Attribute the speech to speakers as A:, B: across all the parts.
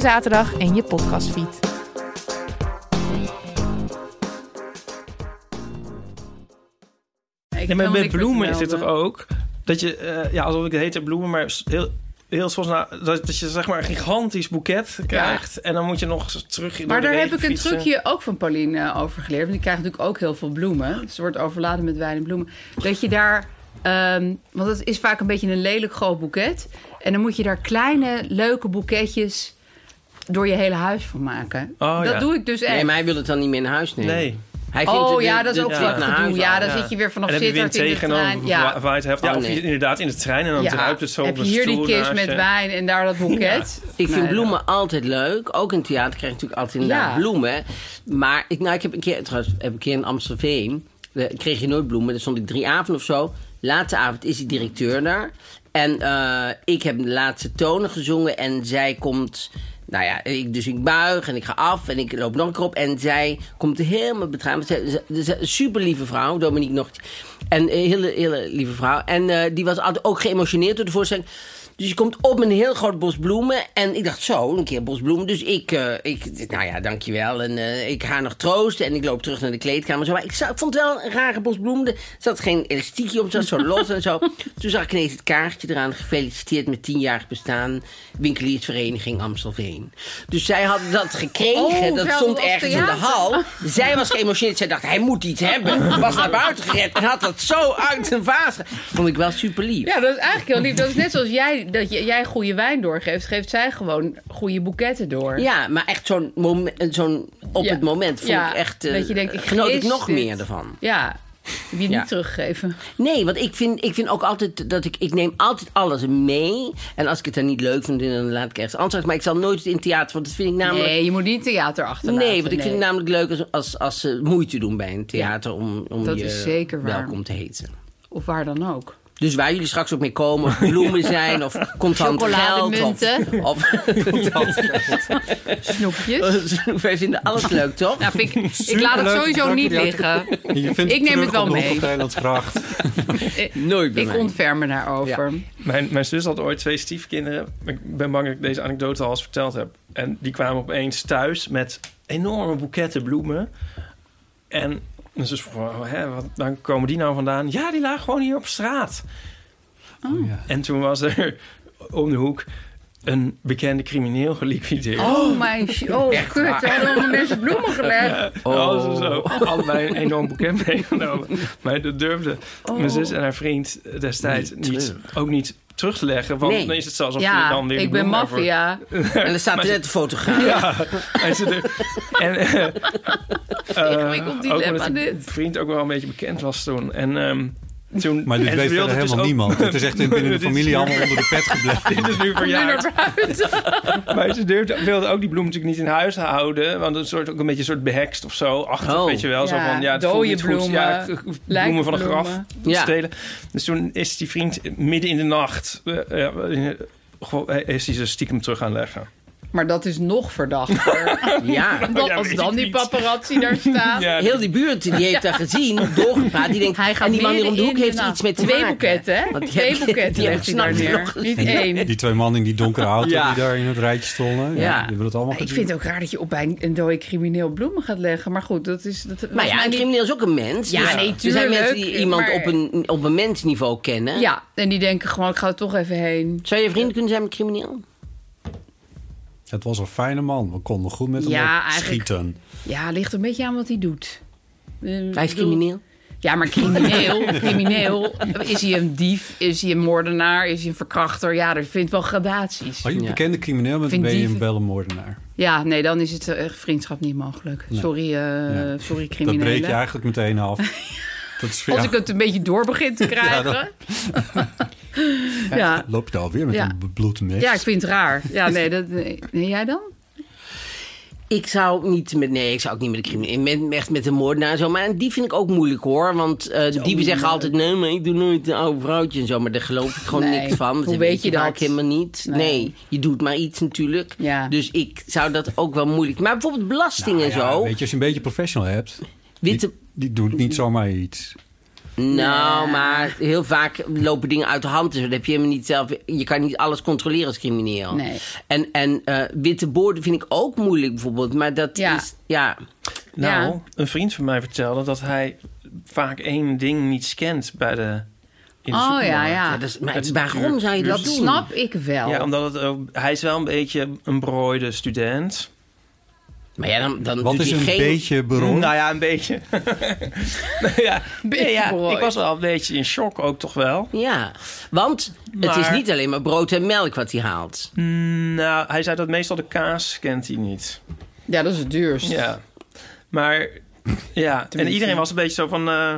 A: zaterdag in je podcastfeed.
B: Nee, maar met bloemen is dit toch ook? Dat je, eh, ja, alsof ik het heet bloemen, maar s- heel, heel soms na, dat, dat je zeg maar een gigantisch boeket krijgt. En dan moet je nog eens terug in
C: Maar
B: de
C: daar heb
B: regen
C: ik een
B: fietsen.
C: trucje ook van Pauline eh, over geleerd. Want die krijgt natuurlijk ook heel veel bloemen. Ze wordt overladen met wijn en bloemen. Dat je daar... ehm, want het is vaak een beetje een lelijk groot boeket. En dan moet je daar kleine, leuke boeketjes door je hele huis van maken.
B: Oh,
C: dat
B: ja.
C: doe ik dus echt.
D: Nee, maar hij wil het dan niet meer in huis nemen.
B: Nee.
D: Hij vindt
C: Oh
D: het-
C: ja,
D: de-
C: dat is
D: de
C: ook
D: trip
C: wel
D: naar
C: gedoe.
D: huis
C: Ja,
D: al.
C: dan zit je weer vanaf
B: En dan heb je wind
C: zittert in de
B: tegen en
C: trein.
B: dan
C: Ja.
B: wa- waait het heft. Ja,
D: Oh,
B: Of
D: nee.
B: je- inderdaad in de trein en dan druipt het zo
C: heb
B: op
C: je
B: een
C: hier die
B: stoel
C: kist
B: naast
C: met
B: je.
C: wijn en daar dat boeket.
D: Ik vind
C: Nee,
D: bloemen altijd leuk. Ook in het theater krijg je natuurlijk altijd inderdaad
C: Ja.
D: bloemen. Maar ik, nou, ik heb een keer, trouwens, heb een keer in Amstelveen. eh, kreeg je nooit bloemen. Daar stond ik drie avonden of zo. Laatste avond is die directeur daar. En eh, ik heb de laatste tonen gezongen. En zij komt. Nou ja, ik, dus ik buig en ik ga af en ik loop nog een keer op. En zij komt helemaal betraand. Super lieve vrouw, Dominique nog. En een hele, hele lieve vrouw. En eh, die was altijd ook geëmotioneerd door de voorstelling. Dus je komt op met een heel groot bos bloemen. En ik dacht, zo, een keer bos bloemen. Dus ik, eh ik nou ja, dankjewel. En eh, ik ga nog troosten. En ik loop terug naar de kleedkamer. Zo. Maar ik, zag, ik vond het wel een rare bos bloemen. Er zat geen elastiekje op, het zat zo los en zo. Toen zag ik ineens het kaartje eraan. Gefeliciteerd met 10 jaar bestaan. Winkeliersvereniging Amstelveen. Dus zij hadden dat gekregen.
C: Oh,
D: dat
C: ze
D: stond
C: hadden
D: ergens
C: op
D: in de
C: theater.
D: hal. Zij was geëmotioneerd. Zij dacht, hij moet iets hebben. Was naar buiten gered en had dat zo uit zijn vaas. ge- Vond ik wel super lief.
C: Ja, dat is eigenlijk heel lief. Dat is net zoals jij, dat j- jij goede wijn doorgeeft, geeft zij gewoon goede boeketten door.
D: Ja, maar echt zo'n momen- zo'n op
C: Ja.
D: het moment vond
C: Ja,
D: ik echt... eh,
C: dat je denkt, ik
D: genoot ik
C: mis
D: nog
C: dit.
D: meer ervan.
C: Ja, die je
D: Ja.
C: niet teruggeven.
D: Nee, want ik vind, ik vind ook altijd dat ik... Ik neem altijd alles mee. En als ik het dan niet leuk vind, dan laat ik ergens anders. Maar ik zal nooit in het theater, want dat vind ik namelijk...
C: Nee, je moet niet theater achterlaten.
D: Nee, want ik vind nou- het namelijk leuk als, als, als ze moeite doen bij een theater om, om
C: dat
D: je
C: is zeker waar.
D: welkom te heten.
C: Of waar dan ook.
D: Dus waar jullie straks ook mee komen, of bloemen zijn, of contant geld. Of,
C: Chocolademunten.
D: of contant geld.
C: Snoepjes.
D: Wij vinden alles leuk, toch?
C: Nou, vind ik, ik laat het
E: Superleuk,
C: sowieso
E: dank
C: niet
E: jullie.
C: liggen.
E: Je vindt
C: Ik neem het
E: terug
C: wel
E: op de
C: mee.
E: Hoek van Eilandsgracht.
D: Nooit bij
C: Ik
D: mij.
C: ontfer me daarover.
B: Mijn, mijn zus had ooit twee stiefkinderen. Ik ben bang dat ik deze anekdote al eens verteld heb. En die kwamen opeens thuis met enorme boeketten bloemen. En mijn zus vroeg, "Oh, hè, wat, waar komen die nou vandaan? Ja, die lagen gewoon hier op straat.
C: Oh,
B: En toen was er om de hoek een bekende crimineel geliquideerd.
C: Oh, mijn sh- Oh, kut. Er hadden allemaal mensen bloemen gelegd.
B: Oh. zo. Allebei een enorm boeket meegenomen. Maar dat durfde
C: Oh.
B: mijn zus en haar vriend destijds niet ook niet terug te leggen. Want
D: Nee.
B: dan is het zelfs alsof je
C: Ja,
B: dan weer de
C: ik ben
B: bloem daarvoor-
C: maffia.
D: En er staat er net een fotograaf.
B: En ze de- en, eh, eh,
C: Ingewikkeld
B: ook
C: dilemma,
B: omdat die
C: dit.
B: vriend ook wel een beetje bekend was toen. En, ehm, toen
E: Maar dit
B: en ze
E: weet
B: wilde
E: verder
B: dus
E: helemaal
B: ook-
E: niemand. Het is echt in- binnen de
B: Dit is
E: familie
B: nu-
E: allemaal onder de pet gebleven.
B: Dit is nu verjaard. Maar ze durfde, wilde ook die bloem natuurlijk niet in huis houden. Want het soort, ook een beetje een soort behekst of zo. Achter,
D: Oh.
B: weet je wel. zo
C: Ja,
B: van, ja, het
C: dode
B: voelt niet goed. Ja,
C: bloemen,
B: bloemen van een graf
C: lijkbloemen.
D: Ja.
B: stelen. Dus toen is die vriend midden in de nacht... eh, ja, eh, gewoon- is hij ze stiekem terug gaan leggen.
C: Maar dat is nog verdachter.
D: Ja.
E: Oh,
C: Want
B: Ja,
C: als
B: weet
C: dan
B: ik
C: die
B: niet.
C: paparazzi daar staat.
B: Ja,
D: Heel die buurt die heeft daar gezien, doorgepraat. Die denkt,
C: Hij gaat
D: en die man hier om de
C: midden
D: hoek
C: in
D: heeft er
C: nacht.
D: iets mee te
C: Twee
D: maken.
C: boeketten, hè?
D: Want die
C: Twee
D: heb-
C: boeketten
D: die
C: legt hij daar
D: hebben we
C: neer.
D: s'nachts
C: Niet
D: nog
C: één.
E: Die twee mannen in die donkere auto
D: Ja.
E: die daar in het rijtje stonden. Ja.
D: Ja.
E: Die willen het allemaal
C: Ik
E: goed
C: vind het ook raar dat je op bij een- een dode crimineel bloemen gaat leggen. Maar goed, dat is... Dat,
D: Maar Nou ja, een crimineel is ook een mens. Dus
C: Ja, nee,
D: Er zijn
C: tuurlijk,
D: mensen die iemand
C: maar-
D: op, een, op een mensniveau kennen.
C: Ja, en die denken gewoon, ik ga er toch even heen.
D: Zou je vrienden kunnen zijn met een crimineel?
E: Het was een fijne man. We konden goed met hem
C: Ja,
E: op
C: eigenlijk-
E: schieten.
C: Ja, ligt een beetje aan wat hij doet. Eh, ik
D: Hij is
C: bedoel-
D: crimineel.
C: Ja, maar crimineel, crimineel. Is hij een dief? Is hij een moordenaar? Is hij een verkrachter? Ja, er vindt wel gradaties.
E: Als je een
D: Ja.
E: bekende crimineel bent,
C: Vind
E: ben je
C: die-
E: een wel een moordenaar.
C: Ja, nee, dan is het eh, vriendschap niet mogelijk. Sorry, eh,
E: Ja.
C: sorry
E: Dat
C: criminelen.
E: breek je eigenlijk meteen af. Dat is
C: Als
E: ja,
C: ik het een beetje door begin te krijgen.
E: Ja,
C: Ja, ja.
E: Loop je alweer met
C: Ja.
E: een bloed
C: ik vind het raar. Ja, nee, dat, nee, nee, jij dan?
D: Ik zou niet met, nee, ik zou ook niet met de crimineel, met, echt met de moordenaar en zo. Maar die vind ik ook moeilijk hoor. Want eh, de dieven zeggen altijd, nee, maar ik doe nooit een oude vrouwtje en zo. Maar daar geloof ik gewoon
C: Nee.
D: niks van. want
C: Hoe
D: dat
C: weet
D: weet je
C: je dat?
D: vaak helemaal niet. Nee.
C: Nee.
D: je doet maar iets natuurlijk.
C: Ja.
D: Dus ik zou dat ook wel moeilijk. Maar bijvoorbeeld belasting en zo.
E: Nou Weet je, als je een beetje professional hebt,
D: witte,
E: die, die doet niet zomaar iets.
D: Nou, maar heel vaak lopen dingen uit de hand. Dus dat heb je helemaal niet zelf. Je kan niet alles controleren als crimineel.
C: Nee.
D: En, en eh, witte borden vind ik ook moeilijk bijvoorbeeld. Maar dat
C: Ja. Ah.
D: is. Ja.
B: Nou,
C: Ja.
B: een vriend van mij vertelde dat hij vaak één ding niet scant bij de. In de
C: Oh ja,
B: supermarkt.
C: ja.
D: Ja, dat is, maar
B: Het-
D: waarom zou je dat,
C: dat
D: doen?
C: snap ik wel.
B: Ja, omdat het ook- hij is wel een beetje een berooide student.
D: Maar ja, dan, dan
E: Wat
D: doet
E: is
D: hij
E: een
D: geen...
E: beetje beroemd?
B: Nou ja, een beetje. Nou ja,
C: Beetje
B: nee, ja,
C: berooid.
B: ik was wel een beetje in shock ook toch wel.
D: Ja, want het is
B: Maar-
D: niet alleen maar brood en melk wat hij haalt.
B: Mm, nou, hij zei dat meestal de kaas kent hij niet.
C: Ja, dat is het duurst.
B: Ja. Maar ja, en iedereen was een beetje zo van... eh,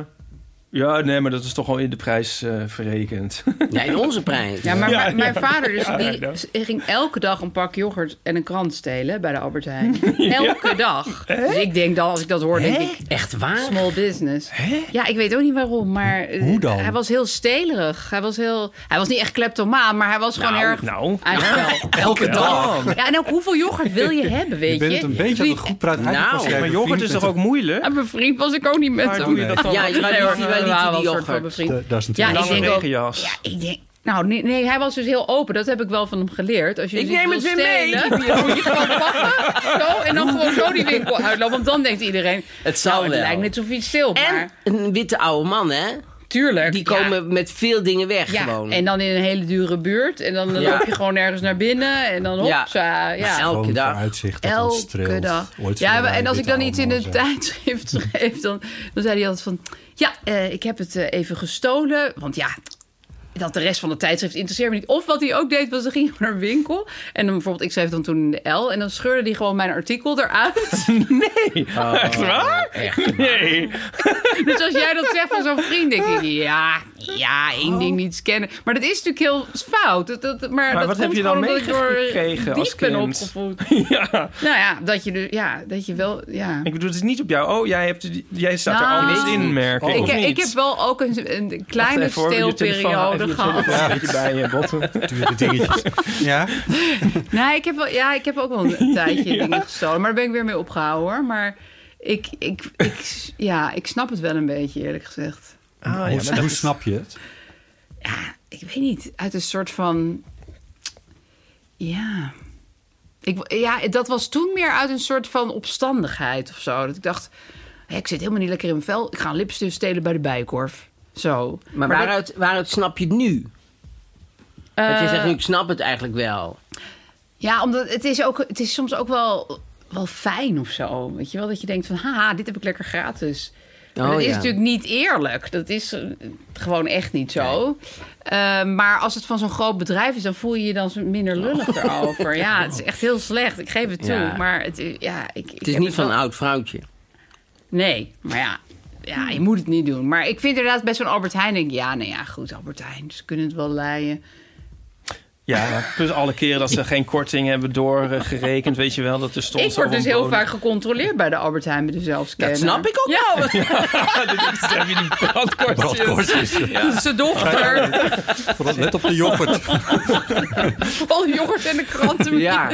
B: ja, nee, maar dat is toch wel in de prijs eh, verrekend.
D: Ja, in onze prijs.
C: Ja, maar
B: Ja,
C: mijn- mijn
B: ja.
C: vader dus,
B: Ja,
C: die
B: ja, dat.
C: s- ging elke dag een pak yoghurt en een krant stelen bij de Albert Heijn. Elke dag. Dus ik denk dan, als ik dat hoor, denk ik,
D: Echt waar?
C: small business. Ja, ik weet ook niet waarom, maar eh,
E: Hoe dan?
C: hij was heel stelerig. Hij was, heel, hij was niet echt kleptomaan, maar hij was gewoon
B: Nou,
C: erg...
B: nou.
C: Hij was wel.
D: Elke dag.
C: Ja, en ook hoeveel yoghurt wil je hebben, weet
E: Je
C: je?
E: bent het een beetje aan
C: Wie-
E: het goed praten. Eigenlijk
D: Nou,
E: was jij
B: maar yoghurt is
E: bevriend
B: toch ook
E: met
B: moeilijk?
C: Aan mijn vriend was ik ook niet met
B: Maar
C: hem.
B: doe je dat dan?
D: Ja, je
C: Nee, hoor,
D: ruikt niet
C: we waren wel
D: die
C: een soort van
D: yoghurt.
C: bevriend.
E: de- Daar is
C: Ja,
E: natuurlijk...
C: ik
B: Lange
C: denk ook-
B: regenjas.
C: Ja, ik denk... Nou, nee, nee, hij was dus heel open. Dat heb ik wel van hem geleerd. Als je
D: Ik
C: dus iets
D: neem het
C: wil
D: weer mee.
C: stelen, dan moet je gewoon pakken. Zo, en dan gewoon zo die winkel uitlopen. Want dan denkt iedereen...
D: Het zal
C: nou, het
D: wel.
C: lijkt net alsof je iets steelt,
D: En
C: maar...
D: een witte oude man, hè?
C: Tuurlijk.
D: Die
C: ja.
D: komen met veel dingen weg
C: Ja,
D: gewoon.
C: en dan in een hele dure buurt. En dan
D: Ja.
C: loop je gewoon ergens naar binnen. En dan
D: Ja.
C: hopsa. Ja.
D: Maar elke
E: Gewoon
D: dag.
E: voor uitzicht dat ons
C: Elke
E: streelt.
C: dag.
E: Ooit
C: Ja,
E: zullen
C: maar-
E: wij
C: en als ik
E: witte
C: dan iets in
E: allemaal
C: een
E: zijn.
C: tijdschrift schreef, dan, dan zei hij altijd van... Ja, eh, ik heb het eh, even gestolen. Want ja, dat de rest van de tijdschrift interesseerde me niet. Of wat hij ook deed, was dan ging hij naar een winkel. En dan bijvoorbeeld, ik schreef dan toen in de L. En dan scheurde hij gewoon mijn artikel eruit.
B: Echt waar? Nee.
C: dus als jij dat zegt van zo'n vriend, denk ik... Ja, ja, één ding niet scannen. Maar dat is natuurlijk heel fout. Dat, dat, maar
B: Oh. Maar
C: dat komt
B: wat heb je dan
C: gewoon omdat ik door
B: meegekregen als
C: dief ben
B: kind?
C: opgevoed.
B: Ja.
C: Nou ja, dat je, dus, ja, dat je wel... Ja.
B: Ik bedoel, het is niet op jou. Oh, jij, hebt, die- jij staat
C: Nou,
B: er anders
C: weet
B: in,
C: niet.
B: merk ik.
C: Ik,
B: Oh, of
C: ik,
B: niet?
C: heb wel ook een, een kleine steelperiode gehad.
B: bij je botten.
E: Natuurlijk de dingetjes. Ja,
C: Nee, ik heb, wel, ja, ik heb ook wel een tijdje dingen gestolen. Maar daar ben ik weer mee opgehouden hoor. Maar ik, ik, ik, ja, ik snap het wel een beetje eerlijk gezegd.
B: Ah, ja,
E: hoe,
B: maar dat
E: hoe
B: is-
E: snap je het?
C: Ik weet niet, uit een soort van... Ja... Ik, ja, dat was toen meer uit een soort van opstandigheid of zo. Dat ik dacht, hé, ik zit helemaal niet lekker in mijn vel. Ik ga een lipstift stelen bij de Bijenkorf. Zo.
D: Maar
C: dat-
D: waaruit, waaruit snap je het nu? Want
C: Eh,
D: je zegt nu, ik snap het eigenlijk wel.
C: Ja, omdat het is, ook, het is soms ook wel, wel fijn of zo. Weet je wel, dat je denkt van, haha, dit heb ik lekker gratis. Maar
D: Oh,
C: dat
D: ja.
C: is natuurlijk niet eerlijk. Dat is eh, gewoon echt niet zo. Eh, maar als het van zo'n groot bedrijf is, dan voel je je dan zo minder lullig erover. Ja, het is echt heel slecht. Ik geef het toe.
D: Oh. Ja.
C: Maar het, eh, ja, ik, ik
D: Het is
C: heb
D: niet van
C: wel-
D: een oud vrouwtje.
C: Nee, maar ja. Ja, je moet het niet doen. Maar ik vind inderdaad best zo'n Albert Heijn. Denk, ik, ja, nou ja, goed, Albert Heijn. Ze kunnen het wel leien.
B: Ja, plus alle keren dat ze geen korting hebben doorgerekend, weet je wel. Dat er stond
C: Ik
B: zo
C: word
B: van
C: dus heel
B: bodem.
C: vaak gecontroleerd bij de Albert Heijn met de zelfscanner.
D: Dat snap ik ook
C: Ja.
D: wel.
B: Dan heb je die brandkorst.
E: Broodkorstjes.
C: Zijn dochter.
E: Vooral Let op de yoghurt.
C: Al yoghurt en de kranten.
D: Ja,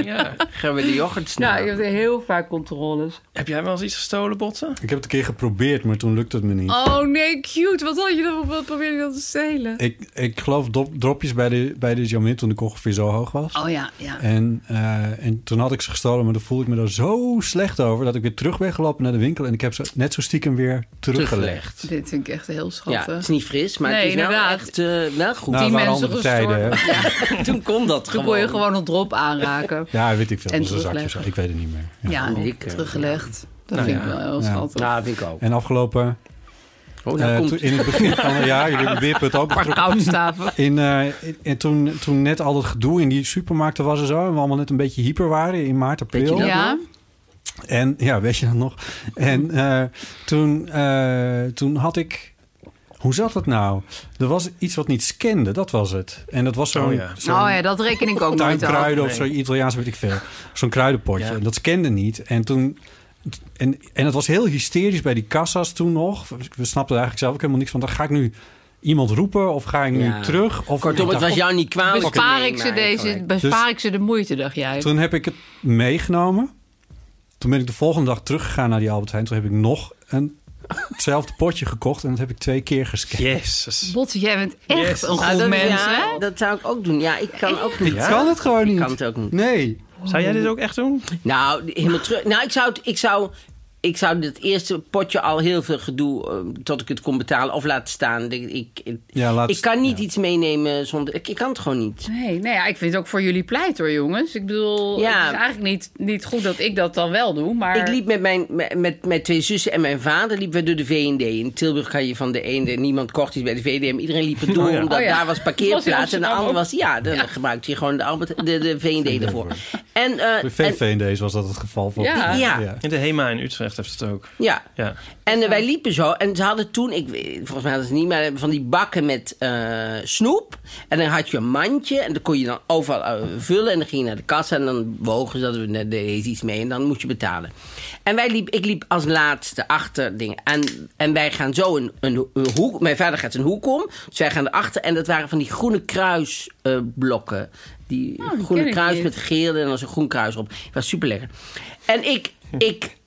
D: gaan we de yoghurt
C: Ja,
D: snappen.
C: je hebt heel vaak controles.
B: Heb jij wel eens iets gestolen, Botten?
E: Ik heb het een keer geprobeerd, maar toen lukte het me niet.
C: Oh nee, cute. Wat had je dan? Wat probeerde je dan te stelen?
E: Ik, ik geloof dop- dropjes bij de, bij de Jamin toen ik ongeveer zo hoog was.
C: Oh ja, ja.
E: En, eh, en toen had ik ze gestolen, maar dan voelde ik me daar zo slecht over... dat ik weer terug ben gelopen naar de winkel... en ik heb ze net zo stiekem weer teruggelegd.
C: Dit vind ik echt heel
D: Ja, het
C: schattig.
D: is niet fris, maar
C: Nee,
D: het is nou
C: inderdaad.
D: echt eh, nou goed.
E: Nou,
C: die
E: het waren
C: mensen
E: andere tijden. hè.
D: Toen kon dat
C: Toen
D: gewoon.
C: kon je gewoon een drop aanraken.
E: Ja, weet ik veel.
C: En
E: Onze zakje of zo.
C: terugleggen.
E: Ik weet het niet meer. Ja.
C: Ja,
D: zeker.
C: teruggelegd. Dat
B: Nou
C: vind
B: ja.
C: ik wel heel
E: Ja.
C: schattig.
D: Ja, vind ik ook.
E: En afgelopen...
D: Oh, nou
E: eh,
D: komt
E: toen- in het begin van het jaar, jullie wippen het ook
C: Maar koude staven.
E: In, eh, en toen, toen net al dat gedoe in die supermarkten was en zo... en we allemaal net een beetje hyper waren in maart, april.
D: Beetje
C: Ja, Mhm.
E: En ja, weet je dat nog? En eh, toen, eh, toen had ik... Hoe zat dat nou? Er was iets wat niet scande, dat was het. En dat was zo'n
B: Oh ja.
E: zo'n
C: nou ja, dat reken ik ook nooit af.
E: tuinkruiden of
B: Nee.
E: zo, Italiaans weet ik veel. Zo'n kruidenpotje.
B: Ja.
E: En dat scande niet. En toen... En, en het was heel hysterisch bij die kassa's toen nog. We snapten eigenlijk zelf ook helemaal niks van. Dan ga ik nu iemand roepen of ga ik nu
D: Ja.
E: terug? Of oh,
D: Kortom, het was jou niet kwalijk.
E: dus
D: te
C: Bespaar ik
D: nemen
C: ze deze,
D: nou eigenlijk.
C: bespaar ik ze de moeite, dacht jij.
E: Toen heb ik het meegenomen. Toen ben ik de volgende dag teruggegaan naar die Albert Heijn. Toen heb ik nog een, hetzelfde potje gekocht. En dat heb ik twee keer gescand.
B: Jezus.
C: Botte, jij bent echt
B: Yes.
C: een
D: Nou,
C: goed
D: dat-
C: mens,
D: ja,
C: hè?
D: dat zou ik ook doen. Ja, ik kan ook niet.
E: Ik kan het gewoon niet.
D: kan het ook niet.
E: Nee.
B: Zou jij dit ook echt doen?
D: Nou, helemaal terug. Nou, ik zou, het- ik zou, ik zou dit eerste potje al heel veel gedoe eh, tot ik het kon betalen of laten staan. Ik, ik, ik-
E: Ja, laat-
D: ik kan niet
E: ja.
D: iets meenemen zonder. Ik, ik kan het gewoon niet.
C: Nee, nou ja, ik vind het ook voor jullie pleit hoor, jongens. Ik bedoel,
D: Ja.
C: het is eigenlijk niet, niet goed dat ik dat dan wel doe, maar...
D: Ik liep met mijn, met- met mijn twee zussen en mijn vader liepen we door de V&D. In Tilburg kan je van de ene, niemand kocht iets bij de V&D, maar iedereen liep er door, omdat
C: Oh ja.
D: daar was
C: Dat was
D: parkeerplaats.
C: in
D: en de
C: Amsterdam
D: andere
C: ook.
D: was, ja, dan gebruikte je gewoon de, Albert- de, de V&D ervoor. En, eh,
E: Bij
D: en-
E: VV in deze was dat het geval. Van,
C: Ja.
D: Ja.
B: In de HEMA in Utrecht heeft het ook.
D: ja,
B: Ja.
D: En eh, wij liepen zo. En ze hadden toen, ik, weet- volgens mij hadden ze niet, maar eh, van die bakken met eh, snoep. En dan had je een mandje. En dat kon je dan overal eh, vullen. En dan ging je naar de kassa. En dan wogen ze dat we daar is iets mee. En dan moest je betalen. En wij liep, ik liep als laatste achter dingen. En, en wij gaan zo een, een, een hoek. Mijn vader gaat een hoek om. Dus wij gaan erachter. En dat waren van die groene kruisblokken. die
C: Oh, die
D: groene
C: ken ik
D: kruis
C: niet.
D: met geel en dan was een groen kruis op. Het was super lekker. En ik,
C: Hm.
D: ik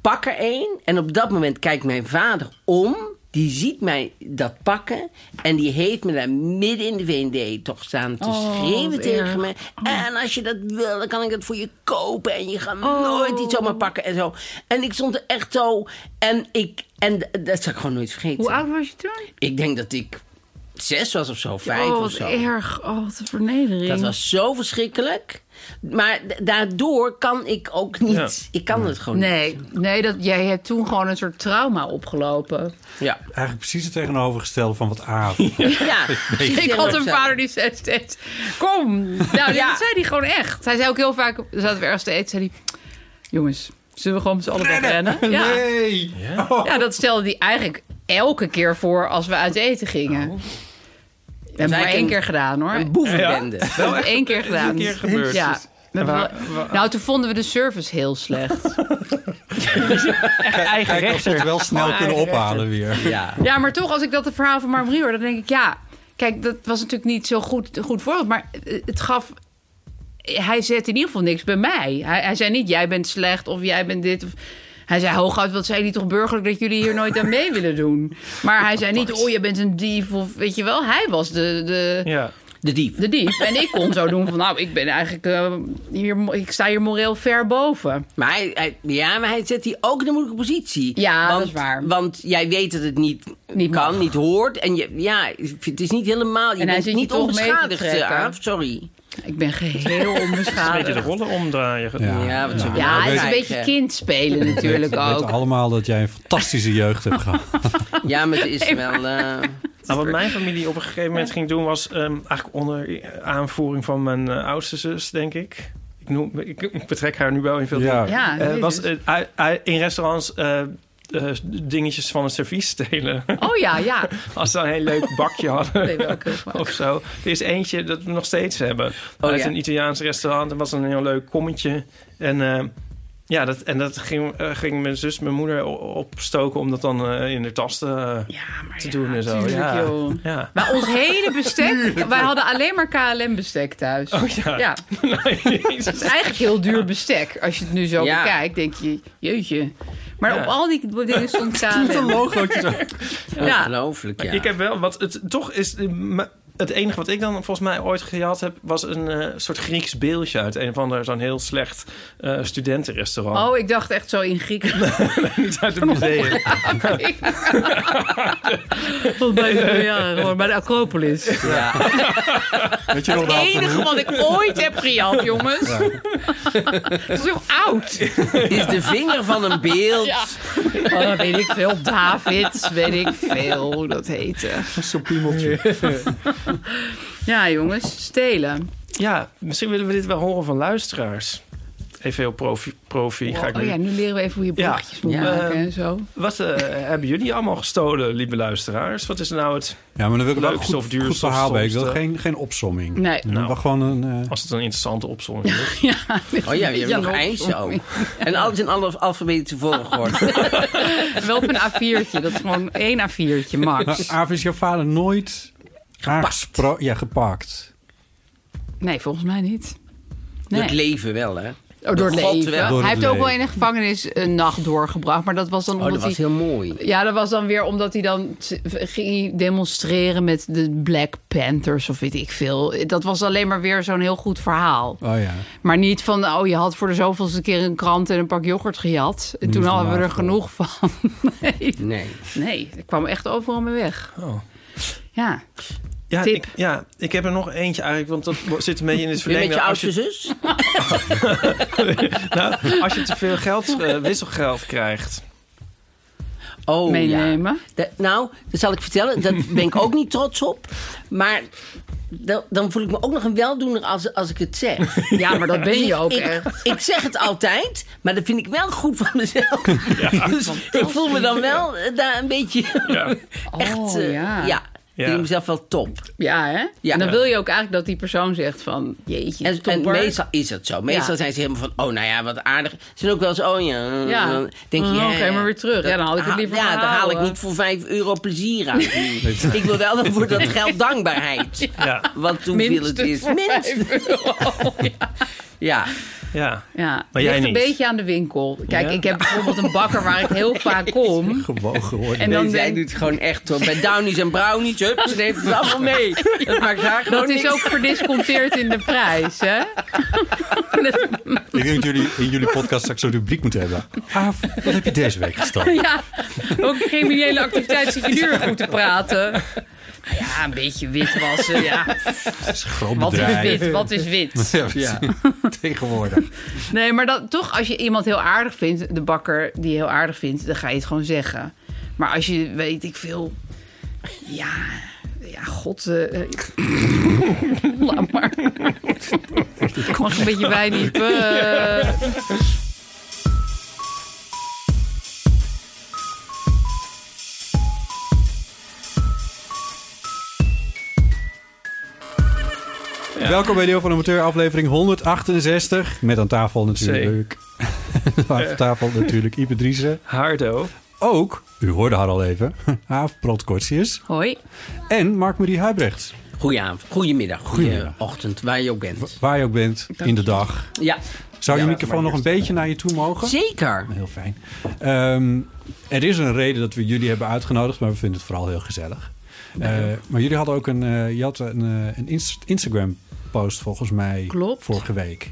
D: pak er één. En op dat moment kijkt mijn vader om. Die ziet mij dat pakken. En die heeft me daar midden in de VND toch staan te
C: Oh,
D: schreeuwen
C: wat erg. Hm.
D: tegen me. En als je dat wil, dan kan ik het voor je kopen. En je gaat
C: Oh.
D: nooit iets zomaar pakken en zo. En ik stond er echt zo. En ik. En d- dat zal ik gewoon nooit vergeten.
C: Hoe oud was je toen?
D: Ik denk dat ik zes was of zo, vijf
C: oh,
D: of
C: wat
D: zo.
C: erg. Oh, wat een vernedering.
D: Dat was zo verschrikkelijk. Maar d- daardoor kan ik ook niet.
B: Ja.
D: Ik kan het gewoon
C: Nee, nee dat, jij hebt toen gewoon een soort trauma opgelopen.
D: niet. Ja.
E: Eigenlijk precies het tegenovergestelde van wat Aaf.
D: ja. Dus
C: Ik had een vader die zei steeds, kom. Nou,
D: Ja.
C: dat zei hij gewoon echt. Hij zei ook heel vaak, we zaten we ergens te eten, zei hij... Jongens, zullen we gewoon met z'n allen wegrennen? Ja.
E: Nee.
C: ja, dat stelde hij eigenlijk elke keer voor als we uit eten gingen. We hebben maar
D: eigenlijk
C: één
D: een-
C: keer gedaan, hoor.
D: Een boevenbende.
C: We hebben één keer gedaan.
B: keer gebeurd.
C: Ja. We hebben
B: waar-
C: wel- Nou, toen vonden we de service heel slecht.
B: Eigen
E: Kijk of ze het wel snel kunnen ophalen weer.
D: Ja.
C: Ja, maar toch, als ik dat het verhaal van Marmarie hoor, dan denk ik, ja, kijk, dat was natuurlijk niet zo goed, een goed voorbeeld, maar eh, het gaf. Hij zet in ieder geval niks bij mij. Hij, hij zei niet, jij bent slecht of jij bent dit. Of, hij zei hooguit, wat zijn jullie toch burgerlijk dat jullie hier nooit aan mee willen doen? Maar hij zei niet, oh, je bent een dief of weet je wel. Hij was de, de,
B: Ja.
D: De dief.
C: de dief. En ik kon zo doen van, nou, ik ben eigenlijk, eh, hier, mo- ik sta hier moreel ver boven.
D: Maar hij, hij- ja, maar hij zet die ook in de moeilijke positie.
C: Ja,
D: want,
C: dat is waar.
D: Want jij weet dat het niet,
C: Niet
D: kan,
C: mag.
D: niet hoort. En je, ja, het is niet helemaal... Je
C: En hij
D: bent
C: zit je
D: niet
C: toch mee te
D: onbeschadigd,
C: trekken.
D: Aaf, sorry.
C: Ik ben geheel
B: Een beetje de
C: onbeschadigd.
B: rollen omdraaien.
E: Ja.
D: Ja, wat zullen we
C: Ja,
D: nou
C: het is een
D: zeggen?
C: beetje kind spelen natuurlijk
E: We weten
C: ook.
E: allemaal dat jij een fantastische jeugd hebt gehad.
D: Ja, maar het is wel... eh,
B: Nou, wat mijn familie op een gegeven moment ging doen was ehm, eigenlijk onder aanvoering van mijn eh, oudste zus, denk ik. Ik, noem, ik, ik betrek haar nu wel in veel dingen.
E: Ja.
C: Ja,
B: Eh,
C: jezus.
B: was eh, ui- ui- in restaurants eh, eh, dingetjes van een servies stelen.
C: Oh ja, ja.
B: Als ze een heel leuk bakje hadden.
C: Nee, welke smaak.
B: Of zo. Er is eentje dat we nog steeds hebben. Uit
C: Oh,
D: ja.
B: een Italiaans restaurant. Dat was een heel leuk kommetje. En eh, ja, dat, en dat ging, eh, ging mijn zus, mijn moeder o- opstoken om dat dan eh, in de tas te, eh,
C: Ja, maar
B: te
C: ja,
B: doen en zo.
C: tuurlijk,
B: ja.
C: joh.
B: ja.
C: Maar ons hele bestek, wij hadden alleen maar KLM-bestek thuis.
B: Oh ja.
C: Ja,
B: Nee, Nou, jezus.
C: het is eigenlijk heel duur bestek. Als je het nu zo
D: Ja.
C: bekijkt, denk je, jeetje. Maar
B: Ja.
C: op al die dingen stond KLM.
E: Oh, logootje zo.
C: Ja.
D: Ongelooflijk, ja.
B: Ik heb wel, wat het toch is. eh, m- het enige wat ik dan volgens mij ooit gehad heb... was een eh, soort Grieks beeldje uit een of ander... zo'n heel slecht eh, studentenrestaurant.
C: Oh, ik dacht echt zo in Griek.
B: Niet uit het museum.
C: bij, de, ja, bij de Acropolis.
D: Ja.
E: Weet je wel
C: Het
E: wat?
C: enige wat ik ooit heb gejat, jongens. Dat is heel oud.
D: Is de vinger van een beeld.
C: Ja. Oh, dat weet ik veel. David, weet ik veel hoe dat heette.
E: Zo'n piemeltje.
C: Ja, jongens, stelen.
B: Ja, misschien willen we dit wel horen van luisteraars. Even heel profi. profi ga ik
C: Oh
B: nu.
C: ja, nu leren we even hoe je
B: Ja.
C: bochtjes moet
D: Ja.
C: maken en zo.
B: Wat eh, hebben jullie allemaal gestolen, lieve luisteraars? Wat is nou het...
E: Ja, maar dan wil ik wel een
B: Leukste of
E: goed,
B: duurste
E: goed
B: of
E: verhaal bij. Ik wil
B: stomste.
E: geen, geen opsomming.
C: Nee.
E: Nou.
B: Nou.
E: gewoon een... eh,
B: Als het een interessante opzomming is.
D: Oh ja, je hebt nog eindje ook. En alles in alle alfabetische volgorde.
C: Wel op een A4'tje. Dat is gewoon één A4'tje,
E: Maar
C: max.
E: Aaf is jouw vader nooit aangespro- Ja, gepakt.
C: Nee, volgens mij niet.
D: Door
C: Nee.
D: het leven wel, hè?
C: Oh, door het
D: God
C: leven.
D: wel.
E: Door
C: Hij
E: het
C: heeft ook wel in
E: leven.
C: de gevangenis een nacht doorgebracht. Maar dat was dan
D: Oh,
C: omdat
D: dat was
C: hij...
D: heel mooi.
C: Ja, dat was dan weer omdat hij dan t- ging hij demonstreren met de Black Panthers of weet ik veel. Dat was alleen maar weer zo'n heel goed verhaal.
E: Oh ja.
C: Maar niet van, oh, je had voor de zoveelste keer een krant en een pak yoghurt gejat. En toen hadden we er
E: vanavond.
C: genoeg van. Nee.
D: Nee.
C: nee, ik kwam echt overal mee weg.
B: Oh.
C: Ja,
B: Ja,
C: Tip.
B: ik, ja, ik heb er nog eentje eigenlijk, want dat zit een beetje in het
D: Weer met
B: verlengde.
D: je
B: Als
D: oudste
B: je,
D: zus?
B: nou, als je te veel geld, eh, wisselgeld krijgt.
D: Oh ja.
C: meenemen.
D: Dat- nou, dat zal ik vertellen. Daar ben ik ook niet trots op. Maar dan, dan voel ik me ook nog een weldoener als, als ik het zeg.
C: Ja. maar dat ben je ook
D: ik,
C: echt.
D: ik zeg het altijd, maar dat vind ik wel goed van mezelf. dus ik voel me dan wel eh, daar een beetje
B: Ja.
D: echt... eh,
C: Oh, ja.
D: ja. Ik
B: Ja.
D: vind mezelf wel top.
C: Ja, hè?
D: Ja.
C: En dan wil je ook eigenlijk dat die persoon zegt van... Jeetje,
D: En, en
C: topper.
D: meestal is dat zo. Meestal
C: Ja.
D: zijn ze helemaal van, oh nou ja, wat aardig. Ze zijn ook wel eens, oh ja.
C: Ja.
D: Dan denk je,
C: Oh,
D: ja,
C: geef maar weer terug. Ja, dan had ik het
D: haal-
C: liever
D: Ja, dan haal ik
C: gehouden.
D: niet voor 5 euro plezier uit. ik wil wel voor dat geld dankbaarheid.
B: Ja,
D: Wat hoeveel het is. Minstens. Ja.
B: ja.
C: Ja,
B: Maar
C: ligt
B: jij
C: een
B: niet.
C: beetje aan de winkel. Kijk,
B: Ja?
C: ik heb bijvoorbeeld een bakker waar ik heel vaak kom.
E: Gewoon geworden.
C: En dan
D: Deze, hij
C: denk
D: doet het gewoon echt hoor. Bij Downies en Brownies, hup, ze neemt het allemaal mee. Dat maakt haar gewoon
C: dat is
D: niks
C: ook verdisconteerd in de prijs, hè?
E: Ik denk dat jullie in jullie podcast straks zo'n rubriek moeten hebben. Aaf, wat heb je deze week gestolen?
C: Ja, ook criminele activiteit zit je nu weer goed te praten. Nou Ja, een beetje witwassen, ja.
E: Groot
C: Wat is
E: bedrijf.
C: wit? Wat is wit?
E: Ja, tegenwoordig.
C: Nee, maar dat, toch, als je iemand heel aardig vindt, de bakker die je heel aardig vindt, dan ga je het gewoon zeggen. Maar als je, weet ik veel, ja, ja, god, eh, eh, laat maar. Mag een beetje wijn niet. Eh,
E: Welkom bij Deel van Amateur, aflevering 168. Met aan tafel natuurlijk... aan tafel natuurlijk Ipe Driessen.
B: Hardo.
E: Ook, u hoorde haar al even, Aaf Protkortius.
C: Hoi.
E: En Mark-Marie Huibrecht.
D: Goedenavond, goedemiddag,
E: Goedemiddag.
D: goedeochtend, waar je ook bent.
E: Waar je ook bent, in de dag.
D: Ja,
E: Zou je
D: Ja,
E: microfoon nog een beetje naar je toe mogen?
D: zeker.
E: Heel fijn. Ehm, er is een reden dat we jullie hebben uitgenodigd, maar we vinden het vooral heel gezellig. Eh, maar jullie hadden ook een, eh, je had een, eh, een Inst- Instagram-post volgens mij
C: Klopt.
E: vorige week.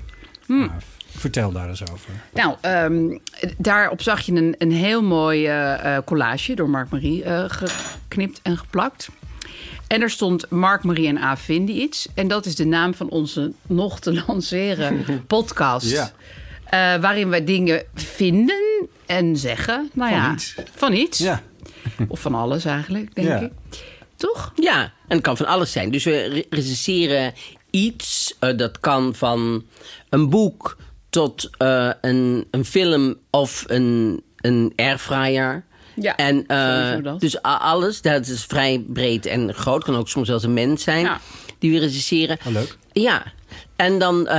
E: Ja, v- vertel daar eens over.
C: Nou, ehm, daarop zag je een, een heel mooi eh, eh, collage door Mark-Marie eh, geknipt en geplakt. En er stond Mark-Marie en A. vinden iets. En dat is de naam van onze nog te lanceren podcast.
E: Ja.
C: Eh, waarin wij dingen vinden en zeggen. Nou
E: Van
C: ja,
E: iets.
C: Van iets.
E: Ja,
C: Of van alles eigenlijk, denk
E: Ja.
C: ik. Toch?
D: Ja, en het kan van alles zijn. Dus we re- recenseren iets. eh, dat kan van een boek tot eh, een, een film of een, een airfryer.
C: Ja,
D: en, eh,
C: sowieso dat.
D: Dus a- alles, dat is vrij breed en groot. Kan ook soms zelfs een mens zijn
C: Ja.
D: die we recenseren.
E: Oh, leuk.
D: Ja, en dan eh,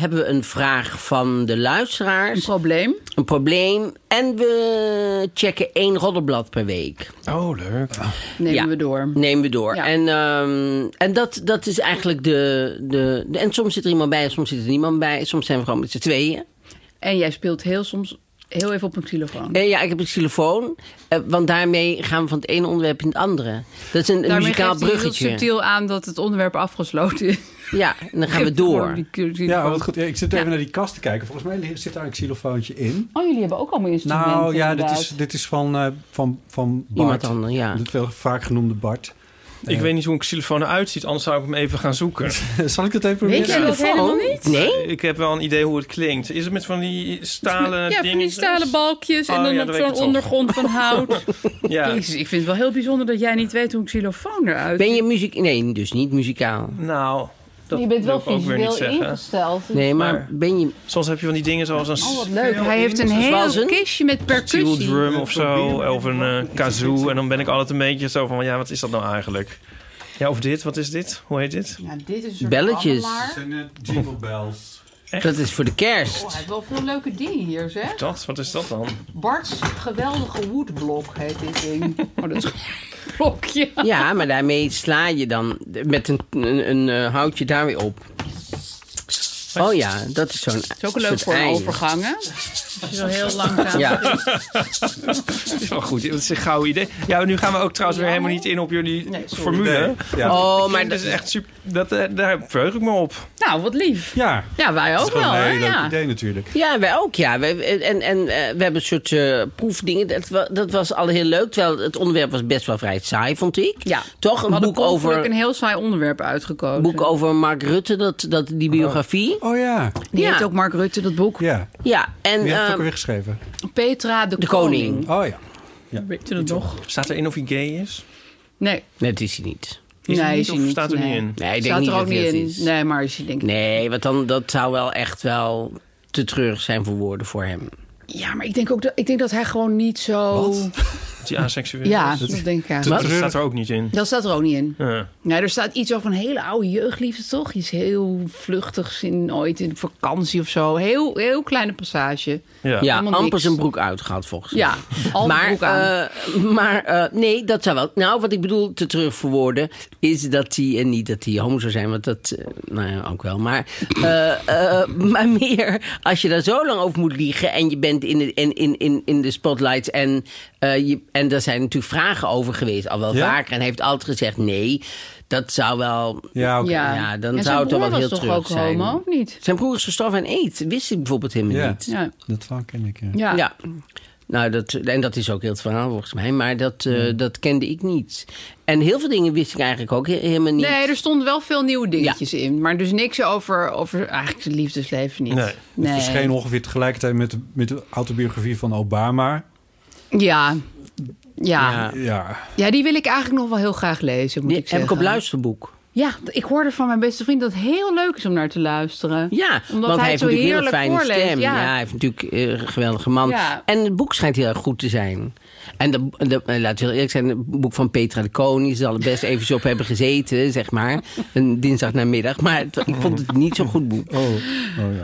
D: hebben we een vraag van de
C: Een
D: luisteraars.
C: probleem.
D: Een probleem. En we checken één roddelblad per week
B: Oh, leuk.
C: Nemen
D: Ja.
C: we door.
D: nemen we door.
C: Ja.
D: En, ehm, en dat, dat is eigenlijk de, de, de- En soms zit er iemand bij, soms zit er niemand bij. Soms zijn we gewoon met z'n tweeën.
C: En jij speelt heel soms heel even op een xylofoon.
D: Eh, ja, ik heb een xylofoon. eh, want daarmee gaan we van het ene onderwerp in het andere. Dat is een, een muzikaal
C: geeft hij heel
D: bruggetje.
C: subtiel aan dat het onderwerp afgesloten is.
D: Ja, en dan gaan we door.
E: Ja, wat goed. Ja, ik zit even naar die kast te kijken. Volgens mij li- zit daar een xylofoontje in.
C: Oh, jullie hebben ook allemaal instrumenten.
E: Nou ja, dit
C: inderdaad.
E: is, dit is van, eh, van, van Bart.
D: Iemand anders, ja.
E: De veel vaak genoemde Bart.
B: Ik weet niet hoe een xylofoon eruit ziet, anders zou ik hem even gaan zoeken.
E: Zal ik dat even
C: Weet
E: proberen?
C: je dat helemaal
D: Telefoon?
C: niet?
D: Nee?
B: Ik heb wel een idee hoe het klinkt. Is het met van die stalen
C: Ja, van die
B: dingetjes?
C: stalen balkjes en
B: Oh,
C: dan
B: ja,
C: op
B: dat weet
C: zo'n
B: ik toch.
C: ondergrond van hout.
B: Ja.
C: Jezus, ik vind het wel heel bijzonder dat jij niet weet hoe een xylofoon eruit
D: Ben je muziek... Nee, dus niet muzikaal.
B: Nou, dat wil ik ook weer niet zeggen.
C: ingesteld.
D: Nee, maar,
B: Maar-
D: ben je...
B: Soms heb je van die dingen zoals een
C: Oh, wat leuk. Hij heeft een
D: zoals
C: heel
D: een
C: kistje met
B: steel
C: percussie.
B: drum of zo, of een eh, kazoo. En dan ben ik altijd een beetje zo van, ja, wat is dat nou eigenlijk? Ja, of dit, wat is dit? Hoe heet dit?
C: Ja, dit is een soort
D: Belletjes.
C: babbelaar.
E: zijn jingle bells.
D: Dat is voor de kerst.
C: Oh, hij heeft wel veel leuke dingen hier, zeg.
B: Dat, wat is dat dan?
C: Bart's geweldige woodblok heet dit ding. Oh, dat is een blokje.
D: Ja, maar daarmee sla je dan met een, een, een eh, houtje daar weer op. Oh ja, dat is zo'n
C: is ook leuk
D: soort
C: voor een
D: ei.
C: overgang, hè? Dat is wel heel langzaam.
D: Ja,
B: Dat is wel goed, dat is een gouden idee. Ja, nu gaan we ook trouwens weer helemaal niet in op jullie
C: Nee, sorry.
B: formule.
E: Nee, ja.
D: oh,
B: Maar
D: maar
B: dat
D: dat
B: is echt super, dat, eh, daar verheug ik me op.
C: Nou, wat lief.
E: Ja,
C: Ja, wij ook wel,
E: gewoon een
C: hè?
E: heel leuk
C: Ah, Ja.
E: idee natuurlijk.
D: Ja, wij ook, ja. Wij, en en eh, we hebben een soort eh, proefdingen. Dat, wa- dat was al heel leuk, terwijl het onderwerp was best wel vrij saai, vond ik.
C: Ja.
D: Toch?
C: We
D: Een
C: hadden
D: boek
C: per ongeluk
D: over,
C: een heel saai onderwerp uitgekozen.
D: boek over Mark Rutte, dat, dat, die biografie.
E: Oh ja,
C: Die
D: Ja.
C: heeft ook Mark Rutte, dat boek.
E: ja.
D: Ja, en...
E: Wie heeft het
D: eh,
E: ook weer geschreven?
C: Petra de,
D: De
C: Koning.
D: Koning.
E: Oh ja.
C: Weet je dat nog?
B: Staat er in of hij gay is?
C: Nee.
D: nee, dat is hij niet.
B: Is
C: nee,
B: hij niet
C: is hij
B: of staat er
C: nee.
B: niet in?
D: Nee, ik denk
C: Staat
D: niet
C: er ook
D: dat hij
C: niet
D: dat
C: in.
D: is.
C: Nee, maar is hij denk ik...
D: Nee, want dan, dat zou wel echt wel te treurig zijn voor woorden voor hem.
C: Ja, maar ik denk ook dat, ik denk dat hij gewoon niet zo...
B: Dat hij aseksueel
C: Ja,
B: is?
C: dat denk ik
B: Dat
C: eigenlijk.
B: staat er ook niet in.
C: Dat staat er ook niet in.
B: Ja.
C: Nee, er staat iets over een hele oude jeugdliefde, toch? Iets heel vluchtigs in ooit in vakantie of zo. Heel, heel kleine passage.
B: Ja.
D: Ja,
C: Helemaal
D: amper
C: niks.
D: zijn broek uitgehaald volgens mij.
C: Ja, al die
D: maar,
C: broek aan.
D: eh, maar eh, nee, dat zou wel. Nou, wat ik bedoel te terug verwoorden is dat hij en niet dat hij homo zou zijn, want dat, eh, nou ja, ook wel. Maar, eh, eh, maar meer als je daar zo lang over moet liegen en je bent in de, in, in, in, in de spotlights en, eh, je, en daar zijn natuurlijk vragen over geweest, al wel
E: Ja?
D: vaker. En hij heeft altijd gezegd nee, dat zou wel.
E: Ja, oké.
C: ja.
D: ja, dan
C: En
D: zou
C: zijn
D: het toch wel
C: broer
D: heel
C: was toch
D: terug
C: ook
D: zijn.
C: homo, of niet?
D: Zijn broer is gestorven aan aids, wist ik bijvoorbeeld helemaal
E: Ja.
D: niet.
C: Ja.
E: Dat verhaal ken ik, ja.
C: Ja.
D: Ja. Nou, dat, en dat is ook heel het verhaal volgens mij. Maar dat, eh,
C: Hmm.
D: dat kende ik niet. En heel veel dingen wist ik eigenlijk ook he- helemaal niet.
C: Nee, dus er stonden wel veel nieuwe dingetjes in. Maar dus niks over, over eigenlijk zijn liefdesleven niet.
B: Nee.
C: Nee.
B: Het
E: Het verscheen ongeveer tegelijkertijd met, de- met de autobiografie van Obama.
C: Ja. Ja.
D: Ja.
E: Ja,
C: ja, die wil ik eigenlijk nog wel heel graag lezen, moet
D: Die
C: ik
D: heb
C: zeggen.
D: ik op luisterboek.
C: Ja, ik hoorde van mijn beste vriend dat het heel leuk is om naar te luisteren.
D: Ja,
C: Omdat
D: want
C: hij
D: hij
C: het
D: heeft
C: zo
D: natuurlijk een hele
C: heerlijk
D: fijne
C: voorleest,
D: stem.
C: ja.
D: Ja. hij heeft natuurlijk eh, een geweldige man.
C: Ja.
D: En het boek schijnt heel erg goed te zijn. En de, de, eh, laten we heel eerlijk zijn, het boek van Petra de Koning... zal er best even zo op hebben gezeten, zeg maar. Een dinsdag namiddag. Maar het- ik vond het niet zo'n goed boek.
C: Oh.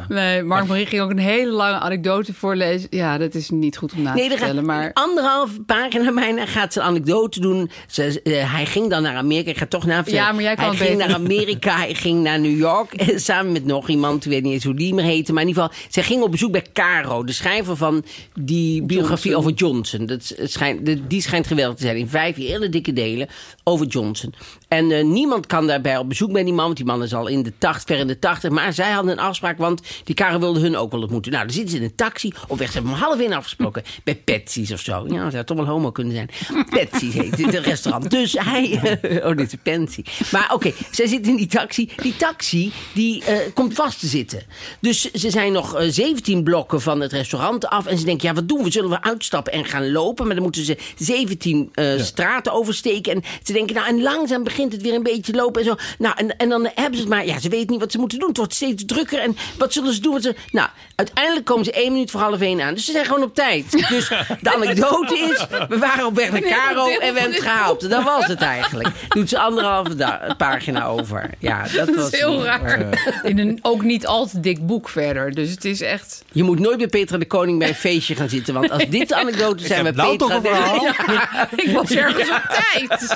C: Nee, Mark Marie ging ook een hele lange anekdote voorlezen. Ja, dat is niet goed om na
D: Nee,
C: te
D: er gaat
C: vertellen, maar...
D: anderhalf pagina bijna gaat ze een anekdote doen. Ze, ze- eh, hij ging dan naar Amerika. Ik ga toch naar
C: Ja, maar jij kan
D: Hij
C: het
D: ging
C: beter.
D: naar Amerika, hij ging naar New York. eh, Samen met nog iemand, ik weet niet eens hoe die meer heette. Maar in ieder geval, zij ging op bezoek bij Caro. De schrijver van die biografie over Johnson. Dat is- schijnt, de- die schijnt geweldig te zijn. In vijf hele dikke delen over Johnson. En eh, niemand kan daarbij op bezoek bij die man. Want die man is al in de tacht, ver in de tachtig. Maar zij hadden een afspraak, want die Caro wilde hun ook wel ontmoeten. Nou, dan zitten ze in een taxi. Op weg, ze hebben hem half in afgesproken. Bij Patsy's of zo. Ja, zou toch wel homo kunnen zijn. Patsy's heet het restaurant. Dus hij... eh, oh, dit is een pensie. Maar oké, zij zitten in die taxi. Die taxi, die eh, komt vast te zitten. Dus ze zijn nog eh, 17 blokken van het restaurant af. En ze denken, ja, wat doen we? Zullen we uitstappen en gaan lopen? Maar dan moeten ze 17 eh, straten oversteken. En ze denken, nou, en langzaam begint het weer een beetje te lopen en zo. Nou, en, en dan hebben ze het maar. Ja, ze weten niet wat ze moeten doen. Het wordt steeds drukker. En wat zullen ze doen? Wat ze, nou, uiteindelijk komen ze één minuut voor half één aan. Dus ze zijn gewoon op tijd. Dus de anekdote is, we waren op weg naar Caro en we hebben het gehaald. Dat was het eigenlijk. Doet ze anderhalve da- pagina over. Ja, dat,
C: Dat
D: was
C: is heel
D: niet.
C: raar. In een ook niet al te dik boek verder. Dus het is echt...
D: Je moet nooit bij Petra de Koning bij een feestje gaan zitten. Want als dit de anekdote zijn, we
E: nou
D: Petra
E: toch
C: overal. ik was ergens op tijd.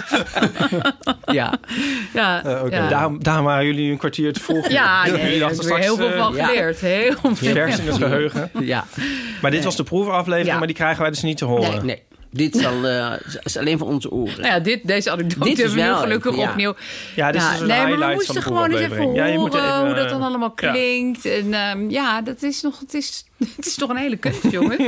D: Ja.
C: Ja,
E: Eh, oké.
C: ja.
B: Daarom, daarom waren jullie een kwartier te vroeg.
C: Ja,
B: Jullie
C: nee, daar
B: dachten
C: is weer heel veel
B: eh,
C: van
D: ja.
C: geleerd. Heel veel.
B: vers in het geheugen.
D: ja.
B: Maar dit was de proefaflevering,
C: Ja.
B: maar die krijgen wij dus niet te horen.
D: Nee, nee. Dit zal, eh, is alleen voor onze oren.
C: Nou ja, dit, deze anekdote
D: Dit is
C: hebben we nu
D: wel
C: gelukkig
D: even, ja.
C: opnieuw.
B: Ja, dit
C: Ja,
B: is dus een
C: nee, maar we
B: highlight
C: moesten
B: van de
C: gewoon eens even horen
B: proefaflevering. Ja, je moet even,
C: hoe dat dan
B: eh,
C: allemaal
B: ja.
C: klinkt. En ehm, ja, dat is nog, het is, het is toch een hele kunst, jongens.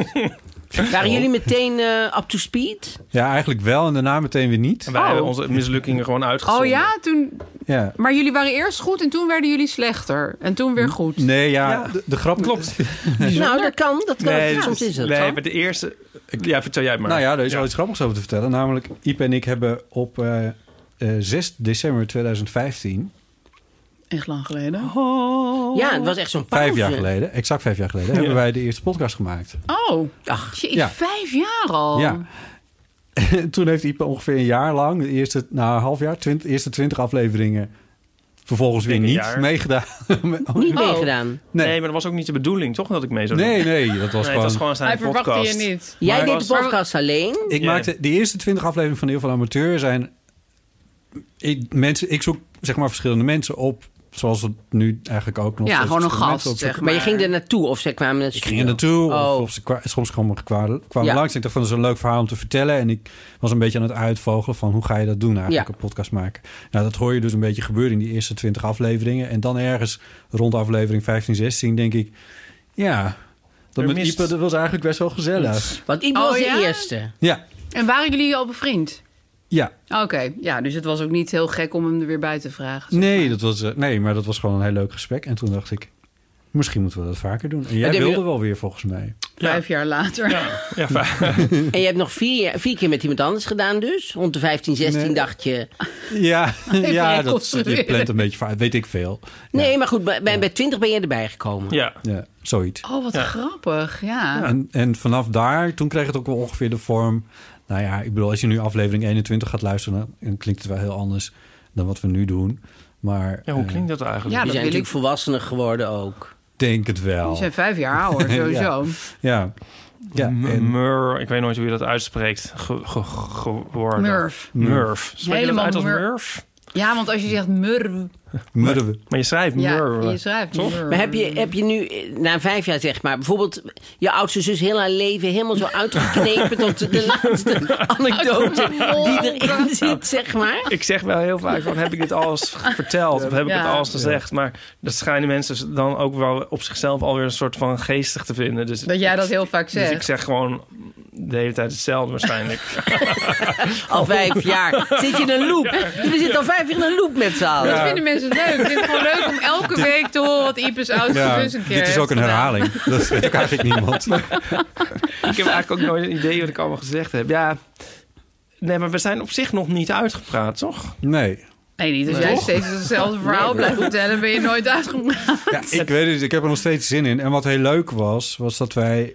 D: Waren jullie meteen eh, up to speed?
E: Ja, eigenlijk wel en daarna meteen weer niet.
B: En eh, wij
C: Oh.
B: hebben onze mislukkingen gewoon
C: oh
B: uitgezonden.
C: ja, toen,
E: Ja.
C: maar jullie waren eerst goed en toen werden jullie slechter. En toen weer goed.
E: Nee, ja,
B: Ja.
E: De, de grap klopt.
D: Nou, dat kan. Dat kan.
B: Nee, dus-
D: Soms is het.
B: nee,
D: hoor.
B: maar de eerste... Ja, vertel jij het maar.
E: Nou ja, er is wel iets grappigs over te vertellen. Namelijk, Iep en ik hebben op eh, eh, 6 december 2015,
C: Echt lang geleden.
D: Ja, het was echt zo'n pauze.
E: vijf jaar geleden, exact vijf jaar geleden, hebben wij de eerste podcast gemaakt.
C: Oh,
D: Ach,
C: jee,
E: Ja.
C: vijf jaar al.
E: Ja. En toen heeft Iep ongeveer een jaar lang, de eerste, nou, een half jaar, twint- eerste twintig afleveringen, vervolgens weer
B: Dikke
E: niet
B: jaar.
E: meegedaan.
D: niet
C: Oh.
D: meegedaan.
B: Nee.
E: nee,
B: maar dat was ook niet de bedoeling, toch? Dat ik mee zou doen.
E: nee, nee, dat was
B: Nee, het
E: gewoon...
B: was gewoon zijn
C: Hij verwachtte
B: podcast.
C: je niet.
D: Jij
B: Maar
D: deed
B: was-
D: de podcast alleen.
E: Ik
B: Ja.
E: maakte de eerste twintig afleveringen van Heel van Amateur zijn. Ik, mensen, ik zoek zeg maar verschillende mensen op, zoals we het nu eigenlijk ook nog.
C: Ja,
E: steeds
C: gewoon een
E: verschillende
C: gast,
E: mensen opzoeken.
C: zeg
D: Maar je ging er naartoe of ze kwamen naar
E: Ik ging er naartoe, of,
D: Oh.
E: of ze kwa- soms kwamen, kwamen, kwamen
D: Ja.
E: langs. Ik dacht van, dat is een leuk verhaal om te vertellen. En ik was een beetje aan het uitvogelen van, hoe ga je dat doen eigenlijk,
D: Ja.
E: een podcast maken? Nou, dat hoor je dus een beetje gebeuren in die eerste twintig afleveringen. En dan ergens rond aflevering 15, 16 denk ik, ja, dat
B: Er
E: met
B: mist-
E: Ieper, dat was eigenlijk best wel gezellig.
D: Want ik
C: Oh,
D: was
C: ja?
D: de eerste.
E: Ja,
C: En waren jullie al bevriend?
E: ja.
C: Oké, ja, dus het was ook niet heel gek om hem er weer bij te vragen. Dus
E: Nee, dat was, eh, nee, maar dat was gewoon een heel leuk gesprek. En toen dacht ik, misschien moeten we dat vaker doen. En jij
D: dit-
E: wilde wel weer volgens mij.
C: Vijf jaar later.
B: Ja, fijn.
D: En je hebt nog vier, jaar- vier keer met iemand anders gedaan dus. Rond de 15, 16
E: Nee.
D: dacht je...
E: Ja, ja dat,
C: reconstrueren.
E: je plant een beetje vaak. Weet ik veel.
D: Nee, maar goed, bij, bij, bij 20 ben je erbij gekomen.
B: ja.
E: Ja, zoiets.
C: Oh, wat grappig, ja.
E: En, en vanaf daar, toen kreeg het ook wel ongeveer de vorm. Nou ja, ik bedoel, als je nu aflevering 21 gaat luisteren, dan- dan klinkt het wel heel anders dan wat we nu doen. Maar
B: Ja, hoe
E: eh,
B: klinkt dat eigenlijk?
C: Ja, dat
D: Die zijn
C: wil
D: natuurlijk
C: ik.
D: volwassener geworden ook.
E: denk het wel.
C: Die zijn vijf jaar ouder, sowieso.
E: Ja. ja. en-
B: Mur, ik weet nooit hoe je dat uitspreekt. Ge, ge- geworden.
C: Murf.
B: Murf. Spreek je dat
C: Helemaal
B: uit als
C: mur-
B: Murf?
C: Ja, want als je zegt murw,
E: murwen.
B: Maar je schrijft
C: ja,
B: Mur.
C: je schrijft
B: Toch?
C: murw.
D: Maar heb je, heb je nu, eh, na vijf jaar zeg maar... bijvoorbeeld je oudste zus heel haar leven helemaal zo uitgeknepen... tot de, de laatste anekdote die erin zit, zeg maar?
B: Ik zeg wel heel vaak van, heb ik dit alles verteld? Of heb ik
C: Ja.
B: het alles gezegd? Maar dat schijnen mensen dan ook wel op zichzelf alweer een soort van geestig te vinden. Dus,
C: Dat jij dat heel vaak
B: dus ik
C: zegt.
B: zeg gewoon de hele tijd hetzelfde waarschijnlijk.
D: Al vijf jaar zit je in een loop. We zitten al vijf jaar in een loop met z'n allen.
C: Dat vinden mensen leuk. Ik vind het gewoon leuk om elke week te horen wat Ipes oudste
E: Ja,
C: zus een keer
E: dit is
C: heeft
E: ook een
C: gedaan.
E: herhaling. Dat weet ook eigenlijk niemand.
B: ik heb eigenlijk ook nooit een idee wat ik allemaal gezegd heb. Ja, nee, maar we zijn op zich nog niet uitgepraat, toch?
E: Nee.
C: Nee, niet als jij steeds hetzelfde verhaal blijft vertellen, ben je nooit uitgegaan.
E: Ja, ik weet het, ik heb er nog steeds zin in. En wat heel leuk was, was dat wij...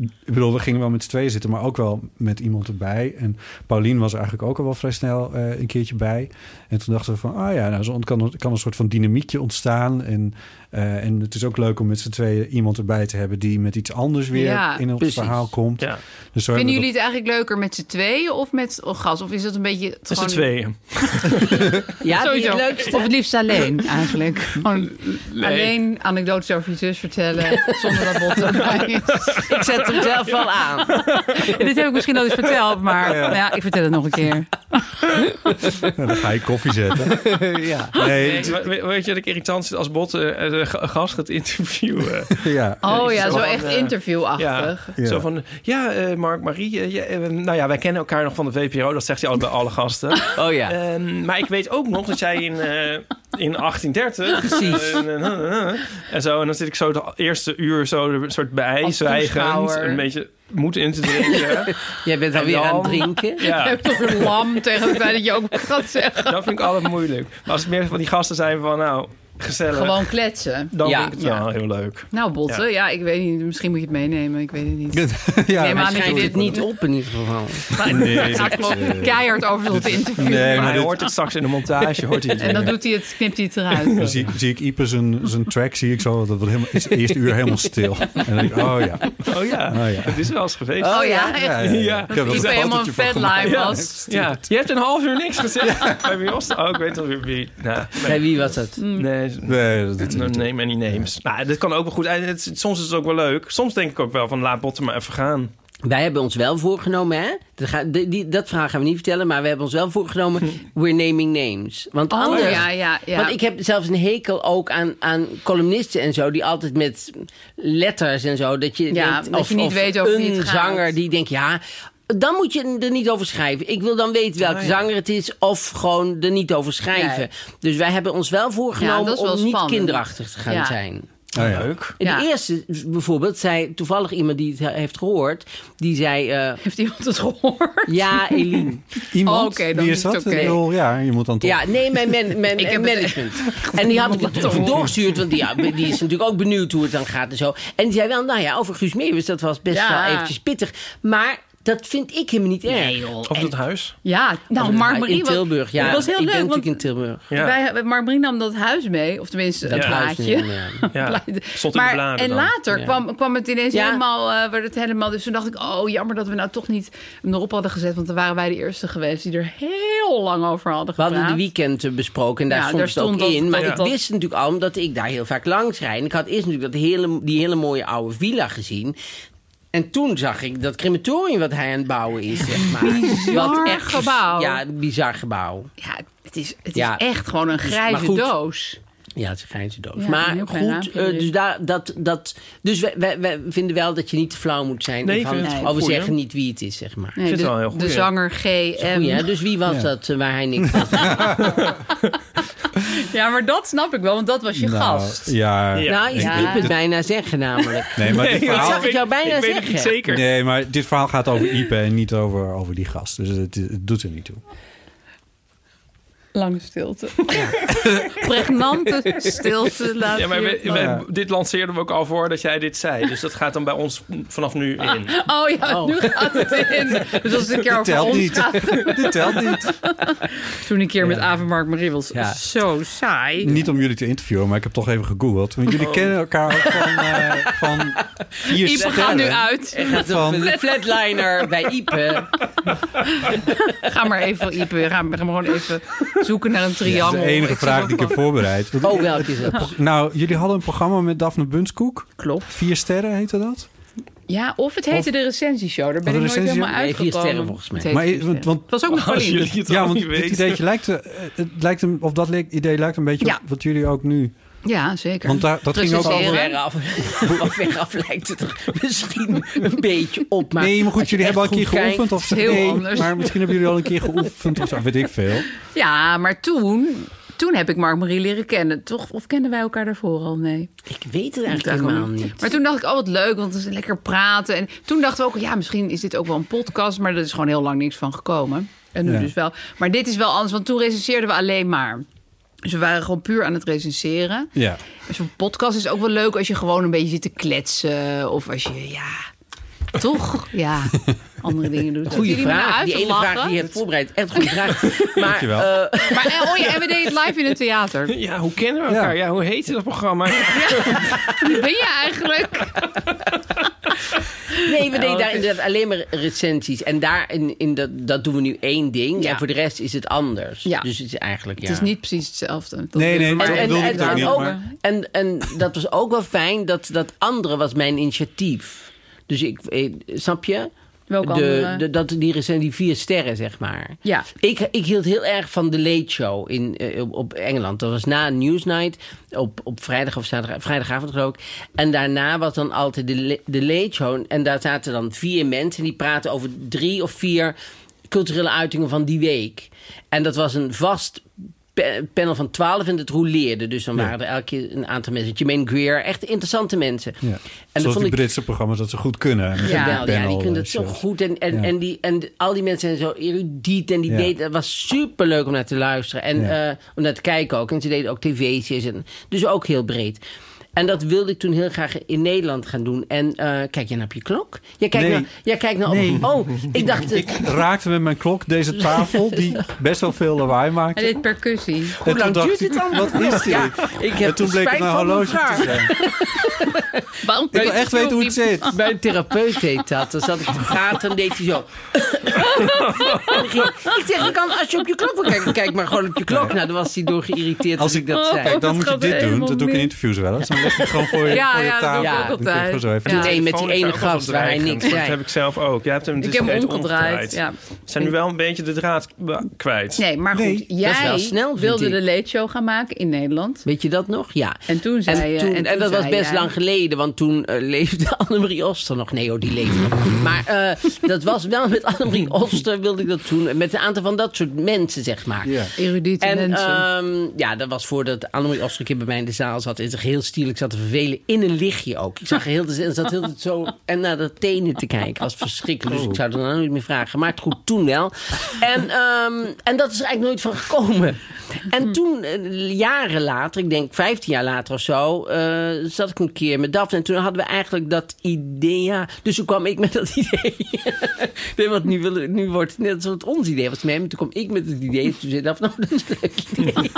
E: Ik bedoel, we gingen wel met z'n tweeën zitten, maar ook wel met iemand erbij. En Paulien was er eigenlijk ook al wel vrij snel eh, een keertje bij. En toen dachten we van, ah ja, nou, zo kan, kan een soort van dynamiekje ontstaan. En, eh, en het is ook leuk om met z'n tweeën iemand erbij te hebben... die met iets anders weer
C: Ja,
E: in ons
D: precies.
E: verhaal komt.
B: Ja,
E: Dus zo
C: Vinden
E: hebben we
C: jullie het eigenlijk leuker met z'n tweeën of met oh, gas? Of is dat een beetje... het
B: dat is de
C: gewoon-
B: tweeën.
D: Ja, die
C: Sowieso.
D: het leukste.
C: Of het liefst alleen, eigenlijk. Gewoon alleen anekdotes over je zus vertellen, zonder dat Botte erbij is.
D: Ik zet hem zelf wel aan.
C: Dit heb ik misschien al eens verteld, maar nou ja, ik vertel het nog een keer.
E: dat- dan ga je koffie zetten.
D: ja.
E: Nee,
B: Nee, we- we- weet je dat ik irritant zit als Bot eh, eh, g- een gast gaat interviewen?
E: ja.
C: Oh
B: is
C: ja,
B: het
C: zo
B: wel,
C: echt
B: eh,
C: interviewachtig.
E: Ja.
B: Zo van, ja, eh, Mark, Marie, eh, ja, eh, nou ja, wij kennen elkaar nog van de VPRO. Dat zegt hij altijd bij alle gasten.
D: Oh ja.
B: Ehm, maar ik weet ook nog dat jij in, eh, in 1830...
D: Precies.
B: eh, eh, eh, eh, en zo, en dan zit ik zo het eerste uur zo een soort bijzwijgend.
C: toeschouwer.
B: Een beetje moed in te drinken.
D: Jij bent alweer
B: En dan-
D: aan het drinken.
C: Je
B: ja,
C: hebt toch een lam tegen het feit dat je ook gaat zeggen.
B: dat vind ik altijd moeilijk. Maar als het meer van die gasten zijn van, nou... gezellig.
C: Gewoon kletsen.
B: Dan
D: Ja.
B: vind ik het wel heel leuk.
C: Nou, Botte,
B: Ja.
C: ja. ik weet niet. Misschien moet je het meenemen. Ik weet het niet.
E: ja,
C: Nee, maar
D: Hij
C: aan
D: schrijft
C: dit-
D: het niet op in ieder geval.
C: Maar hij gaat gewoon keihard over tot interview.
E: Nee,
B: Maar
E: maar
B: hij
E: dit-
B: hoort het straks in de montage. Hoort hij het
C: En dan
B: weer.
C: doet hij het, knipt hij het eruit.
E: Dan zie, zie ik Ipe zijn, zijn track, zie ik zo, dat wordt helemaal, is het eerste uur helemaal stil. En dan denk ik, oh ja.
B: Oh ja,
E: Oh ja.
B: het is wel eens geweest.
C: Oh ja, echt?
E: ja, ja,
B: Ja.
E: Ik heb wel
C: Ik
E: een
C: ben helemaal
E: fotootje van
C: vet
E: gemaakt.
C: live was.
B: Ja, je hebt een half uur niks gezegd bij Biosta. Oh, ik weet al weer wie. Nou,
D: Bij wie was dat?
B: nee,
E: Nee, dat doet hij
B: no
E: niet.
B: name any names. Nou, dit kan ook wel goed. En het, is- soms is het ook wel leuk. Soms denk ik ook wel van laat botten maar even gaan.
E: Oh
D: Wij hebben ons wel voorgenomen, hè? Dat, ga- die- die- dat verhaal gaan we niet vertellen, maar we hebben ons wel voorgenomen. We're naming names. Want
C: Oh
D: anders.
C: ja, ja, ja.
D: Want ik heb zelfs een hekel ook aan, aan columnisten en zo, die altijd met letters en zo. Dat je,
C: Ja,
D: denkt,
C: dat
D: of,
C: je niet
D: of
C: weet over
D: een
C: wie het gaat.
D: zanger die denkt, ja. Dan moet je er niet over schrijven. Ik wil dan weten welke
B: Ah, ja.
D: zanger het is, of gewoon er niet over schrijven.
C: Oh, Nee.
D: Dus wij hebben ons wel
C: Ja,
D: voorgenomen
C: dat is wel
D: om niet
C: spannend.
D: kinderachtig te gaan
C: Ja.
D: zijn.
E: Oh, ja.
B: Leuk.
D: En
C: Ja.
D: De eerste bijvoorbeeld zei toevallig iemand die het he- heeft gehoord, die zei: eh,
C: Heeft iemand het gehoord?
D: Ja, Eline.
E: Iemand,
C: Oh, oké, dan
E: wie
C: is
E: is
C: het
E: dat?
C: oké.
E: Ik bedoel, ja, je moet dan toch...
D: Ja, nee, mijn, man- mijn
C: Ik heb het-
D: management. En die had ik natuurlijk doorgestuurd, want die, ja, die is natuurlijk ook benieuwd hoe het dan gaat en zo. En die zei wel: Nou ja, over Guus Meeuwis, dat was best
C: Ja.
D: wel eventjes pittig. Maar dat vind ik helemaal niet erg.
B: Of dat huis.
C: Ja, nou,
D: Maar
C: Mark Marie
D: in
C: was-
D: Tilburg, ja.
C: Het was heel
D: ik ben
C: leuk, want
D: natuurlijk in Tilburg.
B: Ja.
C: wij, Mark Marie nam dat huis mee. Of tenminste,
D: Dat
C: het
D: huis niet
C: plaatje.
D: meer.
B: ja. Stond in de
C: maar,
B: bladen
C: en
B: dan.
C: later
D: Ja.
C: kwam, kwam het ineens
D: Ja.
C: helemaal, eh, werd het helemaal... Dus toen dacht ik, oh jammer dat we nou toch niet hem erop hadden gezet. Want dan waren wij de eerste geweest die er heel lang over hadden
D: We
C: gepraat.
D: hadden de weekend eh, besproken en daar
C: Ja,
D: stond
C: daar
D: het
C: stond
D: ook
C: dat-
D: in. Maar
C: dat-
D: ik
C: dat-
D: wist natuurlijk al, omdat ik daar heel vaak langs rijd. En ik had eerst natuurlijk dat hele, die hele mooie oude villa gezien. En toen zag ik dat crematorium wat hij aan het bouwen is, zeg maar. Wat echt vers-
C: gebouw.
D: Ja, een bizar gebouw.
C: Ja, het is, het
D: Ja. Dus-
C: is echt gewoon een
D: maar
C: grijze
D: goed.
C: doos.
D: Ja, het is een grijze doos.
C: Ja,
D: maar
C: een heel klein
D: goed,
C: raampje
D: eh,
C: erin.
D: dus, daar, dat, dat, dus wij, wij, wij vinden wel dat je niet te flauw moet zijn.
B: Nee, ik
D: van,
B: vind het
D: oh, we
B: goed, hè?
D: zeggen niet wie het is, zeg maar.
C: Nee,
B: vind het
C: de,
B: wel heel goed,
C: de
B: ja.
C: zanger
D: Goeie, hè?
C: GM.
D: Dus wie was
E: Ja.
D: dat eh, waar hij niks van
C: Ja, maar dat snap ik wel, want dat was je
E: Nou,
C: gast.
E: Ja.
B: Ja.
D: Nou, ik
C: Ja.
D: liep het bijna zeggen namelijk.
E: Nee, maar dit
B: Nee,
D: Ik
E: verhaal...
D: zag het jou bijna
B: ik weet het
D: zeggen.
B: niet zeker.
E: Nee, maar dit verhaal gaat over Ipe en niet over, over die gast. Dus het, het doet er niet toe.
C: Lange stilte. Pregnante stilte. Laat
B: Ja, maar we-
C: je-
B: we- dit lanceerden we ook al voor dat jij dit zei. Dus dat gaat dan bij ons vanaf nu in.
C: Oh ja, nu gaat het in. Dus als het een keer over
E: telt
C: ons
E: niet.
C: gaat.
E: Dit telt niet.
C: Toen een keer met Avenmark Marie was
D: Ja.
C: zo saai.
E: Niet om jullie te interviewen, maar ik heb toch even gegoogeld. Want jullie kennen elkaar ook van, eh, van vier
C: Ipe
E: sterren.
C: gaat nu uit.
D: Hij gaat op
E: Van-
D: een flatliner bij Ipe.
C: Ga maar even, Ipe, ga, maar- ga maar gewoon even zoeken naar een
E: Dat
C: triangel.
E: is de enige vraag die ik heb voorbereid. Want-
D: Oh, welke is dat?
E: Nou, jullie hadden een programma met Daphne Bunskoek.
C: Klopt.
E: Vier sterren heette dat.
C: Ja, of het heette de recensieshow. Daar ben
E: Oh,
C: ik
E: de
C: nooit helemaal
D: recensie- Nee, vier
C: uitgekomen.
D: sterren volgens mij. Oh,
C: Het heet
E: Maar,
C: vier
E: want,
C: sterren.
E: want
C: Het was ook met
B: Als
C: Pauline.
B: jullie het
E: ja,
B: al
E: want
B: niet
E: dit
B: weten.
E: ideetje lijkt, eh, het lijkt hem, of dat le- idee lijkt een beetje
C: Ja.
E: op wat jullie ook nu.
C: Ja, zeker.
E: Want daar, dat ging ook
D: Van
C: Recenseren.
E: over.
D: veraf, van veraf lijkt het er misschien een beetje op. Maar
E: Nee, maar goed,
D: als je
E: jullie hebben al een
D: echt
E: keer
D: goed kijkt-
E: geoefend of zo.
C: is heel
E: nee,
C: anders.
E: Maar misschien hebben jullie al een keer geoefend of zo, weet ik veel.
C: Ja, maar toen, toen heb ik Mark-Marie leren kennen. Toch? Of kenden wij elkaar daarvoor al? Nee.
D: Ik weet het eigenlijk helemaal niet.
C: Maar toen dacht ik, oh wat leuk, want het is lekker praten. En toen dachten we ook, ja, misschien is dit ook wel een podcast. Maar er is gewoon heel lang niks van gekomen. En nu
E: Ja.
C: dus wel. Maar dit is wel anders, want toen recenseerden we alleen maar. Dus we waren gewoon puur aan het recenseren.
E: Ja.
C: Dus Zo'n podcast is ook wel leuk als je gewoon een beetje zit te kletsen. Of als je, ja, toch, ja, andere dingen doet.
D: Goeie
C: Jullie me nou
D: vraag.
C: uit
D: Die
C: te
D: ene
C: lachen.
D: vraag die je hebt voorbereid. Echt goede vraag. Maar
E: Dankjewel.
D: eh,
C: Maar, eh, oh ja, en we deden het live in het theater.
B: Ja, hoe kennen we elkaar?
E: Ja.
B: Ja, hoe heette dat programma?
C: Wie ben je eigenlijk?
D: nee, we
C: Oh,
D: deden
C: het
D: daar
C: is-
D: inderdaad alleen maar recensies. En daar in, in dat, dat doen we nu één ding.
C: Ja.
D: En voor de rest is het anders.
C: Ja.
D: Dus het is eigenlijk, ja.
C: Het is niet precies hetzelfde. Dat
E: Nee, nee,
C: maar-
E: dat
D: En,
E: bedoelde
D: en,
E: ik ook
D: en
E: niet,
D: ook-
E: maar-
D: en, en dat was ook wel fijn, dat, dat andere was mijn initiatief. Dus ik, eh, snap je?
C: Welk
D: de,
C: andere?
D: de, dat, die zijn die vier sterren, zeg maar.
C: Ja.
D: Ik, ik hield heel erg van de Late Show in, eh, op, op Engeland. Dat was na Newsnight, op, op vrijdag of zaterdag, vrijdagavond geloof ik. En daarna was dan altijd de, la- de Late Show. En daar zaten dan vier mensen die praten over drie of vier culturele uitingen van die week. En dat was een vast pa- panel van 12 en dat rouleerde. Dus dan waren er elke keer een aantal mensen. Jermaine Greer, echt interessante mensen.
E: Ja.
D: dat
E: Zoals
D: vond
E: die
D: ik-
E: Britse programma's dat ze goed kunnen. Met
D: Ja,
E: een
D: ja,
E: panel,
D: die kunnen
E: eh,
D: het zo
E: shows.
D: goed. En, en,
E: Ja.
D: en, die, en al die mensen zijn zo erudiet. En die
E: Ja.
D: deed, het was super leuk om naar te luisteren. En
E: Ja.
D: eh, om naar te kijken ook. En ze deden ook tv's. En, dus ook heel breed. En dat wilde ik toen heel graag in Nederland gaan doen. En eh, kijk je nou op je klok? Jij kijkt
E: Nee.
D: naar, jij kijkt naar Oh, ik dacht...
E: Ik raakte met mijn klok deze tafel die best wel veel lawaai
C: Hij
E: maakte.
C: deed percussie.
E: En
D: Hoe
E: toen
D: lang
E: dacht
D: duurt
E: ik,
D: dit dan?
E: Wat is dit?
D: Ja, ik heb
E: en toen bleek het
D: spijt
E: een
D: van mijn
E: horloge te
D: vraag.
E: zijn.
C: Waarom
E: Ik wil echt weten hoe het zit.
D: Bij een therapeut deed dat. Dan zat ik te praten en deed hij zo. En dan ging- ik zeg, je kan, als je op je klok wil kijken, kijk maar gewoon op je klok. Nou, dan was hij door geïrriteerd als ik dat zei.
E: Kijk, dan moet je
C: gaat
E: dit doen.
C: helemaal
E: Dat doe ik in
C: mis.
E: interviews wel eens. Dan leg je het gewoon voor je,
C: Ja,
E: voor je
C: ja, dat
E: tafel.
C: doe ik
D: ook
E: Dan kun je
C: altijd.
E: gewoon zo even
C: Ja.
E: doen.
D: Nee, met
B: Telefoon
D: die
B: is
D: ene
B: ook altijd
D: gast waar hij
B: dreigend,
D: niks
B: want
D: zei.
B: Dat heb ik zelf ook. Jij hebt hem
C: Ik
B: dus
C: heb hem
B: steeds
C: omgedraaid. Ja.
B: We zijn nu wel een beetje de draad eh, kwijt.
C: Nee, maar goed.
E: Nee,
C: jij
D: wel snel, vind
C: wilde
D: ik.
C: de late show gaan maken in Nederland.
D: Weet je dat nog? Ja.
C: En toen zei je-
D: en, toen-
C: en
D: en
C: toen
D: dat was
C: zei
D: best
C: jij-
D: lang geleden, want toen eh, leefde Annemarie Oster nog. Nee, oh, die leefde nog. Maar eh, dat was wel met Annemarie Oster wilde ik dat doen. Met een aantal van dat soort mensen, zeg maar.
E: Ja.
C: Erudite
D: En
C: mensen.
D: ehm, ja, dat was voordat Annemarie Oster een keer bij mij in de zaal zat. En zich heel stierlijk zat te vervelen. In een lichtje ook. Ik zag heel de en zat heel de- zo en naar dat tenen te kijken. Dat was verschrikkelijk. Dus ik zou er nou niet meer vragen. Maar het goed, toen wel. En, ehm, en dat is er eigenlijk nooit van gekomen. En toen, eh, jaren later, ik denk 15 jaar later of zo, eh, zat ik een keer met Daphne. En toen hadden we eigenlijk dat idea. Dus toen kwam ik met dat idee. nee, want nu, willen, nu wordt het net als wat ons idee was. Nee, Maar toen kwam ik met het idee. Toen zei Daphne, nou, dat is een leuk idee.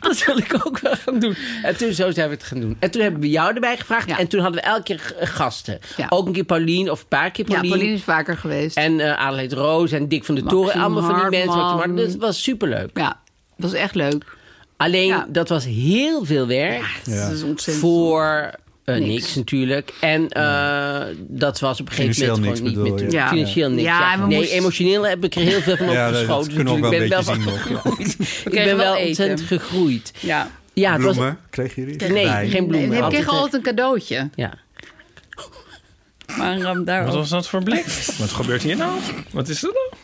D: dat wil ik ook wel gaan doen. En toen zo zijn we het gaan doen. En toen hebben we jou erbij gevraagd.
C: Ja.
D: En toen hadden we elke keer g- gasten.
C: Ja.
D: Ook een keer Pauline of een paar keer
C: ja,
D: Pauline.
C: Pauline is vaker geweest.
D: En eh Adelheid Roos en Dick van de
C: Maxime
D: Toren. Allemaal van die mensen.
C: Hartman.
D: Maxime Hartman. Dat was superleuk.
C: Ja, dat was echt leuk.
D: Alleen,
C: Ja.
D: dat was heel veel werk.
E: Ja.
C: Dat is ontzettend.
D: Voor eh, niks.
C: Niks.
D: natuurlijk. En eh, dat was op een gegeven
E: Financieel
D: moment
E: niks
D: gewoon niet
E: bedoel
D: meer
E: je?
D: te-
C: Ja.
D: Financieel niks.
C: Ja,
D: Ja,
C: en we
D: Nee,
C: moesten-
D: emotioneel heb ik er heel veel van
E: Ja, dat-
D: opgeschoten.
E: dat kunnen we ook
D: Dus
E: wel
D: ik
E: een beetje
D: ben
E: zien nog. ja.
D: Ik
C: kregen wel
D: ben wel
C: eten.
D: ontzettend gegroeid.
C: Ja.
D: Ja, het was-
E: Bloemen kreeg je hier?
D: Nee, geen bloemen.
C: Ik
D: Altijd
C: kreeg altijd een cadeautje.
D: echt- Ja.
C: Maar ram daar
B: Wat
C: ook.
B: was dat voor blik? Wat gebeurt hier nou? Wat is dat nou?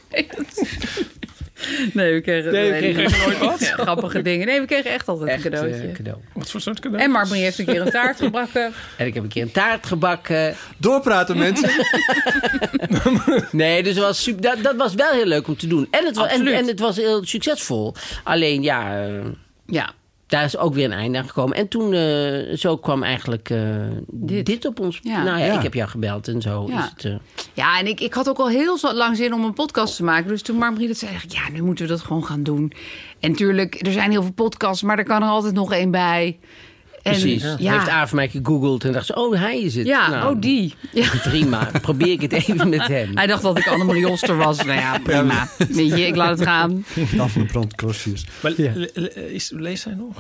C: Nee, we kregen,
D: Nee, we kregen
C: nooit wat. grappige dingen. Nee, we kregen echt altijd
D: Echt,
C: een cadeautje.
D: eh, cadeau.
B: Wat voor soort cadeau?
C: en Marmarie heeft een keer een taart gebakken.
D: En ik heb een keer een taart gebakken.
E: Doorpraten mensen.
D: Nee, dus het was super, dat, dat was wel heel leuk om te doen. En het, was, en,
C: Absoluut.
D: en het was heel succesvol. Alleen ja, eh,
C: Ja,
D: daar is ook weer een einde aan gekomen. En toen, eh, zo kwam eigenlijk eh, dit.
C: Dit.
D: op ons.
C: Ja.
D: Nou ja,
E: Ja.
D: ik heb jou gebeld en zo
C: Ja.
D: is het. eh,
C: Ja, en ik, ik had ook al heel zo lang zin om een podcast te maken. Dus toen Marmarie dat zei, dacht ik, ja, nu moeten we dat gewoon gaan doen. En tuurlijk, er zijn heel veel podcasts, maar er kan er altijd nog één bij. En,
D: precies.
C: Ja,
D: Heeft Aaf mij gegoogeld en dacht ze, oh hij is het.
C: ja
D: Nou,
C: oh die. Ja.
D: Prima, probeer ik het even met hem.
C: Hij dacht dat ik Annemarie Oster was. Nou ja, prima. Weet je, ik laat het gaan.
E: Dan van de brandkostjes.
B: Maar le- le- is, leest hij nog?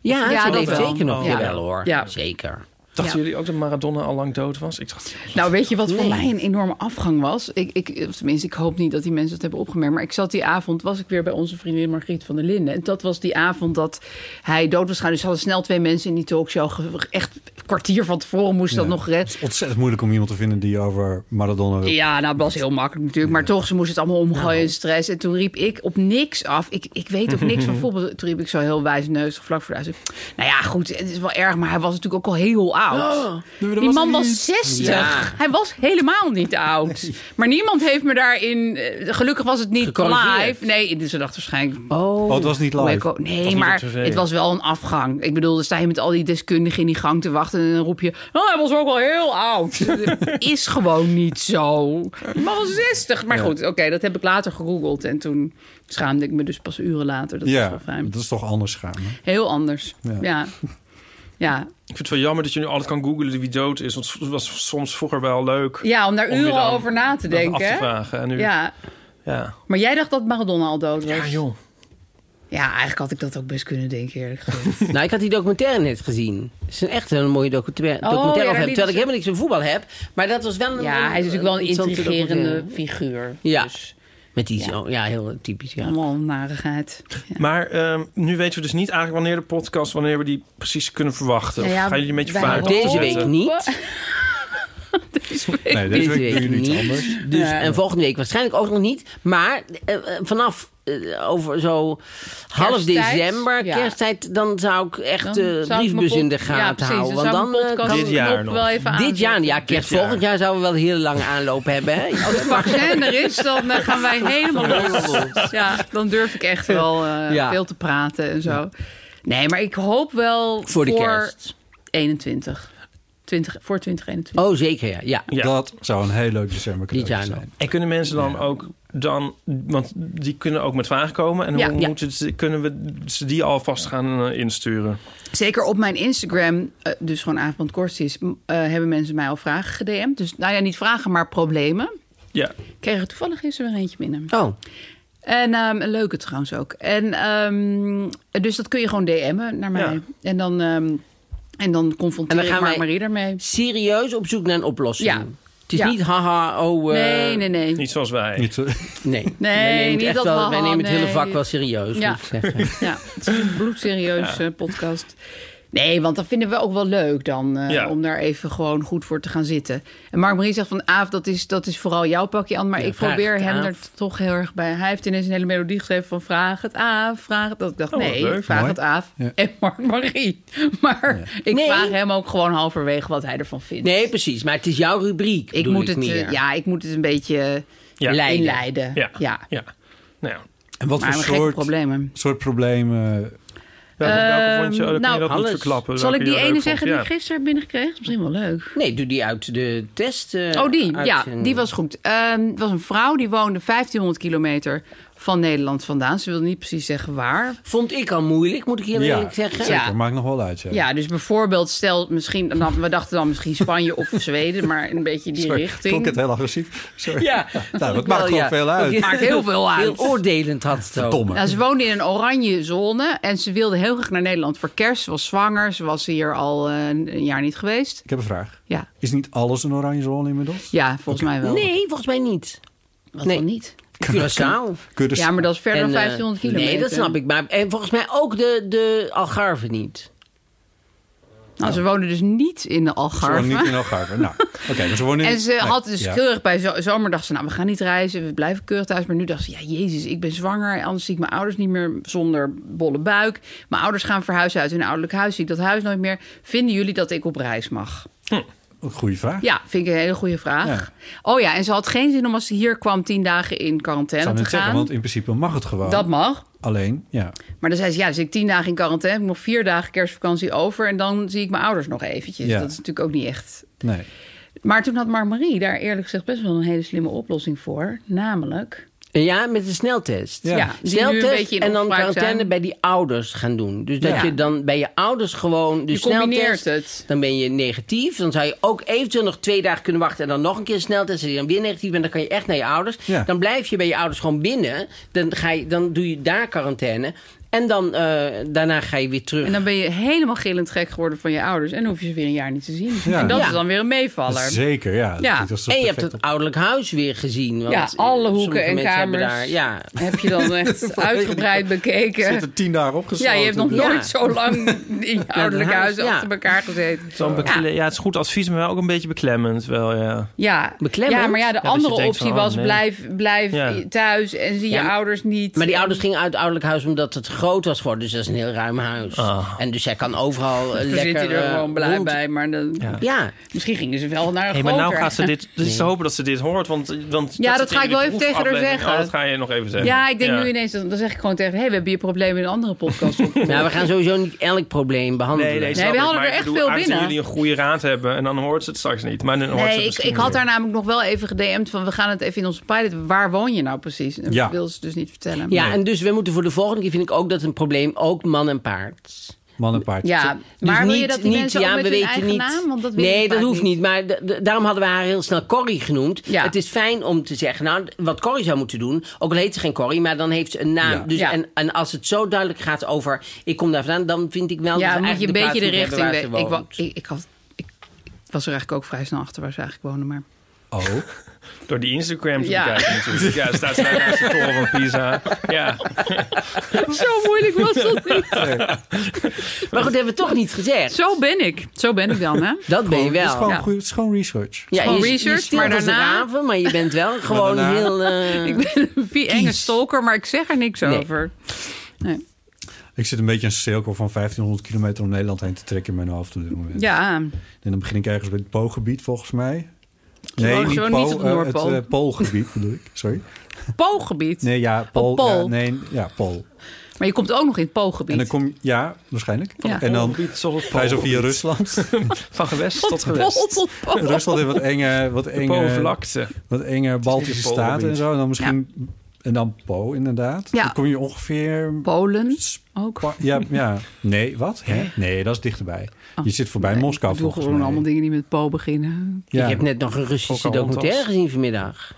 D: Ja,
C: Ja,
D: zo
C: dat
D: leeft
C: wel.
D: zeker nog.
C: Ja.
D: Jawel hoor,
C: Ja.
D: zeker.
B: Dachten
C: Ja.
B: jullie ook dat Maradona al lang dood was? Ik dacht,
C: Nou, weet je wat voor mij een enorme afgang was? Ik, ik, of tenminste, ik hoop niet dat die mensen het hebben opgemerkt. Maar ik zat die avond, was ik weer bij onze vriendin Margriet van der Linden. En dat was die avond dat hij dood was gaan. Dus ze hadden snel twee mensen in die talkshow. ge- Echt een kwartier van tevoren moest dat
E: Ja.
C: nog
E: Het
C: gered.
E: is ontzettend moeilijk om iemand te vinden die over Maradona wil.
C: Ja, nou, dat was heel makkelijk natuurlijk. Maar toch, ze moest het allemaal omgooien en stress. En toen riep ik op niks af. Ik, ik weet ook niks van voetbal. Toen riep ik zo heel wijsneusig vlak voor de huis. Nou ja, goed, het is wel erg. Maar hij was natuurlijk ook al heel oud.
D: Oh,
C: Die man was 60.
D: Ja.
C: Hij was helemaal niet oud. Maar niemand heeft me daarin... eh, Gelukkig was het niet
D: Gecorrigeerd.
C: live. Nee, dus ze dacht waarschijnlijk...
D: Oh,
E: Oh, het was niet live.
C: Wacko. Nee,
B: niet
C: maar
B: op tv.
C: het was wel een afgang. Ik bedoel, dan sta je met al die deskundigen in die gang te wachten... en dan roep je, oh, hij was ook al heel oud. Is gewoon niet zo. Maar was 60. Maar goed, oké, dat heb ik later gegoogeld. En toen schaamde ik me dus pas uren later. Dat is
E: Ja,
C: wel fijn.
E: dat is toch anders schaam. hè?
C: Heel anders.
E: Ja.
C: Ja. ja. ja.
B: Ik vind het wel jammer dat je nu altijd kan googelen wie dood is. Want het was soms vroeger wel leuk
C: om daar
B: Om je
C: uren
B: dan
C: over na te
B: dat
C: denken.
B: af te
C: hè?
B: vragen. En nu, ja.
C: Ja,
B: Ja.
C: maar jij dacht dat Maradona al dood was. Ja,
B: joh.
C: eigenlijk had ik dat ook best kunnen denken, eerlijk gezegd.
D: Nou, ik had die documentaire net gezien. Het is een echt een mooie documentaire.
C: Oh,
D: documentaire
C: ja,
D: over hem,
C: daar lieten
D: terwijl ik
C: ze-
D: helemaal niks van voetbal heb. Maar dat was wel een. eh,
C: ja, hij is natuurlijk wel een
D: interessante
C: intrigerende
D: documentaire.
C: figuur.
D: Ja.
C: Dus
D: Met die zo, ja, heel typisch. Ja.
C: allemaal een narigheid.
B: Maar ehm, nu weten we dus niet eigenlijk wanneer de podcast, wanneer we die precies kunnen verwachten. Of
C: Nou ja,
B: gaan jullie een beetje
C: wij Oh,
B: vaak
C: hopen-
D: Deze week niet.
E: Nee, deze
D: Deze
E: week doen
D: week
E: jullie iets
D: niet.
E: anders.
D: Dus, En volgende week waarschijnlijk ook nog niet. Maar eh, eh, vanaf eh, over zo half
C: Kersttijd,
D: december,
C: ja.
D: kersttijd, dan zou ik echt
C: Dan
D: de
C: zou ik
D: briefbus
C: mijn
D: in de
C: pod-
D: gaten
C: ja, precies,
D: houden. Want
C: zou ik
D: dan
C: mijn
D: eh,
C: podcast
B: Dit jaar
C: knop
B: nog.
C: wel even
D: Dit jaar, ja, kerst
B: jaar.
D: volgend jaar zouden we wel een hele lange aanloop hebben. Hè?
C: Als het vaccin er is, dan eh, gaan wij helemaal
D: Ja.
C: los. Ja, dan durf ik echt wel eh,
D: Ja.
C: veel te praten en zo. Nee, maar ik hoop wel
D: Voor de kerst.
C: 21. 20, voor 2021.
D: Oh, zeker ja. ja.
B: Ja.
E: Dat zou een heel leuk december
D: Dit jaar
E: zijn.
D: nog.
B: En kunnen mensen dan ook dan, want die kunnen ook met vragen komen. En
C: Ja,
B: hoe
C: ja.
B: moeten ze, kunnen we ze die alvast gaan eh, insturen?
C: Zeker op mijn Instagram, eh, dus gewoon avond Korsis, m- eh, hebben mensen mij al vragen gedm'd. Dus nou ja, niet vragen, maar problemen.
B: Ja,
C: Ik kreeg er toevallig gisteren weer eentje binnen.
D: Oh,
C: En ehm, een leuke trouwens ook. En, ehm, dus dat kun je gewoon DM'en naar mij.
B: Ja.
C: En dan, ehm, en dan confronteer
D: En dan gaan
C: ik maar
D: wij-
C: Marie daarmee.
D: serieus op zoek naar een oplossing.
C: Ja.
D: Het is
C: Ja.
D: niet haha, oh... eh,
C: Nee, nee, nee.
B: niet zoals wij.
E: Niet, zo-
D: Nee,
C: Nee,
D: wij nemen, het
C: niet
D: echt
C: dat
D: wel-
C: haha,
D: wij nemen het hele
C: nee.
D: vak wel serieus,
C: Ja.
D: moet ik zeggen.
C: Ja, het is een bloedserieus eh, podcast. Nee, want dat vinden we ook wel leuk dan. eh,
B: Ja.
C: Om daar even gewoon goed voor te gaan zitten. En Mark Marie zegt van... Aaf, dat is, dat is vooral jouw pakje aan. Maar
D: Ja,
C: ik
D: vraag
C: probeer
D: het
C: hem
D: Aaf.
C: er toch heel erg bij. Hij heeft ineens een hele melodie geschreven van... Vraag het Aaf, vraag het... Dat ik dacht,
B: Oh, wat
C: nee,
B: leuk,
C: vraag
E: mooi.
C: het Aaf
E: Ja.
C: en Mark Marie. Maar ik
D: Nee.
C: vraag hem ook gewoon halverwege wat hij ervan vindt.
D: Nee, precies. Maar het is jouw rubriek,
C: ik
D: bedoel
C: moet, het, eh,
D: meer.
C: ja, ik moet het een beetje eh,
B: Ja.
D: Leiden.
C: inleiden. Ja,
B: Ja. Ja. Nou, ja.
E: en wat
C: maar
E: voor
C: we gekke
E: soort,
C: problemen.
E: soort problemen...
B: welke, welke vond je?
C: Ehm,
B: Oh, dan kun
C: nou,
B: je dat
D: alles.
B: niet verklappen.
C: Zal
B: welke
C: ik die
B: je leuk
C: ene
B: vond.
C: zeggen die
B: Ja.
C: ik gisteren heb binnengekregen? Dat is misschien wel leuk.
D: Nee, doe die uit de test. eh,
C: Oh, die. Ja,
D: uitzending.
C: die was goed. Ehm, Het was een vrouw die woonde 1500 kilometer van Nederland vandaan. Ze wilde niet precies zeggen waar.
D: Vond ik al moeilijk, moet ik heel eerlijk zeggen.
E: zeker.
C: Ja.
E: Maakt nog wel uit, ja.
C: Ja, dus bijvoorbeeld stel misschien... dan- we dachten dan misschien Spanje of Zweden, maar een beetje die
E: Sorry, klonk
C: richting.
E: het heel agressief? Sorry.
D: Ja,
E: Nou, dat
D: wel,
E: maakt gewoon
D: ja.
E: veel uit.
C: Maakt heel veel uit.
D: Heel oordelend had het ook.
E: Verdomme.
C: Nou, ze woonde in een oranje zone en ze wilde heel graag naar Nederland voor kerst. Ze was zwanger, ze was hier al eh, een een jaar niet geweest.
E: Ik heb een vraag.
C: Ja,
E: Is niet alles een oranje zone inmiddels?
C: ja volgens mij wel.
D: Nee, volgens mij niet.
C: Wat
D: nee.
C: dan niet?
D: Curaçao.
E: Kun je dus-
C: Ja, maar dat is verder
D: En,
C: dan
D: eh,
C: 1500 kilometer.
D: Nee, dat snap ik. Maar, en volgens mij ook de, de Algarve niet.
C: Nou, ze woonde dus niet in de
E: Ze wonen
C: Algarve.
E: niet in Algarve. Nou, oké, maar ze wonen in...
C: En ze
E: Nee,
C: had dus
E: ja.
C: keurig bij zo- zomer dacht ze, nou, we gaan niet reizen, we blijven keurig thuis. Maar nu dacht ze, ja, jezus, ik ben zwanger, anders zie ik mijn ouders niet meer zonder bolle buik. Mijn ouders gaan verhuizen uit hun ouderlijk huis, zie ik dat huis nooit meer. Vinden jullie dat ik op reis mag?
E: Goeie Hm, vraag.
C: Ja, vind ik een hele goede vraag. Oh ja, en ze had geen zin om als ze hier kwam tien dagen in
E: Ik
C: quarantaine
E: zou
C: te
E: net
C: gaan.
E: zeggen, want in principe mag het gewoon.
C: Dat mag.
E: Alleen, ja.
C: Maar dan zei ze, ja, dan zit ik tien dagen in quarantaine, heb ik nog vier dagen kerstvakantie over en dan zie ik mijn ouders nog eventjes.
E: Ja.
C: Dat is natuurlijk ook niet echt
E: Nee.
C: Maar toen had Mark Marie daar eerlijk gezegd best wel een hele slimme oplossing voor. Namelijk,
D: En Ja, met een sneltest.
E: Ja.
C: ja, die nu een
D: Sneltest
C: beetje in
D: en dan
C: opspraak
D: quarantaine
C: zijn.
D: bij die ouders gaan doen. Dus dat
C: Ja.
D: je dan bij je ouders gewoon... Dus
C: Je combineert
D: sneltest,
C: het.
D: Dan ben je negatief. Dan zou je ook eventueel nog twee dagen kunnen wachten... en dan nog een keer een sneltest en die dan weer negatief. En dan kan je echt naar je ouders.
E: Ja.
D: Dan blijf je bij je ouders gewoon binnen. Dan, ga je, dan doe je daar quarantaine. En dan, eh, daarna ga je weer terug.
C: En dan ben je helemaal gillend gek geworden van je ouders. En dan hoef je ze weer een jaar niet te zien.
E: Ja.
C: En dat
E: Ja.
C: is dan weer een meevaller.
E: Zeker, ja.
C: Ja.
E: Dat is
D: en je hebt
E: perfect.
D: het ouderlijk huis weer gezien. Want eh,
C: Ja, alle hoeken
D: sommige
C: en
D: mensen hebben
C: kamers.
D: Daar, ja.
C: Heb je dan echt uitgebreid
E: Zit
C: bekeken.
E: er tien dagen opgesloten.
C: Ja, je hebt nog
D: Ja.
C: nooit zo lang in je ouderlijk
D: huis,
C: huis
D: ja.
C: achter elkaar gezeten.
B: Zo'n bekle- ja, het is goed advies, maar wel ook een beetje beklemmend. Wel, ja.
C: Ja.
D: Beklemmend.
C: ja, maar ja, de
D: dus
B: je
C: andere
B: denkt
C: optie
B: van, oh,
C: was
B: nee.
C: blijf, blijf
B: Ja.
C: thuis en zie
D: Ja,
C: je
D: maar-
C: ouders niet.
D: Maar die ouders gingen uit het ouderlijk huis omdat het groot was geworden. Dus dat is een heel ruim huis.
E: Ah.
D: En dus hij kan overal eh,
C: Toen
D: lekker
C: zit hij er
D: eh,
C: gewoon blij
D: rond-
C: bij. Maar dan,
D: Ja,
C: misschien gingen ze wel naar een
B: Hey, maar nou
C: groter.
B: gaat ze dit. Dus te hopen dat ze dit hoort. Want, want
C: Ja, dat
B: zit
C: ga
B: in
C: ik wel
B: die
C: even tegen haar
B: proefaflevering.
C: zeggen.
B: Oh, dat ga je nog even zeggen.
C: Ja, ik denk nu ineens, dan dan zeg ik gewoon tegen... hé, hey, we hebben je probleem in een andere podcast op.
D: nou, we gaan sowieso niet elk probleem behandelen.
B: Nee, nee,
C: we
B: we
C: hadden er echt veel binnen.
B: jullie een goede raad hebben en dan hoort ze het straks niet. Maar dan hoort ze
C: nee,
B: het
C: ik,
B: misschien
C: ik had
B: weer.
C: daar namelijk nog wel even gedm'd van... we gaan het even in onze pilot, waar woon je nou precies? En
E: Ja.
C: Dat wil ze dus niet vertellen.
D: Ja, en dus we moeten voor de volgende keer, vind ik ook dat een probleem, ook man en paard. Dus
E: Man en paard.
C: Ja, maar wil je dat die mensen ook
D: ja,
C: met
D: we
C: hun
D: weten
C: eigen
D: niet.
C: naam? Want dat wil
D: nee,
C: ik
D: dat
C: vaak
D: hoeft niet. Maar d- d- daarom hadden we haar heel snel Corrie genoemd.
C: Ja.
D: Het is fijn om te zeggen, nou, d- wat Corrie zou moeten doen... ook al heet ze geen Corrie, maar dan heeft ze een naam.
E: Ja.
D: Dus,
C: Ja.
D: En, en als het zo duidelijk gaat over, ik kom daar vandaan... dan vind ik wel
C: Ja,
D: dat we
C: moet je een
D: eigenlijk
C: beetje de
D: plaats moeten
C: richting
D: hebben
C: weten. Ik,
D: waar ze
C: wa-
D: woont.
C: ik, ik, had, ik was er eigenlijk ook vrij snel achter waar ze eigenlijk wonen, maar...
E: Oh,
B: Door die Instagram te
C: Ja.
B: bekijken natuurlijk. Ja, staat zij naast de toren van Pisa. Ja,
C: Zo moeilijk was dat niet.
D: Maar goed, dat hebben we toch niet gezegd.
C: Zo ben ik. Zo ben ik dan, hè?
D: Dat ben je
E: het is
D: wel.
E: gewoon,
C: Ja.
E: goed, het is gewoon research.
D: Ja,
C: gewoon
D: je,
C: research,
D: je stilt
C: maar
D: als een
C: daarna-
D: raven, maar je bent wel gewoon
E: daarna-
D: heel... eh,
C: Ik ben een vie- enge stalker, maar ik zeg er niks
D: Nee.
C: over. Nee.
E: Ik zit een beetje in een cirkel van 1500 kilometer om Nederland heen te trekken in mijn hoofd op dit moment.
C: Ja,
E: En dan begin ik ergens bij het Poolgebied volgens mij.
C: Oh, zo niet op
E: eh,
C: Noordpool.
E: het eh, Poolgebied bedoel ik. Sorry.
C: Poolgebied.
E: Nee, ja, Pool.
C: Oh, Pool.
E: Ja, nee, ja, Pool.
C: Maar je komt ook nog in het
E: En dan
C: Poolgebied.
E: kom je, ja, waarschijnlijk.
C: Ja.
E: En dan
B: Poolgebied tot het
E: ga je zo via
B: Poolgebied.
E: Rusland.
B: van gewest tot
C: Pool
B: gewest. eh,
C: tot Pool.
E: Rusland heeft wat enge, wat enge,
B: Poolvlakte.
E: wat enge Baltische
B: niet een Poolgebied.
E: staten en zo. En dan misschien, en dan Po inderdaad.
C: Ja.
E: Dan kom je ongeveer...
C: Polen
E: Sp-
C: ook.
E: Ja, ja. Nee, wat? Hè? Nee, dat is dichterbij.
C: Oh.
E: Je zit voorbij
C: Nee,
E: Moskou
C: Ik doe
E: volgens
C: gewoon
E: mij.
C: allemaal dingen die met Po beginnen.
E: Ja.
D: Ik heb net nog een Russische
B: Ook al
D: documentaire
B: honderd.
D: gezien vanmiddag.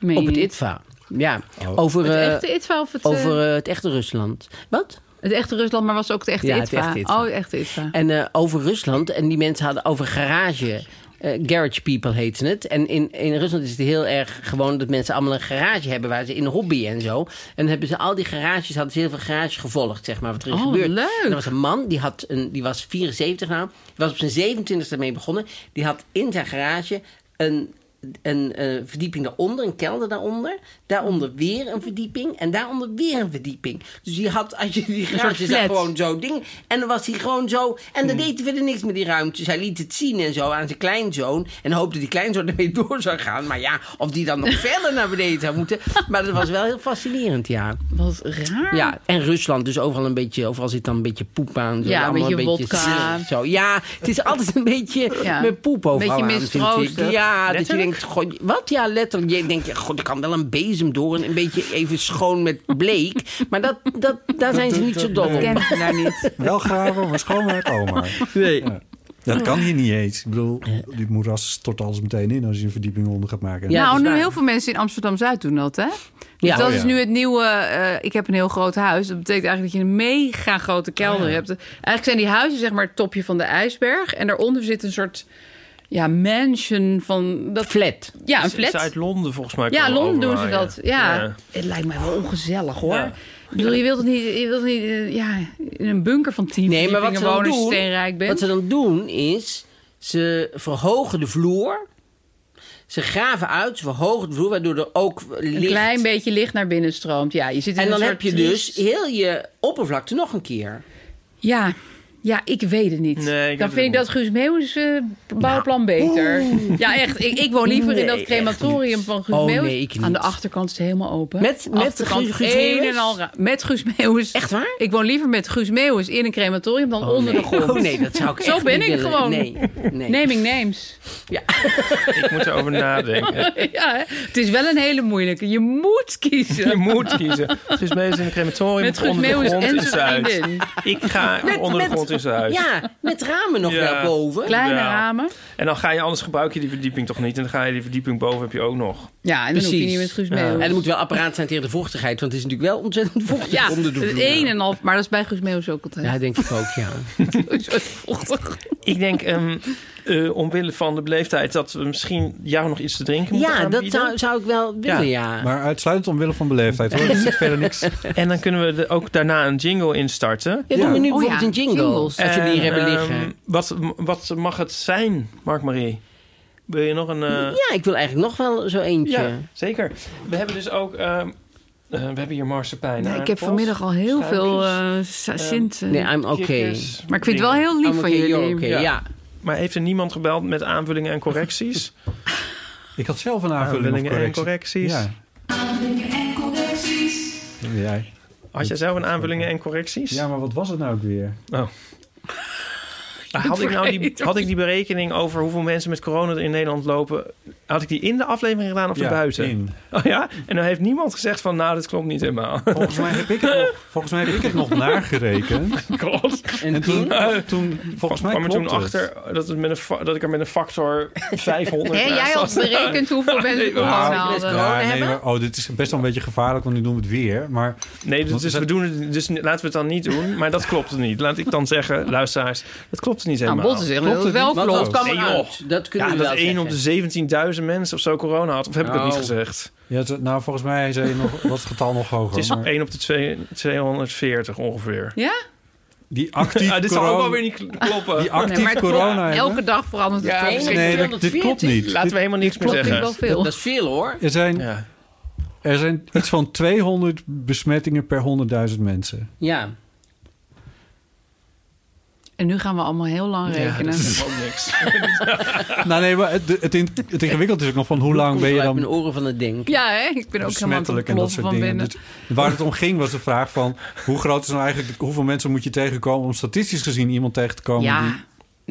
C: Meen
D: Op het
C: je?
D: ITVA. Ja,
E: Oh.
D: over,
C: Het
D: eh,
C: echte ITVA of het, eh,
D: over eh, het echte Rusland. Wat?
C: het echte Rusland, maar was ook het echte
D: Ja, het
C: ITVA.
D: echte ITVA.
C: Oh, het echte ITVA.
D: En eh, over Rusland. En die mensen hadden over garage. eh, garage people heette het. En in, in Rusland is het heel erg gewoon dat mensen allemaal een garage hebben waar ze in hobby en zo. En hebben ze al die garages, hadden ze heel veel garages gevolgd, zeg maar, wat er is
C: Oh,
D: gebeurd.
C: leuk.
D: En er was een man, die, had een, die was 74 nou, die was op zijn 27e mee begonnen. Die had in zijn garage een, een eh, verdieping daaronder, een kelder daaronder. Daaronder weer een verdieping en daaronder weer een verdieping. Dus die had, als je die garage zag,
C: flat.
D: gewoon zo'n ding. En dan was hij gewoon zo. En dan deed hij verder niks met die ruimtes. Hij liet het zien en zo aan zijn kleinzoon. En hoopte die kleinzoon ermee door zou gaan. Maar ja, of die dan nog verder naar beneden zou moeten. Maar dat was wel heel fascinerend, ja.
C: Wat raar.
D: Ja, en Rusland dus overal een beetje. Overal zit dan een beetje poep aan. Zo,
C: Ja, een
D: allemaal
C: beetje wodka.
D: smerig Zo. Ja, het is altijd een beetje
C: Ja.
D: met poep overal
C: Beetje
D: aan, vind ik.
C: mistroostig.
D: Ja, dat je
C: Letterlijk?
D: denkt, goh, wat? Ja, letterlijk. Je denkt, ja, god, er kan wel een bezem door. En een beetje even schoon met bleek. Maar dat, dat, daar zijn ze niet zo dol op.
A: Ken ik daar niet.
E: Wel graven, maar schoonmaak oma.
D: Nee.
E: Ja. Dat kan hier niet eens. Ik bedoel, dit moeras stort alles meteen in als je een verdieping onder gaat maken.
D: Ja, dat
C: nou,
D: is
C: nu
D: waar.
C: heel veel mensen in Amsterdam-Zuid doen dat, hè? Dus
D: Ja.
C: dat
E: Oh,
C: is
E: ja.
C: nu het nieuwe, eh, ik heb een heel groot huis. Dat betekent eigenlijk dat je een mega grote
D: Oh,
C: kelder hebt. Eigenlijk zijn die huizen zeg maar het topje van de ijsberg. En daaronder zit een soort ja, mansion van... Dat,
D: Flat.
C: ja, een
B: Is- is
C: flat.
B: uit Londen volgens mij.
C: Ja,
B: komen
C: Londen doen ze
B: overwaaien.
C: dat. Ja.
B: Ja.
C: Het lijkt mij wel ongezellig hoor.
B: Ja.
C: Ik bedoel, je wilt toch niet, je wilt toch niet eh, ja, in een bunker van tien
D: Nee, maar wat ze,
C: verdiepingen wonen
D: dan
C: als je
D: doen,
C: steenrijk bent.
D: wat ze dan doen is, ze verhogen de vloer. Ze graven uit, ze verhogen de vloer, waardoor er ook licht...
C: een klein beetje licht naar binnen stroomt. Ja, je zit in
D: en
C: een
D: dan
C: soort
D: heb je dus heel je oppervlakte nog een keer.
C: Ja, ja ik weet het niet.
B: Nee, ik
C: dan
B: weet
C: vind ik
B: het
C: dat Guus Meeuwis eh, bouwplan beter. Ja, echt. Ik, ik woon liever in dat
D: Nee,
C: crematorium van Guus
D: Oh,
C: Meeuwis.
D: nee, ik niet.
C: Aan de achterkant is het helemaal open.
D: Met- met
C: Achterkant
D: Guus- Guus
C: een
D: Meeuwis?
C: en al ra- Met Guus Meeuwis.
D: Echt waar?
C: Ik woon liever met Guus Meeuwis in een crematorium dan onder
D: nee.
C: de grond.
D: Oh, nee, dat zou ik
C: Zo
D: echt
C: ben
D: niet
C: ik
D: willen.
C: gewoon.
D: Nee, nee.
C: Naming names.
B: Ik moet erover nadenken.
C: Ja, hè? het is wel een hele moeilijke. Je moet
B: Je
C: kiezen.
B: moet kiezen. Guus Meeuwis in een crematorium
C: Met
B: of onder de
C: Guus Meeuwis
B: grond
C: en
B: in
C: zijn
B: Zuid.
C: vriendin.
B: Ik ga onder de grond in Zuid.
D: Ja, met ramen nog
B: Ja.
D: wel boven.
C: Kleine
B: Ja.
C: ramen.
B: En dan ga je, anders gebruik je die verdieping toch niet. En dan ga je die verdieping boven heb je ook nog.
C: Ja, en dan hoef je
D: Precies.
C: niet met Guus
B: Ja.
C: Meeuwis.
D: En er moet wel apparaat zijn tegen de vochtigheid, want het is natuurlijk wel ontzettend vochtig
C: Ja,
D: onder de
C: het
D: vloer.
C: een en half. Maar dat is bij Guus Meeuwis ook altijd.
D: Ja, denk ik ook, ja.
C: Zo vochtig.
B: Ik denk, ehm, eh, omwille van de beleefdheid, dat we misschien jou nog iets te drinken moeten
D: ja, dat
B: aanbieden.
D: zou, zou ik wel willen, ja.
E: Maar uitsluitend omwille van beleefdheid. Hoor. Er zit verder niks.
B: En dan kunnen we de- ook daarna een jingle instarten.
D: Ja, doen we nu
C: Oh,
D: bijvoorbeeld
C: ja,
D: een jingle,
C: jingles.
D: als jullie
B: En,
D: hier hebben
B: ehm,
D: liggen.
B: wat, wat mag het zijn, Mark-Marie? Wil je nog een... eh,
D: Ja, ik wil eigenlijk nog wel zo eentje.
B: ja, zeker. We hebben dus ook... ehm, eh, we hebben hier marsepein.
C: Nee, ik heb vanmiddag al heel
B: schuimpjes,
C: veel eh sa- Sint. eh,
D: Nee, I'm oké.
C: maar ik vind het wel heel lief
E: Oh,
D: I'm
C: van
D: okay, you're
C: jullie.
D: okay,
B: Ja.
D: Ja.
B: Maar heeft er niemand gebeld met aanvullingen en correcties?
E: Ik had zelf een aanvulling
B: aanvullingen
E: of
B: en
E: correctie.
B: correcties.
E: Ja. Ja, jij.
B: Had jij zelf een aanvullingen en correcties?
E: Ja, maar wat was het nou ook weer?
B: had, ik nou die, had ik die berekening over hoeveel mensen met corona er in Nederland lopen... had ik die in de aflevering gedaan of
E: Ja,
B: erbuiten?
E: in.
B: Oh ja? En dan heeft niemand gezegd van... nou, dat klopt niet helemaal.
E: Volgens mij heb ik het nog, volgens mij heb ik het nog nagerekend.
B: God.
E: En toen, toen volgens mij
B: kwam er toen
E: klopte het.
B: achter dat, het met een fa- dat ik er met een factor 500
C: Hé,
B: naast
C: jij had
B: zat.
C: berekend hoeveel mensen
B: nee,
C: er
E: Ah,
C: corona
D: let's
C: hadden.
D: go.
E: Ja, nee,
D: hebben?
E: maar, oh, dit is best wel een beetje gevaarlijk, want nu doen we het weer. Maar
B: Nee, dus,
E: Want
B: dus
E: is
B: we
E: het-
B: doen het, dus n- laten we het dan niet doen. Maar dat klopt niet. Laat ik dan zeggen, luisteraars, dat klopt klopt niet
C: Nou,
B: helemaal.
C: Bot is echt dat het wel
D: Maar dat
C: klopt.
D: kan
B: Nee,
D: eruit. Dat kunnen
B: ja,
D: we
B: dat
D: wel
B: één op
D: zeggen.
B: de 17.000 mensen of zo corona had. Of heb ik dat
D: Nou.
B: niet gezegd?
E: Ja, t- nou, volgens mij zei je nog, was het getal nog hoger.
B: Het is
E: maar
B: 1 op de twee- 240 ongeveer.
C: Ja?
E: die actief
B: Ah, dit zal ook
E: corona,
B: wel weer niet kl- kloppen.
E: die actief
C: Nee, maar het klopt.
E: corona hebben.
C: Elke dag verandert het.
B: Ja,
C: toch?
B: nee,
C: Dus
E: Nee,
C: het
E: dat- dit klopt niet.
B: Laten we
E: Dit-
B: helemaal niks meer
C: klopt natuurlijk wel
B: zeggen.
C: veel.
D: Dat is veel hoor.
E: er, zijn,
B: Ja.
E: er zijn iets van 200 besmettingen per 100.000 mensen.
D: Ja.
C: En nu gaan we allemaal heel lang
B: Ja, dat
C: rekenen.
B: is ook niks.
E: nou nee, maar het, het, in- het ingewikkelde is ook nog van hoe lang ben je
D: Uit
E: dan
D: mijn oren van het ding.
C: Ja, hè? ik ben ook helemaal aan het
E: besmettelijk en dat
C: ontploffen
E: soort
C: van
E: dingen.
C: binnen.
E: Dus waar het om ging was de vraag van hoe groot is nou eigenlijk, hoeveel mensen moet je tegenkomen om statistisch gezien iemand tegen te komen die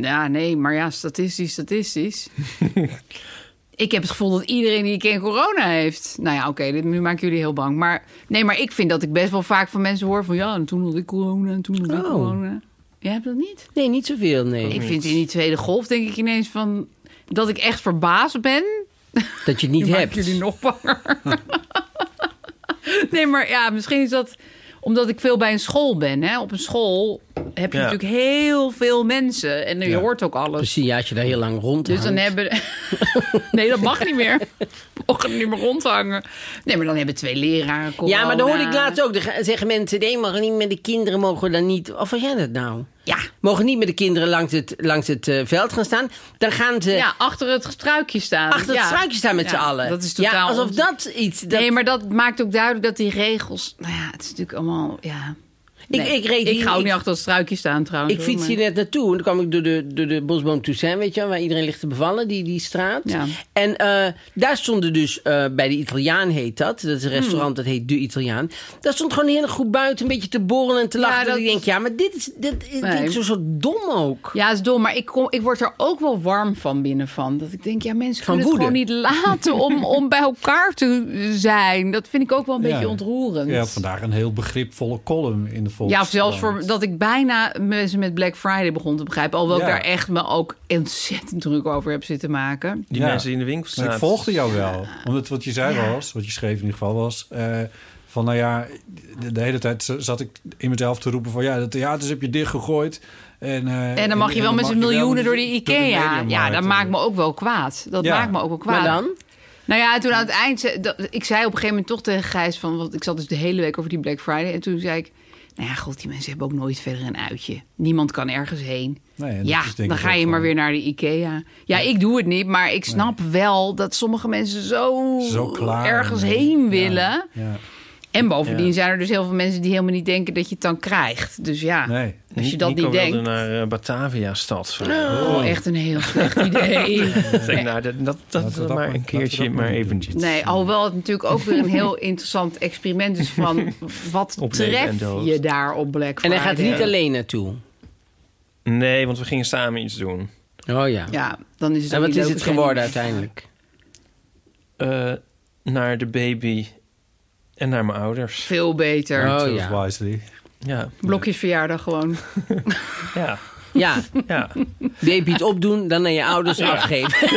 C: Ja. ja, nee, maar ja, statistisch, statistisch. ik heb het gevoel dat iedereen die ik ken corona heeft. Nou ja, oké, dit nu maak ik jullie heel bang. Maar nee, maar ik vind dat ik best wel vaak van mensen hoor van... ja, en toen had ik corona en toen had ik
D: Oh.
C: corona. Jij hebt dat niet?
D: Nee, niet zoveel, nee.
C: Ik vind in die tweede golf denk ik ineens van... dat ik echt verbaasd ben.
D: Dat je het niet
C: Nu maak ik
D: hebt.
C: jullie nog banger. nee, maar ja, misschien is dat omdat ik veel bij een school ben. Hè? Op een school heb je
B: Ja.
C: natuurlijk heel veel mensen. En je
E: Ja.
C: hoort ook alles.
D: Precies, ja, als je daar heel lang rond
C: Dus dan
D: hangt.
C: hebben. nee, dat mag niet meer. Mogen er niet meer rondhangen. Nee, maar dan hebben twee leraren. Corona.
D: Ja, maar dan hoorde ik laatst ook. Dan gaan- zeggen mensen, nee, mag niet met de kinderen mogen we dan niet... Of wat jij dat nou?
C: Ja.
D: Mogen niet met de kinderen langs het, langs het eh, veld gaan staan. Dan gaan ze
C: Ja, achter het struikje staan.
D: achter het
C: Ja.
D: struikje staan met
C: Ja,
D: z'n allen.
C: Dat is totaal.
D: Ja, alsof
C: onzin.
D: dat iets... Dat,
C: Nee, maar dat maakt ook duidelijk dat die regels. Nou ja, het is natuurlijk allemaal. Ja. Nee,
D: ik reed hier-
C: ga ook
D: ik-
C: niet achter het struikje staan trouwens.
D: Ik
C: hoor,
D: fiets
C: maar-
D: hier net naartoe. En toen kwam ik door de, door de Bosboom Toussaint, weet je wel, Waar iedereen ligt te bevallen, die, die straat.
C: Ja.
D: En eh, daar stonden dus, eh, bij de Italiaan heet dat. Dat is een
C: Hmm.
D: restaurant, dat heet De Italiaan. Daar stond gewoon een hele groep buiten, een beetje te borrelen en te
C: Ja,
D: lachen. dat
C: dat-
D: ik denk, ja, maar dit is, dit, dit
C: Nee.
D: vind ik zo, zo dom ook.
C: Ja, het is dom, maar ik, kom, ik word er ook wel warm van binnen van. Dat ik denk, ja, mensen
D: Van
C: kunnen het gewoon
D: woede.
C: niet laten om, om bij elkaar te zijn. Dat vind ik ook wel een
E: Ja.
C: beetje ontroerend.
E: Ja, vandaag een heel begripvolle column in de volgende.
C: Ja, of zelfs voor dat ik bijna mensen met Black Friday begon te begrijpen.
E: Ja.
C: Alhoewel ik daar echt me ook ontzettend druk over heb zitten maken.
B: Die
E: Ja.
B: mensen die in de winkel staan.
E: Ik volgde jou wel. Omdat wat je zei was, wat je schreef in ieder geval was... eh, van nou ja, de, de hele tijd z- zat ik in mezelf te roepen van... ja, de theaters heb je dichtgegooid. En, eh,
C: En dan mag je wel met z'n
E: mag je wel
C: miljoenen
E: met-
C: door die
E: door de
C: IKEA.
E: mediamarkt. eh.
C: ja, dat maakt me ook wel kwaad. Dat
E: Ja.
C: maakt me ook wel kwaad.
D: Maar dan?
C: Nou ja, toen aan het eind... ze- dat- ik zei op een gegeven moment toch tegen Gijs... Van, want ik zat dus de hele week over die Black Friday. En toen zei ik... Nou ja, god, die mensen hebben ook nooit verder een uitje. Niemand kan ergens heen.
E: Nee, en dat
C: ja,
E: is denk
C: dan
E: ik
C: ga
E: ook
C: je maar
E: gewoon-
C: weer naar de IKEA. Ja, ik doe het niet, maar ik snap wel dat sommige mensen zo,
E: Zo klaar.
C: ergens
E: Ja.
C: heen willen.
E: Ja.
C: En bovendien
B: Ja.
C: zijn er dus heel veel mensen die helemaal niet denken dat je het dan krijgt. Dus ja,
E: Nee.
C: als je dat
B: Nico
C: niet denkt.
B: wilde naar eh, Batavia-stad.
C: Oh, echt een heel slecht idee.
B: Ik denk, nou, dat, dat, dat,
E: Laten we dat maar-
B: maar
E: laten
B: een
E: we
B: keertje,
E: dat maar
B: maar
E: doen.
B: eventjes.
C: Nee, alhoewel het natuurlijk ook weer een heel interessant experiment is van wat
B: Op leven en
C: tref
B: dood.
C: je daar op Black
D: En
C: Friday.
D: hij gaat niet alleen naartoe.
B: Nee, want we gingen samen iets doen.
D: Oh ja.
C: Ja, dan is het.
D: En
C: ook
D: wat
C: niet
D: is
C: leuk
D: het
C: als jij
D: geworden
C: niet-
D: uiteindelijk?
B: Eh, naar de baby en naar mijn ouders.
C: Veel beter.
D: Oh,
E: Choose
D: ja.
E: wisely.
B: Ja,
C: Blokjes verjaardag gewoon.
B: ja,
D: Ja,
B: ja. Oh
D: baby het opdoen, dan naar je ouders afgeven.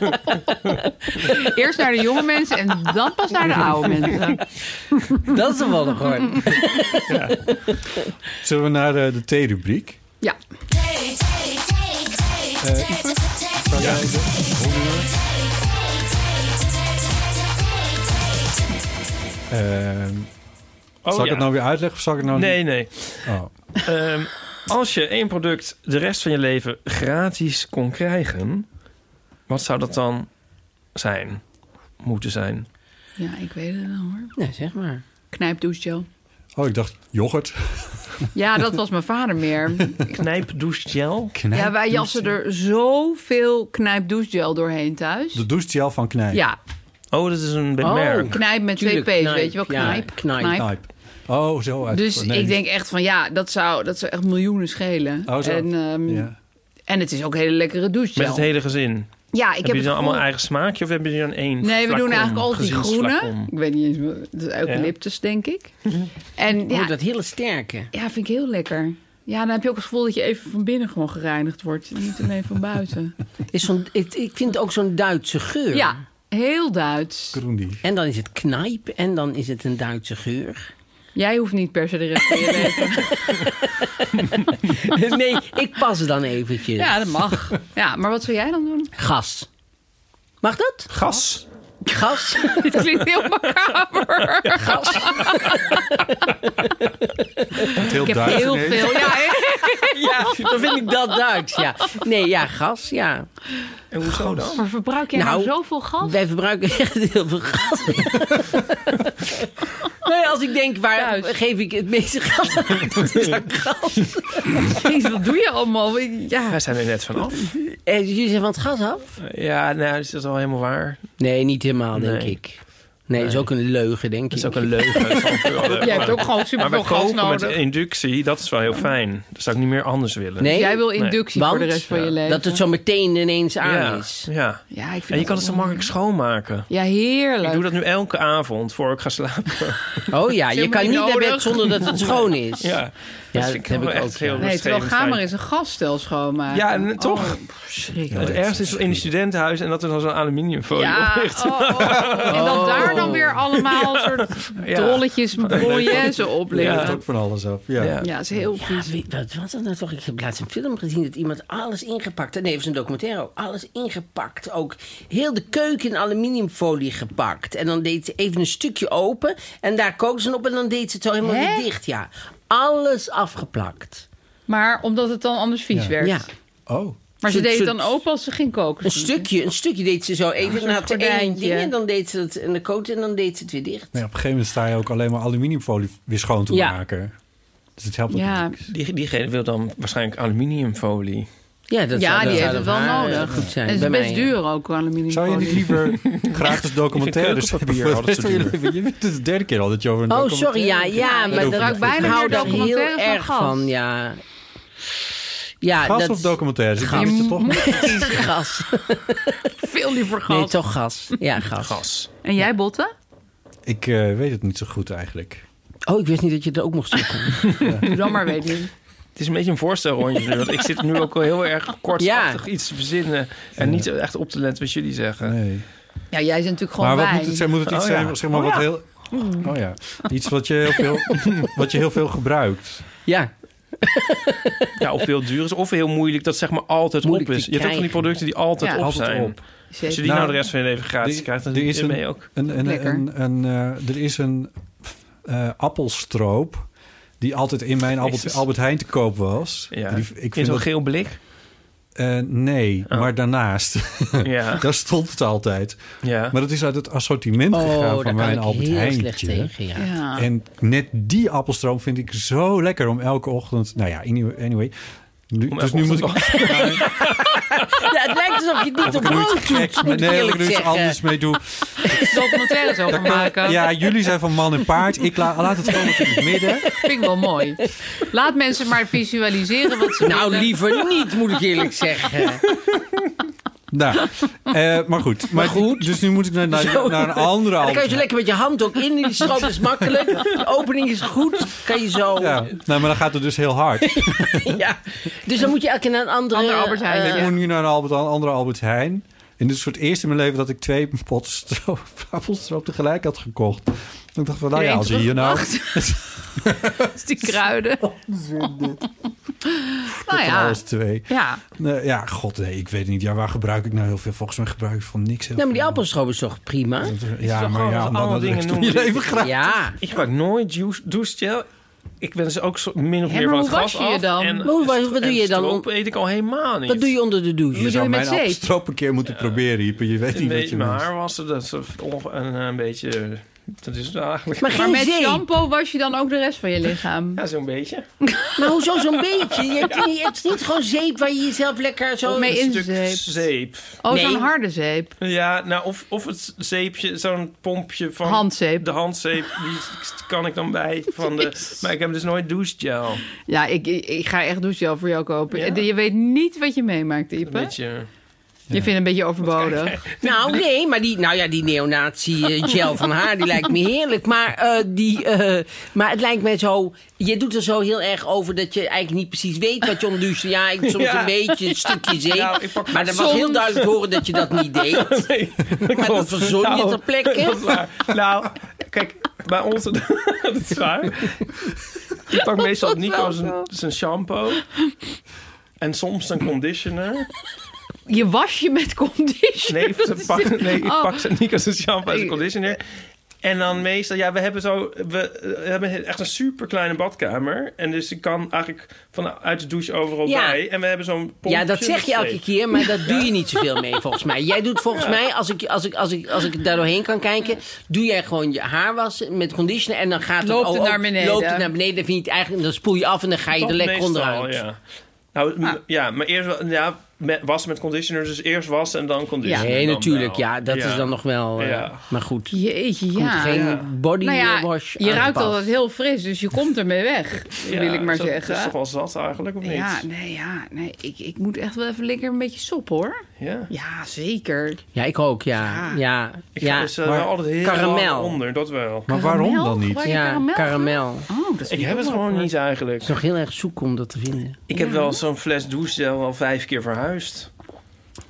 C: Eerst naar de jonge mensen en dan pas naar de oude mensen.
D: Dat is een wel nog hoor.
E: Zullen we naar eh, de theerubriek?
C: Ja,
E: Ehm,
B: Oh,
E: zal ik
B: ja.
E: het nou weer uitleggen of zal ik het nou
B: Nee,
E: niet?
B: nee.
E: Oh.
B: Ehm, als je één product de rest van je leven gratis kon krijgen, wat zou dat dan zijn? Moeten zijn.
C: ja ik weet het wel hoor.
D: Nee, zeg maar.
C: Knijpdouchegel.
E: Oh, ik dacht yoghurt.
C: Ja, dat was mijn vader meer.
B: Knijpdouchegel.
C: Ja, wij jassen er zoveel knijpdouchegel doorheen thuis.
E: De douchegel van Knijp.
C: Ja,
B: Oh, dat is een
D: Oh.
B: merk.
C: knijp met twee
D: Tuurlijk,
C: P's, weet je wel.
D: knijp, ja,
C: Knijp.
D: knijp.
E: Knijp. Oh, zo. Uit,
C: Dus
E: nee.
C: ik denk echt van ja, dat zou, dat zou echt miljoenen schelen.
E: Oh, zo.
C: En, ehm,
E: Ja.
C: en het is ook een hele lekkere douche.
B: Met het hele gezin.
C: Ja, ik heb,
B: heb je
C: het
B: dan
C: gevoel-
B: allemaal eigen smaakje of hebben jullie dan één?
C: Nee, we doen
B: flacon,
C: eigenlijk altijd die groene.
B: gezinsflacon?
C: Ik weet niet eens, wat- dat is eucalyptus denk ik. En
D: Ja.
C: ja,
D: dat hele sterke.
C: ja, vind ik heel lekker. Ja, dan heb je ook het gevoel dat je even van binnen gewoon gereinigd wordt. en Niet alleen van buiten.
D: Is zo'n, ik, ik vind het ook zo'n Duitse geur.
C: Ja, heel Duits.
E: Groendi.
D: En dan is het knijp en dan is het een Duitse geur.
C: Jij hoeft niet per se de rest van je leven.
D: nee, ik pas er dan eventjes.
C: Ja, dat mag. Ja, maar wat zou jij dan doen?
D: Gas. Mag dat?
B: Gas.
D: Gas.
C: Dit klinkt heel macaber.
E: Heel
C: Ik heb
E: duidelijk.
C: heel
E: Nee.
C: veel. Ja, hè?
D: ja, dan vind ik dat Duits, ja. Nee, ja, gas, ja.
B: En hoezo dan?
A: Maar verbruik je
D: Nou,
A: nou, zoveel gas?
D: Wij verbruiken echt heel veel gas. nee, als ik denk, waar
C: Thuis.
D: geef ik het meeste gas aan? Dat is aan gas.
C: Jezus, wat doe je allemaal? Ja.
B: Wij zijn er net vanaf.
D: Eh, jullie zijn van het gas af?
B: Ja, nou, is dat wel helemaal waar?
D: Nee, niet helemaal, denk
B: Nee.
D: ik. Nee, dat is
B: Nee.
D: ook een leugen, denk
B: Dat is
D: ik.
B: ook een leugen.
C: Jij hebt ook gewoon
B: Maar we
C: superveel gas
B: koken met
C: nodig.
B: inductie, dat is wel heel fijn. Dat zou ik niet meer anders willen.
D: Nee,
C: Dus Jij wil inductie
D: Nee,
C: voor de
D: want-
C: rest van je
B: ja,
C: leven.
D: dat het zo meteen ineens aan
B: ja,
D: is.
B: ja.
C: Ja, ik vind
B: En je
C: dat
B: kan het zo
C: wel-
B: makkelijk schoonmaken.
C: Ja, heerlijk.
B: Ik doe dat nu elke avond voor ik ga slapen.
D: Oh ja, je
C: helemaal niet
D: kan niet naar
C: nodig.
D: bed zonder dat het schoon is.
B: Ja,
D: Ja,
B: Dus
D: dat heb
B: wel
D: ik ook.
B: echt heel
D: ja.
C: Nee, terwijl
B: rustgevend
C: ga maar
B: fijn.
C: eens een gasstel schoonmaken.
B: Ja, en toch?
C: Oh, verschrikkelijk.
B: Het ergste is in een studentenhuis en dat er dan zo'n aluminiumfolie op
C: Ja,
B: ligt.
C: oh, oh. en dan
D: Oh.
C: daar dan weer allemaal soort
B: Ja.
C: rolletjes bouillaise op
E: Het
C: liggen.
E: hangt van alles af. Ja.
B: Ja.
C: Ja, dat is heel
D: Ja,
C: vies.
D: wie- wat was dat nou toch? Ik heb laatst een film gezien dat iemand alles ingepakt had. Nee, het was een documentaire ook. Alles ingepakt. Ook heel de keuken in aluminiumfolie gepakt. En dan deed ze even een stukje open. En daar kookte ze op en dan deed ze het zo helemaal
C: Hè?
D: weer dicht. Ja, alles afgeplakt.
C: Maar omdat het dan anders vies werd.
D: Ja.
E: Oh.
C: Maar ze
D: Zo-
C: deed het
D: zo-
C: dan open als ze ging koken.
D: Een stukje, een stukje deed ze zo even.
C: zo'n
D: en had ze één
C: gordijntje.
D: ding en dan deed ze het en de coat en dan deed ze het weer dicht.
E: Nee, op een gegeven moment sta je ook alleen maar aluminiumfolie weer schoon te
D: Ja.
E: maken. Dus het helpt ook
C: Ja,
E: niet.
B: Die, diegene wil dan waarschijnlijk aluminiumfolie.
D: Ja, dat
C: ja
D: zou-
C: die
D: dat
C: heeft
D: zou
C: het
D: dan
C: wel
D: haar, eh,
C: nodig.
D: Goed zijn.
C: En het is
D: Bij
C: best
D: mij, ja.
C: duur ook, aluminium.
E: Zou je niet liever gratis documentaires
B: keukenpapier
E: hebben voor de
B: hadden
E: rest
B: ze
E: van je
B: duur.
E: leven? Je bent het de derde keer al dat je over een
D: Oh,
E: documentaire
D: sorry, ja, ja, maar
E: hoeft
D: dat
E: niet.
D: ik
E: Ik bijna
D: hou
E: meer
D: daar heel
A: documentaires dan
D: erg
A: gas.
D: van, ja. Ja,
E: Gas
D: dat
E: of documentaires? Ik
D: Gas.
E: denk dat je toch
D: gas.
C: Veel liever gas.
D: Nee, toch gas. Ja, gas.
B: Gas.
C: En jij, Botte?
E: Ik eh, weet het niet zo goed eigenlijk.
D: Oh, ik wist niet dat je er ook mocht zoeken.
C: Doe dan maar, weet niet.
B: Het is een beetje een voorstelrondje nu, want ik zit nu ook wel heel erg kortachtig iets te verzinnen. En niet echt op te letten wat jullie zeggen.
E: Nee.
C: Ja, jij zijn natuurlijk gewoon
E: Maar wat
C: wij.
E: moet het zijn? Moet het iets
B: Oh, ja.
E: zijn, zeg maar, wat heel... Oh ja, iets wat je heel veel, wat je heel veel gebruikt.
D: Ja,
B: Ja, of heel duur is, of heel moeilijk dat zeg maar altijd
D: Moeilijk
B: op
D: te
B: is. Je hebt ook van die
D: krijgen.
B: producten die altijd
C: Ja.
B: op
E: Altijd
B: zijn.
E: op.
B: Als je
C: Zeker.
B: die nou,
E: Nou,
B: de rest van je leven gratis
E: die-
B: krijgt, dan
E: die
B: is
E: is
B: je
E: een-
B: mee ook.
E: Een, een,
C: Lekker.
E: een, een, eh, er is een eh, appelstroop die altijd in mijn Albert,
B: Jezus.
E: Albert Heijn te koop was.
B: Ja.
E: Die- ik
B: In
E: vind
B: zo'n
E: dat,
B: geel blik.
E: eh, nee,
B: Oh.
E: maar daarnaast.
B: Ja.
E: Daar stond het altijd.
B: ja.
E: Maar dat is uit het assortiment gegaan
D: oh, daar
E: van
D: kan
E: mijn
D: ik
E: Albert
D: heel slecht
E: Heijntje.
D: tegen, ja.
C: Ja.
E: En net die appelstroom vind ik zo lekker om elke ochtend... Nou ja, anyway. anyway. Nu,
B: Om
E: dus
B: elke
E: nu moet ik...
B: ochtend-
D: Ja, Het lijkt alsof je niet op brood doet,
E: Nee,
D: moet ik
E: dat ik
D: eerlijk
E: er iets anders
D: zeggen.
E: mee doe.
C: documentaires over maken.
E: Ja, jullie zijn van man en paard. Ik la- laat het gewoon in het midden.
C: Vind ik wel mooi. Laat mensen maar visualiseren wat ze
D: Nou,
C: willen.
D: liever niet, moet ik eerlijk zeggen.
E: Nou, eh, maar goed. Maar, goed. dus nu moet ik naar, naar,
D: Zo.
E: naar een andere
D: Dan kan je
E: Albert
D: zo lekker met je hand ook in. Die stroop is makkelijk. De opening is goed. Kan je zo...
E: Ja, nou, maar dan gaat het dus heel hard.
D: Ja. Dus dan moet je elke keer naar een andere...
C: Andere Albert Heijn,
D: eh,
E: Ik moet nu naar een Albert, een andere Albert Heijn. En dit is voor het eerst in mijn leven dat ik twee potten stroop, appelstroop tegelijk had gekocht. En ik dacht van, nou ja, als je hier nou...
C: die kruiden. nou
E: Van
C: ja.
E: alles twee.
C: ja.
E: Nee, ja, god, nee, ik weet niet. Ja, waar gebruik ik nou heel veel? Volgens mij gebruik ik van niks heel
D: Nou, maar die
E: veel.
D: appelstroop is toch prima?
E: Ja,
B: toch gewoon
E: maar ja,
B: wat
E: om
B: allemaal
E: dan dat
B: dingen
E: rest van
B: noemen
E: je
B: die-
E: leven graag...
D: Ja.
B: Ik gebruik nooit juice, douchegel. Ik ben dus ook zo, min of
C: Ja,
B: meer
C: maar
B: van het
C: hoe
B: gas
C: was je je
B: af.
C: dan?
B: En,
D: Maar hoe- wat- wat
B: en
D: doe je dan?
B: stroop eet ik al helemaal niet.
D: Wat doe je onder de douche?
E: Je zou
C: je met
E: mijn
C: zeep?
E: appelstroop een keer moeten proberen, Iep. Je weet
B: Een
E: niet wat
B: beetje
E: je
B: mijn
E: moet.
B: haar was er, dat is onge- een, eh, een beetje... Dat is het eigenlijk...
D: Maar
C: Maar
D: geen
C: met
D: zeep.
C: shampoo was je dan ook de rest van je lichaam.
B: Ja, zo'n beetje.
D: Maar hoezo zo'n beetje? Je hebt niet, het is niet gewoon zeep waar je jezelf lekker zo...
C: Of mee in
B: Een stuk
C: zeep.
B: zeep.
C: Oh,
D: Nee.
C: zo'n harde zeep.
B: Ja, nou, of, of het zeepje, zo'n pompje van...
C: Handzeep.
B: De handzeep, die kan ik dan bij van de... Maar ik heb dus nooit douchegel.
C: Ja, ik, ik, ik ga echt douchegel voor jou kopen.
B: Ja?
C: Je weet niet wat je meemaakt,
B: Een
C: Ipe.
B: beetje...
C: Je vindt een beetje overbodig.
D: Nou, nee, maar die, nou ja, die neonazi-gel van haar, die lijkt me heerlijk. Maar, eh, die, eh, maar het lijkt mij zo... Je doet er zo heel erg over dat je eigenlijk niet precies weet wat je omduwt. Ja, ik soms
B: Ja.
D: een beetje, een stukje zeep.
B: Nou, ik pak
D: maar dat was heel
C: soms.
D: duidelijk te horen dat je dat niet deed.
B: Nee,
D: Maar dat
B: klopt.
D: verzon je
B: Nou,
D: ter plekke.
B: dat is waar. Nou, kijk, bij ons... dat is waar. Ik pak meestal Nico zijn, zijn shampoo. En soms een conditioner.
C: Je was je met conditioner.
B: Nee, ze pak, nee ik
C: Oh.
B: pak zijn, Nico zijn shampoo en zijn conditioner. En dan meestal... Ja, we hebben zo... We, eh, hebben echt een super kleine badkamer. En dus ik kan eigenlijk vanuit de douche overal
D: Ja.
B: bij. En we hebben zo'n pompje
D: Ja, dat zeg je
B: met
D: elke
B: zeep.
D: keer, maar dat doe je niet zoveel mee volgens mij. Jij doet volgens mij, als ik, als, ik, als, ik, als ik daar doorheen kan kijken, doe jij gewoon je haar wassen met conditioner en dan gaat het,
C: Loopt het
D: oh,
C: naar beneden.
D: Loopt het naar beneden, dan, vind je het eigenlijk, dan spoel je af en dan ga je
B: Dat
D: er lekker
B: meestal,
D: onderuit. Ah.
B: Ja. Nou, m- ja, maar eerst wel- ja, met, wassen met conditioner. Dus eerst wassen en dan conditioner.
D: Nee,
B: dan
D: natuurlijk,
B: wel.
D: ja, dat is dan nog wel. eh,
B: Ja.
D: Maar goed, er
C: Jeetje,
D: komt
C: ja.
D: geen
B: Ja.
D: body
C: Nou ja,
D: wash.
C: je
D: aan te
C: ruikt
D: pas.
C: altijd heel fris, dus je komt ermee weg, wil ik maar
B: zo-
C: zeggen.
B: Dat is toch wel zat eigenlijk, of niet?
C: Ja, nee, ja, nee ik, ik moet echt wel even lekker een beetje sop hoor.
B: Ja.
C: Ja, zeker.
D: Ja, ik ook, ja.
C: Ja.
D: Ja,
B: Ik
D: ja.
B: ga dus eh,
E: maar-
B: wel altijd heel
D: Karamel.
B: lang onder, dat wel.
E: Maar waarom
C: Karamel?
E: dan niet?
C: Gebruik je
D: ja,
C: karamel?
D: karamel. Het
C: Oh, dat is
B: Ik
C: wel
B: heb het
C: lekker.
B: gewoon niet eigenlijk.
D: is nog heel erg zoek om dat te vinden.
B: Ik heb wel zo'n fles douchegel al vijf keer verhuisd.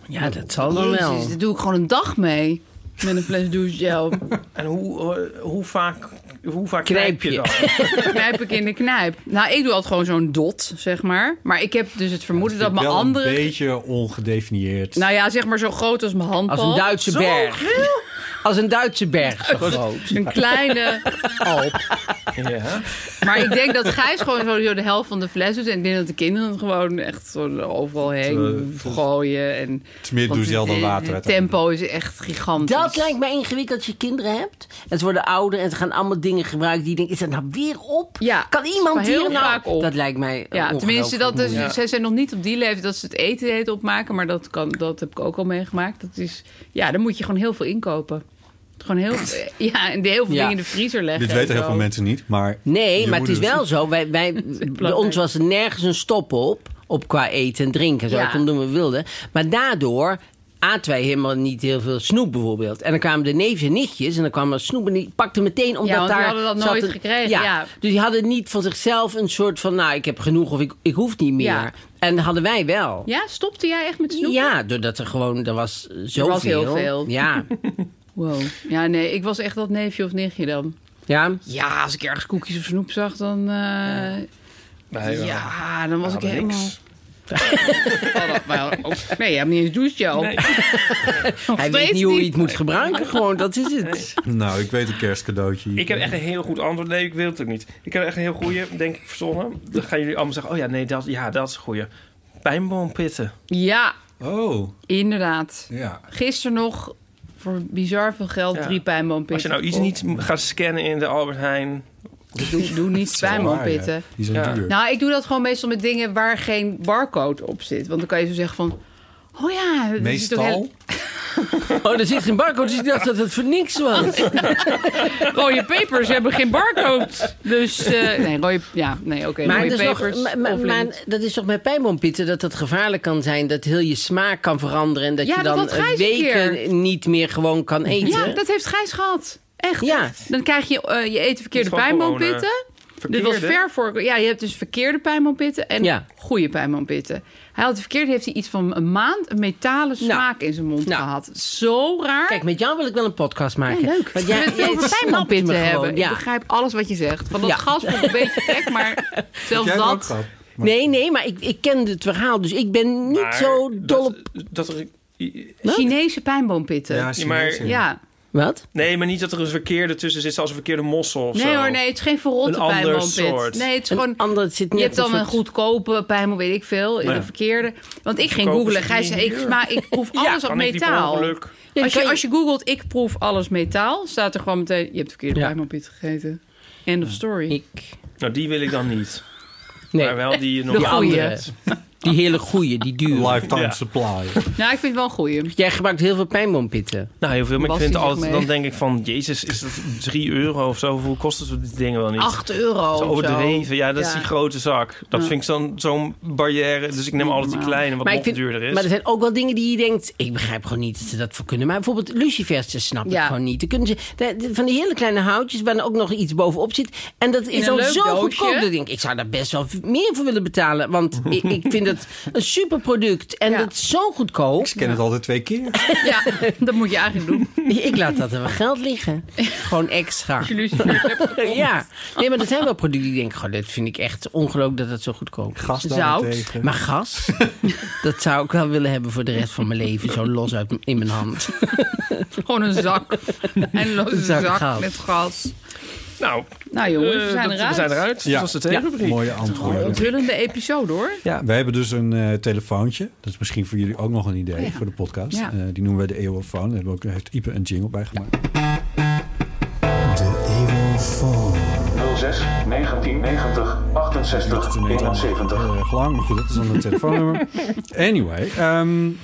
D: Ja, dat zal dan wel.
C: Jezus, daar doe ik gewoon een dag mee. Met een fles douchegel.
B: En hoe, eh, hoe vaak, hoe vaak
D: Knijp
B: knijp je
D: je.
B: dat?
C: knijp ik in de knijp. Nou, ik doe altijd gewoon zo'n dot, zeg maar. Maar ik heb dus het vermoeden dat
E: Vind ik
C: mijn
E: wel
C: andere...
E: een beetje ongedefinieerd.
C: Nou ja, zeg maar zo groot als mijn handpalm.
D: Als een Duitse berg. Als een Duitse berg, zo groot.
C: Een kleine alp.
B: ja.
C: Maar ik denk dat Gijs gewoon sowieso de helft van de fles doet. En ik denk dat de kinderen het gewoon echt zo overal heen gooien. En,
E: het is meer
C: want
E: douchegel dan
C: het-
E: water.
C: Het
E: uiteindelijk.
C: tempo is echt gigantisch.
D: Dat lijkt me ingewikkeld als je kinderen hebt. En ze worden ouder en ze gaan allemaal dingen gebruiken die je denkt, is dat nou weer op?
C: Ja,
D: kan iemand
C: het is maar
D: hier
C: heel
D: nou?
C: vaak op.
D: Dat lijkt mij eh,
C: Ja, tenminste, dat is, dus-
D: ongelooflijk moeilijk.
C: zij zijn nog niet op die leeftijd dat ze het eten eten opmaken. Maar dat, kan, dat heb ik ook al meegemaakt. Dat is, ja, dan moet je gewoon heel veel inkopen. Gewoon heel, ja, en heel veel
D: Ja.
C: dingen in de vriezer leggen.
E: Dit weten
C: en
E: heel
C: zo.
E: veel mensen niet, maar...
D: Nee,
E: je
D: maar
E: moet
D: het is
E: dus-
D: wel zo. Wij, wij, bij ons was er nergens een stop op, op qua eten en drinken. Zo
C: Ja.
D: dat konden doen wat we wilden. Maar daardoor aten wij helemaal niet heel veel snoep bijvoorbeeld. En dan kwamen de neefjes en nichtjes en dan kwam er snoep en die pakten meteen omdat
C: Ja, want die
D: daar...
C: hadden dat
D: zat
C: nooit
D: een-
C: gekregen, ja.
D: Dus die hadden niet van zichzelf een soort van, nou ik heb genoeg of ik, ik hoef niet meer.
C: Ja.
D: En dat hadden wij wel.
C: Ja, stopte jij echt met snoep?
D: Ja, doordat er gewoon, er was eh, zoveel.
C: Er was heel veel.
D: Ja.
C: Wow. Ja, nee, ik was echt dat neefje of nichtje dan.
D: ja.
C: Ja, als ik ergens koekjes of snoep zag, dan... eh,
B: Nee, wel.
C: ja, dan was
B: We
C: ik
B: hadden
C: helemaal...
B: niks.
C: Oh, dat- maar ook- nee, je hebt niet eens douchegel.
B: Nee.
D: Hij weet niet hoe hij het moet gebruiken, gewoon, dat is het.
E: Nou, ik weet een kerstcadeautje.
B: Ik heb echt een heel goed antwoord. Nee, ik wil het ook niet. Ik heb echt een heel goede, denk ik, verzonnen. Dan gaan jullie allemaal zeggen, oh ja, nee, dat, ja, dat is een goeie. Pijnboompitten.
C: Ja,
E: Oh,
C: inderdaad.
E: ja.
C: Gisteren nog voor bizar veel geld
B: Ja.
C: drie pijnboompitten.
B: Als je nou iets
C: gekocht.
B: niet gaat scannen in de Albert Heijn...
C: Oh, Doe, doe niet pijnboompitten.
E: Ja, Die zijn
B: Ja.
E: duur.
C: Nou, ik doe dat gewoon meestal met dingen waar geen barcode op zit. Want dan kan je zo zeggen van... Oh ja, er zit ook
E: Meestal.
C: heel-
D: Oh, er zit geen barcode, dus ik dacht dat het voor niks
C: Oh,
D: was.
C: rode pepers hebben geen barcode. Dus, eh, nee, rode... Ja, nee, oké,
D: Maar,
C: rode
D: dat is, nog-
C: pepers.
D: maar- maar-
C: overlint.
D: maar dat is toch met pijnboompitten dat dat gevaarlijk kan zijn. Dat heel je smaak kan veranderen. En dat
C: Ja,
D: je
C: dat
D: dan eh,
C: had Gijs een
D: weken
C: keer.
D: niet meer gewoon kan eten.
C: Ja, dat heeft Gijs gehad. Echt.
D: Ja.
C: Dan krijg je, eh, je eet verkeerde
B: Het is gewoon eh,
C: pijnboompitten. Dit was ver voor... Ja, je hebt dus verkeerde pijnboompitten en
D: Ja.
C: goede pijnboompitten. Hij had de verkeerde, heeft hij iets van een maand een metalen smaak in zijn mond
D: Nou.
C: gehad. Zo raar.
D: Kijk, met jou wil ik wel een podcast
C: Ja,
D: maken.
C: leuk.
D: Want
C: We
D: jij,
C: het
D: jij
C: over
D: snapt me
C: pijnboompitten
D: gewoon,
C: hebben.
D: ja.
C: Ik begrijp alles wat je zegt. Van dat
D: Ja.
C: gas vond ik een beetje gek, maar zelfs
E: Jij hebt ook
C: dat...
E: gehad.
D: Nee, nee, maar ik, ik ken het verhaal. Dus ik ben niet
B: Maar
D: zo dol op...
B: Dat, dat er,
C: Chinese pijnboompitten. Ja.
E: Chinezen.
B: maar-
D: Wat?
B: nee, maar niet dat er een verkeerde tussen zit, zoals een verkeerde mossel of zo.
C: Nee hoor, nee, het is geen verrotte
B: Een ander
C: pijnboompit.
B: soort.
C: Nee, het is
D: Een
C: gewoon...
D: ander, het zit
C: Je
D: net
C: hebt dan
D: soort-
C: een goedkope pijnboom, weet ik veel, in
B: Ja.
C: de verkeerde. Want ik ging
B: Goedkope
C: googlen,
B: is
C: Gij zei,
B: niet
C: ik,
B: duur.
C: maar ik proef
D: Ja,
C: alles op
B: Kan ik die per
C: metaal.
B: ongeluk-
D: Ja,
C: als,
D: kan
C: je,
D: je-
C: als je googelt, ik proef alles metaal, staat er gewoon meteen, je hebt de verkeerde
D: Ja.
C: pijnboompit gegeten. End of story.
D: Ik...
B: Nou, die wil ik dan niet.
D: Nee,
B: Maar wel die nog
D: die
C: goeie.
D: andere. Die hele goeie, die duur.
E: Lifetime
B: Ja.
E: supply.
C: Nou, ik vind het wel een goeie.
D: Jij gebruikt heel veel pijnboompitten.
B: Nou, heel veel. Maar ik
C: Bas
B: vind
C: die
B: altijd,
C: zegt mee.
B: dan denk ik van, jezus, is dat 3 euro of zo? Hoe kost het die dingen wel niet?
C: 8 euro
B: Zo
C: of zo.
B: overdreven. Ja, dat is
C: Ja.
B: die grote zak. Dat vind ik zo'n zo'n barrière. Dus ik neem altijd die kleine, wat nog
D: ik vind-
B: duurder is.
D: maar er zijn ook wel dingen die je denkt... ik begrijp gewoon niet dat ze dat voor kunnen. Maar bijvoorbeeld lucifers, ze snappen
C: Ja.
D: het gewoon niet. Dan kunnen ze, de- de- van die hele kleine houtjes waar dan ook nog iets bovenop zit. En dat is
C: een
D: dan
C: leuk
D: zo
C: doosje.
D: goedkoop. Dat ik denk ik, ik zou daar best wel meer voor willen betalen. Want ik, ik vind dat het. Een superproduct. En
C: Ja.
D: dat is zo goedkoop.
E: Ik scan het altijd twee keer.
C: Ja, dat moet je eigenlijk doen.
D: Ik laat dat er wel geld liggen. Gewoon extra.
C: Als je Lucifer hebt gekocht.
D: Ja, nee, maar dat zijn wel producten die ik denk, goh, dit vind ik echt ongelooflijk dat het zo goedkoop is.
E: Gas
C: Zout.
E: daarentegen.
D: Maar gas, dat zou ik wel willen hebben voor de rest van mijn leven. Zo los uit, m- in mijn hand.
C: Gewoon een zak. Een losse
D: Een zak
C: zak,
D: goud.
C: met gas.
B: Nou,
C: Nou jongens,
B: eh,
C: we zijn
B: dat-
C: eruit.
B: we zijn eruit.
E: Ja.
B: Dat was de tegenbrief.
E: Mooie
C: Een
E: antwoorden.
C: Onthullende episode hoor.
E: Ja, we hebben dus een eh, telefoontje. Dat is misschien voor jullie ook nog een idee voor de podcast.
C: Oh Ja.
E: Eh, die noemen wij de Eeuwofoon. Daar hebben we ook- heeft Ipe een jingle bij gemaakt.
F: 06 1990 68 71.
E: Heel erg lang, maar goed, dat is dan een telefoonnummer. Anyway, ehm, eh,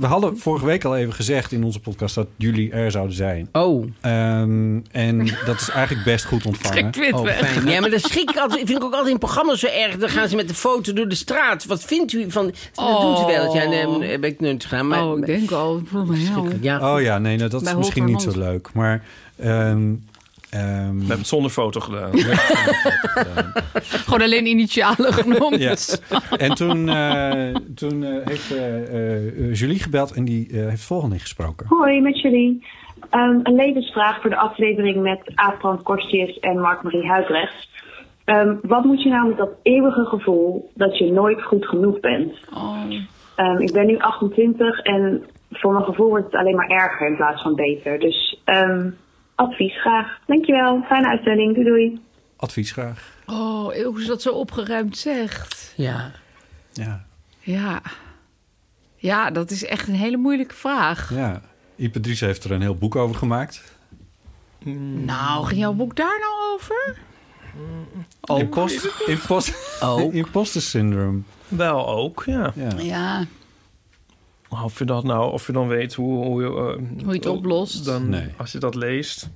E: we hadden vorige week al even gezegd in onze podcast dat jullie er zouden zijn.
D: Oh,
E: Ehm, en dat is eigenlijk best goed ontvangen.
C: Ik wit
D: oh
C: weg.
D: fijn. Ja, maar dat schrik ik altijd, vind ik ook altijd in programma's zo erg. Dan gaan ze met de foto door de straat. Wat vindt u van...
E: Oh.
D: Dat doen ze wel. Ja, nee, dat heb ik nooit gedaan. Maar,
C: Oh, ik denk al. voor mij, ja, hoor.
D: ja,
E: Oh ja, nee, nou, dat is
C: Bij
E: misschien niet
C: Holter
E: zo leuk. Maar ehm, ehm,
B: We hebben het zonder foto gedaan.
C: Gewoon alleen initialen genomen.
E: ja. En toen, eh, toen eh, heeft eh, eh, Julie gebeld en die eh, heeft het volgende ingesproken.
G: Hoi, met jullie. Ehm, een levensvraag voor de aflevering met Aafran Kortjes en Mark-Marie Huidrechts. Ehm, wat moet je nou met dat eeuwige gevoel dat je nooit goed genoeg bent?
C: Oh.
G: Ehm, ik ben nu 28 en voor mijn gevoel wordt het alleen maar erger in plaats van beter. Dus ehm, advies graag. Dankjewel. Fijne uitzending. Doei doei.
E: Advies graag.
C: Oh, eeuw, hoe ze dat zo opgeruimd zegt.
D: ja.
E: Ja.
C: Ja. Ja, dat is echt een hele moeilijke vraag.
E: ja. Ipe Dries heeft er een heel boek over gemaakt.
C: Nou, ging jouw boek daar nou over? Oh.
E: Impost, impost,
D: Ook.
E: Imposter syndroom.
B: wel ook, ja.
E: Ja.
C: Ja,
B: Maar Of je dat nou, of je dan weet hoe, hoe, je, eh,
C: Hoe je het oplost.
B: Dan,
E: Nee.
B: Als je dat leest.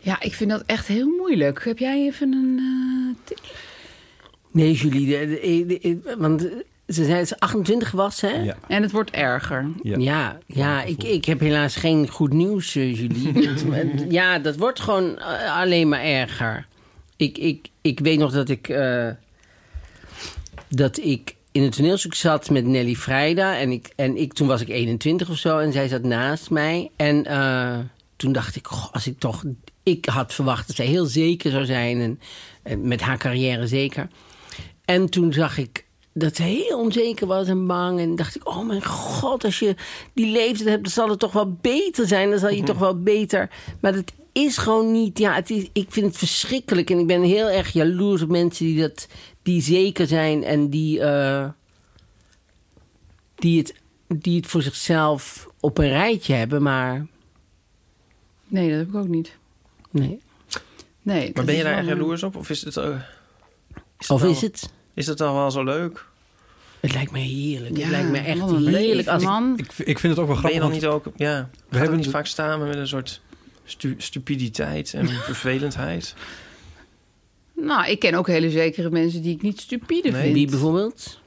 C: ja ik vind dat echt heel moeilijk. Heb jij even een... eh, tip?
D: Nee, Julie, de- de- de- de- want ze zei dat ze 28 was, hè?
E: Ja.
C: En het wordt erger.
E: Ja.
D: Ja, ja, ik, ik heb helaas geen goed nieuws, eh, Julie. Het- het- ja, dat wordt gewoon eh, alleen maar erger. Ik, ik, ik weet nog dat ik, eh, dat ik in het toneelstuk zat met Nelly Vrijda. En, ik, en ik, toen was ik 21 of zo en zij zat naast mij. En eh, toen dacht ik, goh, als ik toch... Ik had verwacht dat zij heel zeker zou zijn. En, en met haar carrière zeker. En toen zag ik dat ze heel onzeker was en bang. En dacht ik, oh mijn god, als je die leeftijd hebt, dan zal het toch wel beter zijn. Dan zal
C: Mhm.
D: je toch wel beter. Maar dat is gewoon niet. Ja, het is, ik vind het verschrikkelijk. En ik ben heel erg jaloers op mensen die, dat, die zeker zijn en die, eh, die, het, die het voor zichzelf op een rijtje hebben. Maar
C: Nee, dat heb ik ook niet.
D: nee.
C: Nee,
B: Maar
C: dat
B: ben je
C: is
B: daar
C: wel
B: echt
C: een-
B: jaloers op? Of is het, eh, is
D: Of
B: wel-
D: is het?
B: Is het dan wel zo leuk?
D: Het lijkt me heerlijk.
C: Ja,
D: het lijkt me echt
C: wat een
D: heerlijk.
C: leuk
D: Als ik-
C: man.
E: Ik, ik vind het ook wel
B: Ben je
E: grappig.
B: dan
E: want-
B: niet ook... Ja, we
E: hebben
B: hebben niet
E: de-
B: vaak samen met een soort stu- stupiditeit en vervelendheid.
C: Nou, ik ken ook hele zekere mensen die ik niet stupide
B: Nee.
C: vind.
D: die bijvoorbeeld.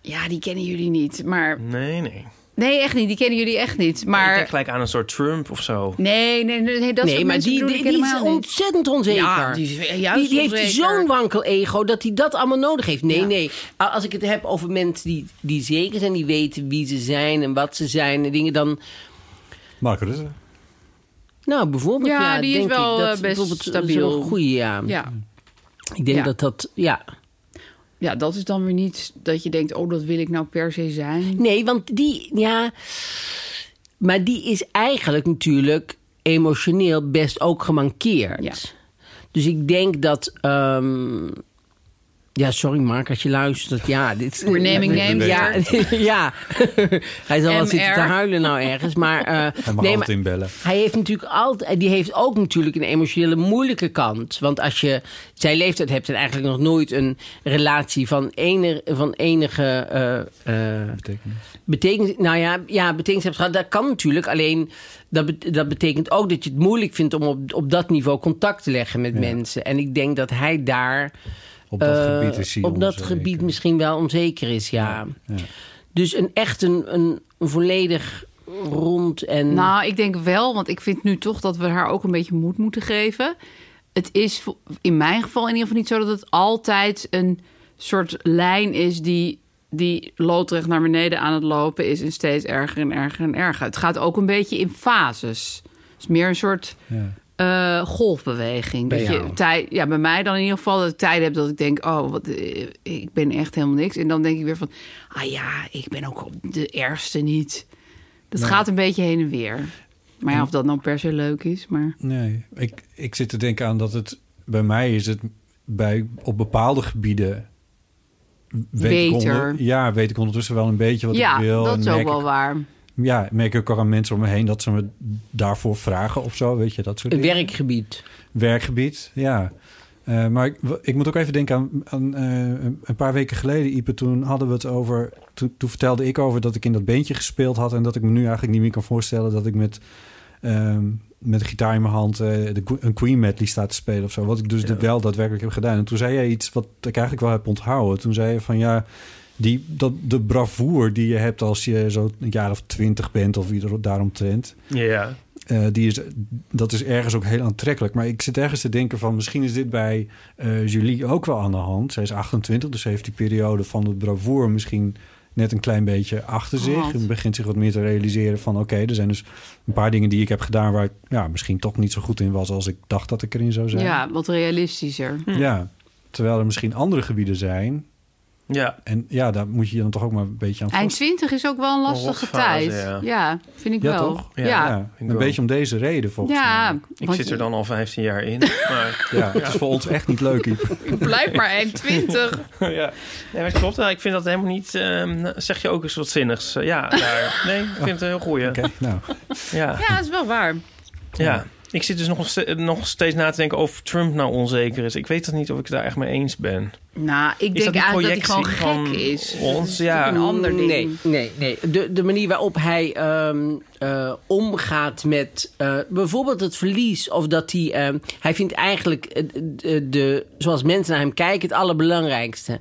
C: Ja, die kennen jullie niet. Maar
B: Nee, nee.
C: nee, echt niet. Die kennen jullie echt niet.
B: Ik
C: Maar
B: denk gelijk aan een soort Trump of zo.
C: nee, nee, nee, nee, dat
D: nee,
C: soort
D: maar
C: mensen
D: die,
C: bedoel
D: die,
C: ik
D: die is
C: helemaal niet.
D: ontzettend onzeker.
C: Ja, die is juist
D: Die- die heeft
C: onzeker.
D: zo'n wankel ego dat hij dat allemaal nodig heeft. Nee,
C: Ja.
D: nee. A- Als ik het heb over mensen die, die zeker zijn, die weten wie ze zijn en wat ze zijn en dingen, dan.
E: Mark Rutte.
D: Nou, bijvoorbeeld.
C: Ja,
D: Ja,
C: die is
D: denk
C: wel, eh,
D: ik, dat
C: best
D: bijvoorbeeld zo'n
C: stabiel.
D: goeie, ja.
C: Ja.
D: Ik denk
C: Ja.
D: dat dat. Ja.
C: ja, dat is dan weer niet dat je denkt, oh, dat wil ik nou per se zijn.
D: Nee, want die. Ja. Maar die is eigenlijk natuurlijk emotioneel best ook gemankeerd.
C: Ja.
D: Dus ik denk dat. ehm, ja, sorry Mark, als je luistert. Ja, dit,
C: We're naming names
D: Ja, ja. hij zal wel zitten te
C: MR.
D: huilen nou ergens. Maar, eh,
E: Hij mag
D: nee, maar
E: altijd inbellen.
D: hij heeft natuurlijk altijd, die heeft ook natuurlijk een emotionele moeilijke kant. Want als je zijn leeftijd hebt en eigenlijk nog nooit een relatie van, ener, van enige eh, eh, betekent, nou ja, ja, betekenis hebt gehad, dat kan natuurlijk. Alleen dat, bet- dat betekent ook dat je het moeilijk vindt om op, op dat niveau contact te leggen met mensen. En ik denk dat hij daar
E: Op dat
D: eh,
E: gebied is hij
D: op dat
E: onzeker.
D: gebied misschien wel onzeker is, ja.
E: ja.
D: Dus een echt een, een, een volledig rond en.
C: Nou, ik denk wel, want ik vind nu toch dat we haar ook een beetje moed moeten geven. Het is vo- in mijn geval in ieder geval niet zo dat het altijd een soort lijn is die, die loodrecht naar beneden aan het lopen is en steeds erger en erger en erger. Het gaat ook een beetje in fases. Het is meer een soort
E: Ja.
C: eh, golfbeweging.
E: Bij
C: dat je
E: jou.
C: tijd, ja, bij mij dan in ieder geval dat ik tijd heb dat ik denk, oh, wat, eh, ik ben echt helemaal niks. En dan denk ik weer van, ah ja, ik ben ook op de ergste niet. Dat
E: Nee.
C: gaat een beetje heen en weer. Maar ja, of dat nou per se leuk is, maar...
E: Nee, ik, ik zit te denken aan dat het bij mij is het bij, op bepaalde gebieden Weet ik
C: Beter.
E: onder- ja, weet ik ondertussen wel een beetje wat
C: ja,
E: ik wil.
C: dat
E: en
C: is ook
E: merk
C: wel
E: ik-
C: waar.
E: Ja, merk ik ook aan mensen om me heen dat ze me daarvoor vragen of zo, weet je, dat soort
D: Een
E: dingen.
D: werkgebied.
E: Werkgebied, ja. Eh, maar ik, w- ik moet ook even denken aan, aan eh, een- een paar weken geleden, Ipe. Toen hadden we het over. Toen, toen vertelde ik over dat ik in dat beentje gespeeld had. En dat ik me nu eigenlijk niet meer kan voorstellen dat ik met, ehm, met een gitaar in mijn hand eh, de, que- een Queen medley staat te spelen of zo. Wat ik dus de- wel daadwerkelijk heb gedaan. En toen zei jij iets wat ik eigenlijk wel heb onthouden. Toen zei je van ja. Die, dat, de bravoer die je hebt als je zo een jaar of twintig bent of ieder daaromtrent.
B: Ja.
E: Eh, die is, dat is ergens ook heel aantrekkelijk. Maar ik zit ergens te denken van... misschien is dit bij eh, Julie ook wel aan de hand. Zij is 28, dus ze heeft die periode van het bravoer... misschien net een klein beetje achter zich.
B: Gehad.
E: En begint zich wat meer te realiseren van... oké, er zijn dus een paar dingen die ik heb gedaan... waar ik ja, misschien toch niet zo goed in was... als ik dacht dat ik erin zou zijn.
C: Ja, wat realistischer. Hm.
E: Ja. Terwijl er misschien andere gebieden zijn.
B: Ja.
E: En ja, daar moet je je dan toch ook maar een beetje aan
C: Eind 20 is ook wel een lastige
E: rotfase,
C: tijd.
E: ja.
C: Ja. vind ik
E: ja,
C: wel.
E: toch?
C: Ja,
E: Ja,
C: ja.
E: een beetje om deze reden volgens
B: Ik
C: want
B: zit
C: je-
B: er dan al 15 jaar in. Maar,
E: mij. Ja, het is voor ons echt niet leuk, Iep.
C: Blijf maar 21.
B: ja. Nee, maar het klopt wel. Ik vind dat helemaal niet... ehm, zeg je ook eens wat zinnigs? Eh, ja, daar. Nee, ik vind het een heel goeie. Oké,
E: nou.
B: Ja.
C: Ja, dat is wel waar.
B: Ja, ik zit dus nog, ste- nog steeds na te denken of Trump nou onzeker is. Ik weet dat niet of ik het daar echt mee eens ben.
C: Nou, ik
B: Is
C: denk
B: een
C: eigenlijk dat hij
B: projectie
C: gewoon gek
B: van
C: is.
B: Ons, ja.
D: Nee, nee, nee. De, de manier waarop hij ehm, eh, omgaat met eh, bijvoorbeeld het verlies. Of dat hij. ehm, hij vindt eigenlijk eh, de, de- zoals mensen naar hem kijken het allerbelangrijkste.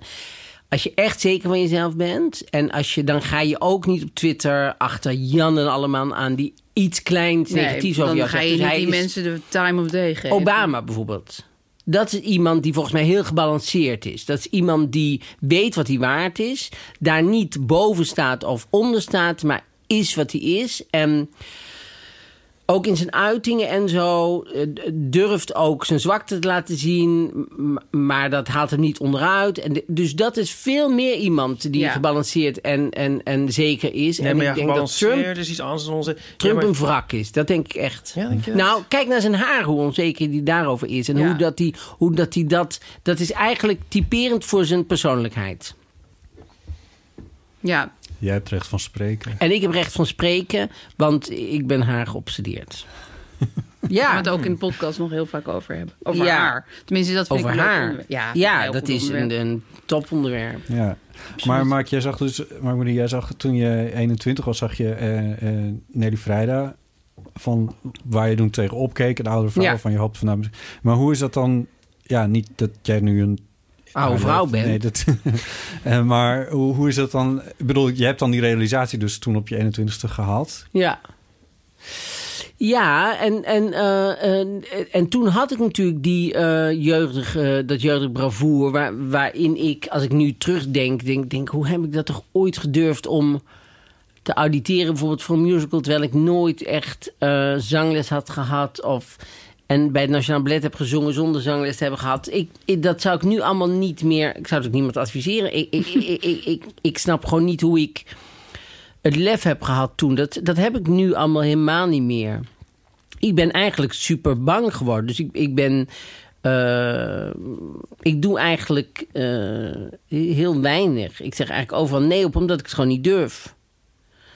D: Als je echt zeker van jezelf bent. En als je, dan ga je ook niet op Twitter achter Jan en allemaal aan die iets kleins negatiefs
C: Nee,
D: over
C: dan
D: jou
C: ga
D: zegt.
C: je
D: Dus
C: niet
D: hij
C: die
D: is-
C: mensen de time of day geven.
D: Obama bijvoorbeeld. Dat is iemand die volgens mij heel gebalanceerd is. Dat is iemand die weet wat hij waard is. Daar niet boven staat of onder staat, maar is wat hij is. En ook in zijn uitingen en zo eh, d- durft ook zijn zwakte te laten zien. m- Maar dat haalt hem niet onderuit. En de- dus dat is veel meer iemand die
B: Ja.
D: gebalanceerd en, en, en zeker is.
B: Nee,
D: en
B: maar
D: ik
B: ja,
D: denk dat
B: gebalanceerd
D: Trump
B: is iets anders dan onze... ja,
D: Trump
B: maar-
D: een wrak is. Dat denk ik echt.
B: denk je dat?
D: nou, kijk naar zijn haar, hoe onzeker die daarover is. En hoe dat hij hoe dat, hij dat... Dat is eigenlijk typerend voor zijn persoonlijkheid.
C: Ja.
E: Jij hebt recht van spreken.
D: En ik heb recht van spreken, want ik ben haar geobsedeerd. Ja.
C: Waar we het ook in de podcast nog heel vaak over hebben. Over
D: Ja.
C: haar. Tenminste, dat vind
D: Over
C: ik een leuk
D: haar.
C: onderwerp. Ja,
D: Ja,
C: heel
D: dat
C: goed
D: is een-
C: onderwerp.
D: een toponderwerp.
E: Ja, maar Mark, jij zag dus, maar Marie, jij zag toen je 21 was, zag je eh, eh, Nelly Vrijda van waar je toen tegenop keek, een oude vrouw
D: Ja.
E: van je hoopt van nou, Maar hoe is dat dan? Ja, niet dat jij nu een
D: Oude
E: maar
D: vrouw
E: Ah, dat-
D: bent.
E: Nee, dat, Eh, maar hoe, hoe is dat dan? Ik bedoel, je hebt dan die realisatie dus toen op je 21ste gehad.
D: Ja. Ja, en, en, eh, en, en toen had ik natuurlijk die, eh jeugdig, eh, dat jeugdig bravoer... Waar, waarin ik, als ik nu terugdenk, denk, denk... hoe heb ik dat toch ooit gedurfd om te auditeren... bijvoorbeeld voor een musical, terwijl ik nooit echt eh, zangles had gehad... of en bij het Nationaal Ballet heb gezongen zonder zangles te hebben gehad. Ik, ik- dat zou ik nu allemaal niet meer... Ik zou het ook niemand adviseren. Ik, ik, ik, ik, ik, ik snap gewoon niet hoe ik het lef heb gehad toen. Dat, dat heb ik nu allemaal helemaal niet meer. Ik ben eigenlijk super bang geworden. Dus ik, ik ben. eh, ik doe eigenlijk eh, heel weinig. Ik zeg eigenlijk overal nee op, omdat ik het gewoon niet durf.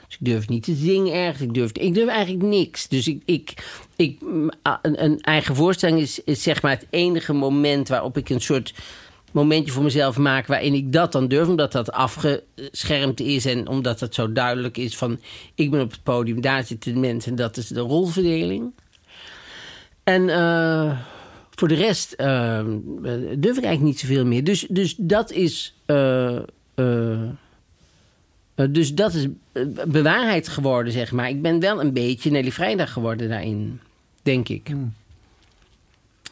D: Dus ik durf niet te zingen ergens. Ik durf, ik durf eigenlijk niks. Dus ik, ik, ik, mm, a- een, een eigen voorstelling is, is zeg maar het enige moment waarop ik een soort momentje voor mezelf maak waarin ik dat dan durf, omdat dat afgeschermd is en omdat dat zo duidelijk is van ik ben op het podium, daar zitten de mensen en dat is de rolverdeling. En eh, voor de rest eh, durf ik eigenlijk niet zoveel meer. Dus, dus dat is eh, eh, eh, dus dat is eh, bewaarheid geworden, zeg maar. Ik ben wel een beetje Nelly Vrijdag geworden daarin,
C: Hmm.
D: denk ik.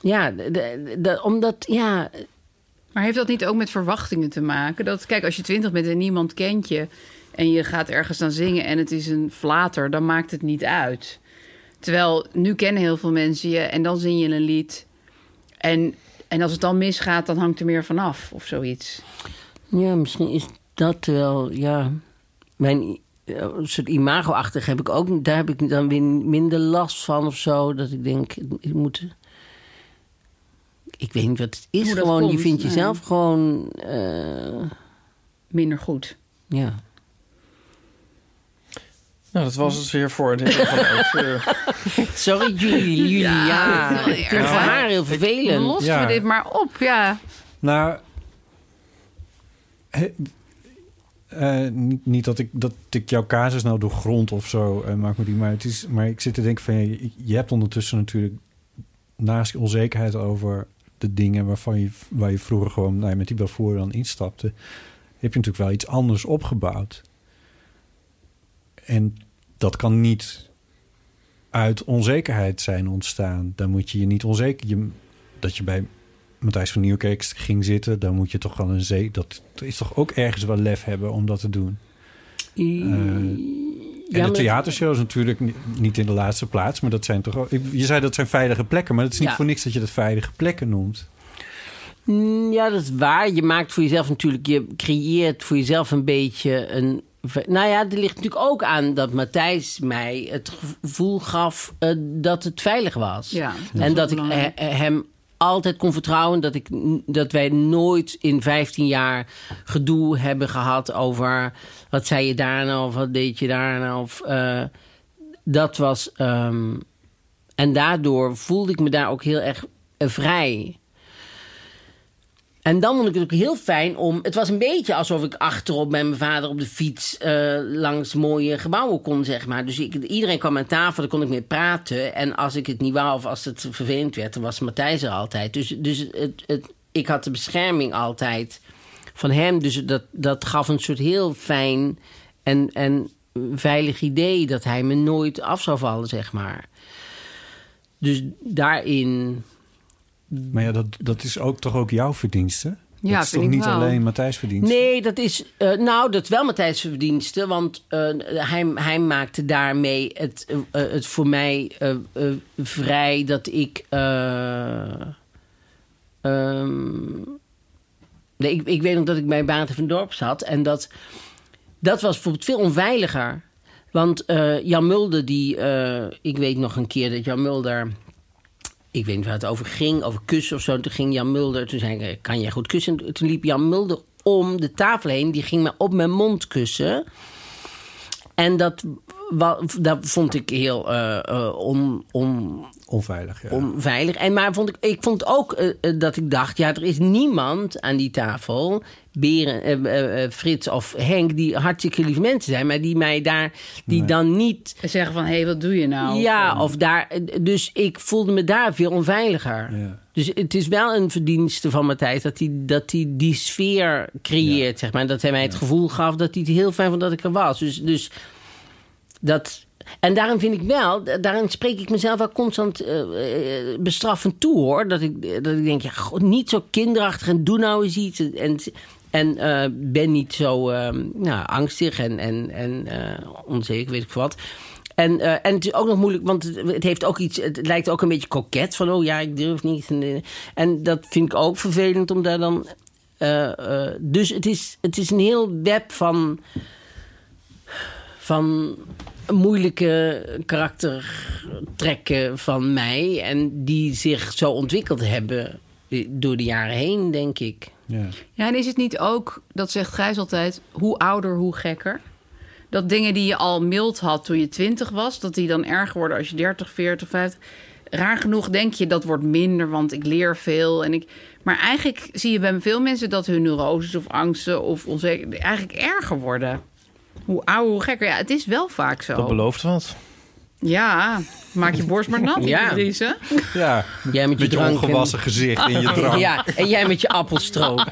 D: Ja, de- de- de- omdat, ja,
C: Maar heeft dat niet ook met verwachtingen te maken? Dat, kijk, als je twintig bent en niemand kent je... en je gaat ergens aan zingen en het is een flater... dan maakt het niet uit. Terwijl, nu kennen heel veel mensen je en dan zing je een lied. En, en als het dan misgaat, dan hangt er meer vanaf of zoiets.
D: Ja, misschien is dat wel, ja. Mijn i- eh, soort imago-achtig heb ik ook, daar heb ik dan weer minder last van of zo. Dat ik denk, ik moet. Ik weet niet wat het is.
C: Hoe dat
D: gewoon, je
C: komt,
D: vindt
C: ja.
D: jezelf gewoon. eh,
C: Minder goed.
D: ja.
B: Nou, dat was het weer voor dit van de auteur.
D: Sorry, jullie, jullie. Ja,
C: Ja,
D: ik vind het voor
B: Ja.
D: haar heel vervelend.
C: Lossen
E: Ja.
C: we dit maar op, ja.
E: Nou, he- eh, niet, niet dat, ik, dat ik jouw casus nou doorgrond of zo, eh maak me die. Maar, het is, maar ik zit te denken van, je, je hebt ondertussen natuurlijk naast onzekerheid over de dingen waarvan je, waar je vroeger gewoon nou ja, met die Belvoor dan instapte, heb je natuurlijk wel iets anders opgebouwd. En dat kan niet uit onzekerheid zijn ontstaan. Dan moet je je niet onzeker... Je, dat je bij Matthijs van Nieuwkerk ging zitten... dan moet je toch wel een zee... Dat is toch ook ergens wel lef hebben om dat te doen.
D: I-
E: Eh, en
D: maar-
E: de theatershows natuurlijk ni- niet in de laatste plaats... maar dat zijn toch... ook- ik- Je zei dat zijn veilige plekken... maar het is niet
D: Ja.
E: voor niks dat je dat veilige plekken noemt.
D: Mm, Ja, dat is waar. Je maakt voor jezelf natuurlijk, je creëert voor jezelf een beetje een. Nou ja, er ligt natuurlijk ook aan dat Matthijs mij het gevoel gaf eh, dat het veilig was.
C: Ja, dat is
D: en
C: wel
D: dat ik
C: belangrijk.
D: eh, eh, hem altijd kon vertrouwen. Dat, ik, n- dat wij nooit in 15 jaar gedoe hebben gehad over wat zei je daarna of wat deed je daarna. Of, eh, dat was. ehm, en daardoor voelde ik me daar ook heel erg eh, vrij. En dan vond ik het ook heel fijn om. Het was een beetje alsof ik achterop bij mijn vader op de fiets eh, langs mooie gebouwen kon, zeg maar. Dus ik, iedereen kwam aan tafel, daar kon ik mee praten. En als ik het niet wou of als het vervelend werd, dan was Matthijs er altijd. Dus, dus het, het, ik had de bescherming altijd van hem. Dus dat, dat gaf een soort heel fijn en, en veilig idee dat hij me nooit af zou vallen, zeg maar. Dus daarin.
E: Maar ja, dat, dat is ook toch ook jouw verdienste?
C: Ja,
E: dat is
C: vind
E: toch
C: ik
E: niet
C: wel.
E: alleen Matthijs verdienste?
D: Nee, dat is. eh, nou, dat is wel Matthijs' verdienste. Want eh, hij, hij maakte daarmee het, eh, eh, het voor mij eh, eh, vrij dat ik. eh, ehm, nee, ik, ik weet nog dat ik bij Baten van Dorp zat. En dat, dat was bijvoorbeeld veel onveiliger. Want eh, Jan Mulder, die. eh, ik weet nog een keer dat Jan Mulder ik weet niet waar het over ging, over kussen of zo. Toen ging Jan Mulder, toen zei ik, eh, kan jij goed kussen? Toen liep Jan Mulder om de tafel heen, die ging me op mijn mond kussen. En dat, wa- dat vond ik heel eh, eh, on, on,
E: Onveilig, ja.
D: onveilig. En maar vond ik, ik vond ook eh, eh, dat ik dacht, ja, er is niemand aan die tafel, Beren, eh, eh, eh, Frits of Henk, die hartstikke lief mensen zijn, maar die mij daar, die dan niet
C: En zeggen van, hé, hey, wat doe je nou?
D: ja, of daar. Dus ik voelde me daar veel onveiliger.
E: Ja.
D: Dus het is wel een verdienste van Matthijs dat hij, dat hij die sfeer creëert, zeg maar. Dat hij mij het gevoel gaf dat hij het heel fijn vond dat ik er was. Dus, dus dat. En daarom vind ik wel, da- daarin spreek ik mezelf wel constant eh, eh, bestraffend toe hoor. Dat ik, eh, dat ik denk, ja, god, niet zo kinderachtig en doe nou eens iets. En, en eh, ben niet zo ehm, nou, angstig en, en, en eh, onzeker, weet ik veel wat. En, eh, en het is ook nog moeilijk, want het, het heeft ook iets, het lijkt ook een beetje koket van, oh ja, ik durf niet. En, eh, en dat vind ik ook vervelend om daar dan. eh, eh, dus het is, het is een heel web van van moeilijke karaktertrekken van mij. En die zich zo ontwikkeld hebben door de jaren heen, denk ik.
E: Ja.
C: Ja, en is het niet ook, dat zegt Gijs altijd, hoe ouder, hoe gekker? Dat dingen die je al mild had toen je twintig was, dat die dan erger worden als je 30, 40, 50. Raar genoeg denk je dat wordt minder, want ik leer veel. En ik... Maar eigenlijk zie je bij veel mensen dat hun neuroses of angsten of onzeker eigenlijk erger worden. Hoe ouder, hoe gekker. Ja, het is wel vaak zo.
B: Dat belooft wat.
C: Ja, maak je borst maar nat,
D: Ja.
C: Idrisse.
E: Ja,
D: Jij met je,
E: met je
D: drank en-
E: ongewassen gezicht in je drank.
D: Ja, en jij met je appelstroop.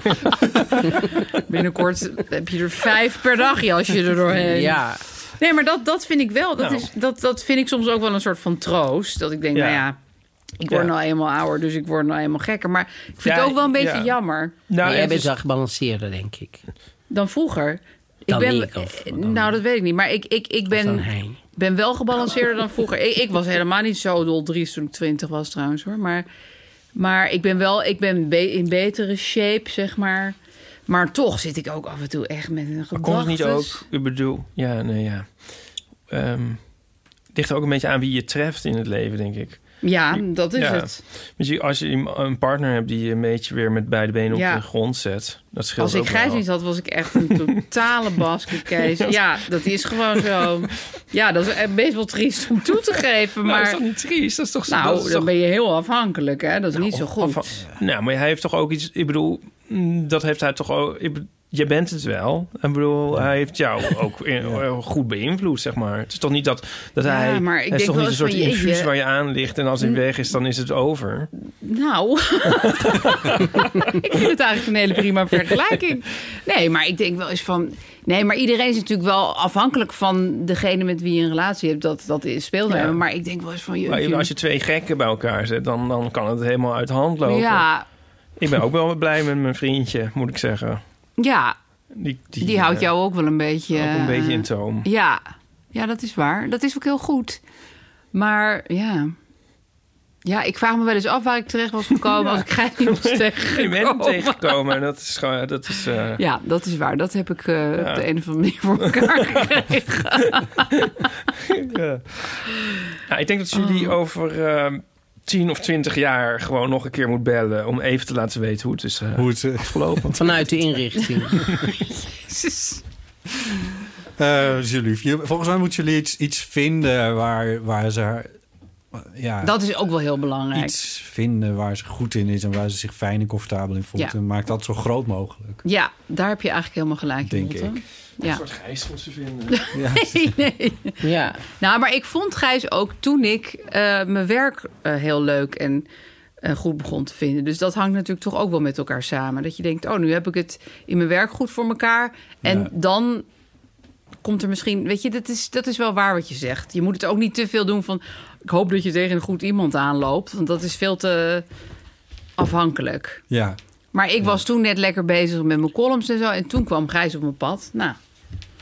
C: Binnenkort heb je er vijf per dagje als je er doorheen.
D: ja.
C: Nee, maar dat, dat vind ik wel. Dat,
B: Nou.
C: is, dat, dat vind ik soms ook wel een soort van troost. Dat ik denk,
B: Ja.
C: nou ja, Ik word
D: Ja.
C: nou eenmaal ouder, dus ik word nou eenmaal gekker. Maar ik vind
D: Ja,
C: het ook wel een beetje
D: ja.
C: jammer.
D: Nou, jij bent wel gebalanceerder, denk ik.
C: Dan vroeger.
D: Dan
C: ben,
D: ik, of
C: eh, nou, dat weet ik niet. Maar ik, ik, ik ben,
D: dan hij.
C: ben wel gebalanceerder dan vroeger. Ik, ik was helemaal niet zo doldries toen ik twintig was trouwens hoor. Maar, maar ik ben wel ik ben be- in betere shape, zeg maar. Maar toch zit ik ook af en toe echt met een
B: Komt het
C: gedachte.
B: niet ook, ik bedoel, ja, nee, ja. Ehm ligt er ook een beetje aan wie je treft in het leven, denk ik.
C: Ja, dat is
B: ja.
C: het.
B: Misschien als je iem- een partner hebt die je een beetje weer met beide benen
C: Ja.
B: op de grond zet, dat scheelt
C: Als ik
B: ook
C: Gijs
B: wel.
C: niet had, was ik echt een totale basketkees.
B: Ja.
C: Ja, dat is gewoon zo. Ja, dat is echt best wel triest om toe te geven.
B: Nou,
C: Maar...
B: is dat niet triest? Dat is toch...
C: Nou,
B: dat
C: dan
B: is toch-
C: ben je heel afhankelijk, hè? Dat is niet zo goed.
B: Nou, maar hij heeft toch ook iets... Ik bedoel, mm, dat heeft hij toch ook... ik be- je bent het wel. Ik bedoel, hij heeft jou ook in- eh, goed beïnvloed, zeg maar. Het is toch niet dat, dat
C: Ja,
B: hij...
C: maar ik
B: het
C: denk
B: is toch
C: wel eens
B: niet een soort
C: van, jeetje. Mm.
B: infuus waar je aan ligt... en als hij weg is, dan is het over.
C: Nou, ik vind het eigenlijk een hele prima vergelijking. Nee, maar ik denk wel eens van... Nee, maar iedereen is natuurlijk wel afhankelijk van degene met wie je een relatie hebt. Dat, dat is speelt
B: Ja.
C: Maar ik denk wel eens van...
B: Maar
C: Je,
B: als je twee gekken bij elkaar zet, dan, dan kan het helemaal uit de hand lopen.
C: Ja.
B: Ik ben ook wel blij met mijn vriendje, moet ik zeggen.
C: ja,
B: Die, die,
C: die, houdt
B: eh,
C: jou ook wel een beetje...
B: ook een beetje in
C: eh,
B: toom.
C: Ja. ja, dat is waar. Dat is ook heel goed. Maar ja... Ja, ik vraag me wel eens af waar ik terecht was gekomen... als ik Gijs niet was tegengekomen.
B: Je bent hem tegengekomen en dat is gewoon... Dat is, eh,
C: Ja, dat is waar. Dat heb ik eh,
B: Ja.
C: op de een of andere manier voor elkaar gekregen.
B: ja. Nou, ik denk dat jullie over ehm, 10 of 20 jaar gewoon nog een keer moet bellen... om even te laten weten hoe het is eh, afgelopen.
D: Vanuit de inrichting.
E: Eh, dat is heel lief. Je- Volgens mij moeten jullie iets, iets vinden waar, waar ze... haar- Ja,
C: Dat is ook wel heel belangrijk.
E: iets vinden waar ze goed in is en waar ze zich fijn en comfortabel in voelt.
C: Ja.
E: En maak dat zo groot mogelijk.
C: Ja, daar heb je eigenlijk helemaal gelijk in.
E: Denk
C: Lotte.
E: ik.
C: Ja.
B: Gijs moeten vinden.
C: Nee, nee.
D: Ja.
C: Nou, maar ik vond Gijs ook toen ik eh, mijn werk eh, heel leuk en eh, goed begon te vinden. Dus dat hangt natuurlijk toch ook wel met elkaar samen. Dat je denkt, oh, nu heb ik het in mijn werk goed voor elkaar. En
H: Ja.
C: dan komt er misschien... Weet je, dat is, dat is wel waar wat je zegt. Je moet het ook niet te veel doen van... Ik hoop dat je tegen een goed iemand aanloopt. Want dat is veel te afhankelijk.
E: Ja.
C: Maar ik was toen net lekker bezig met mijn columns en zo. En toen kwam Gijs op mijn pad. Nou,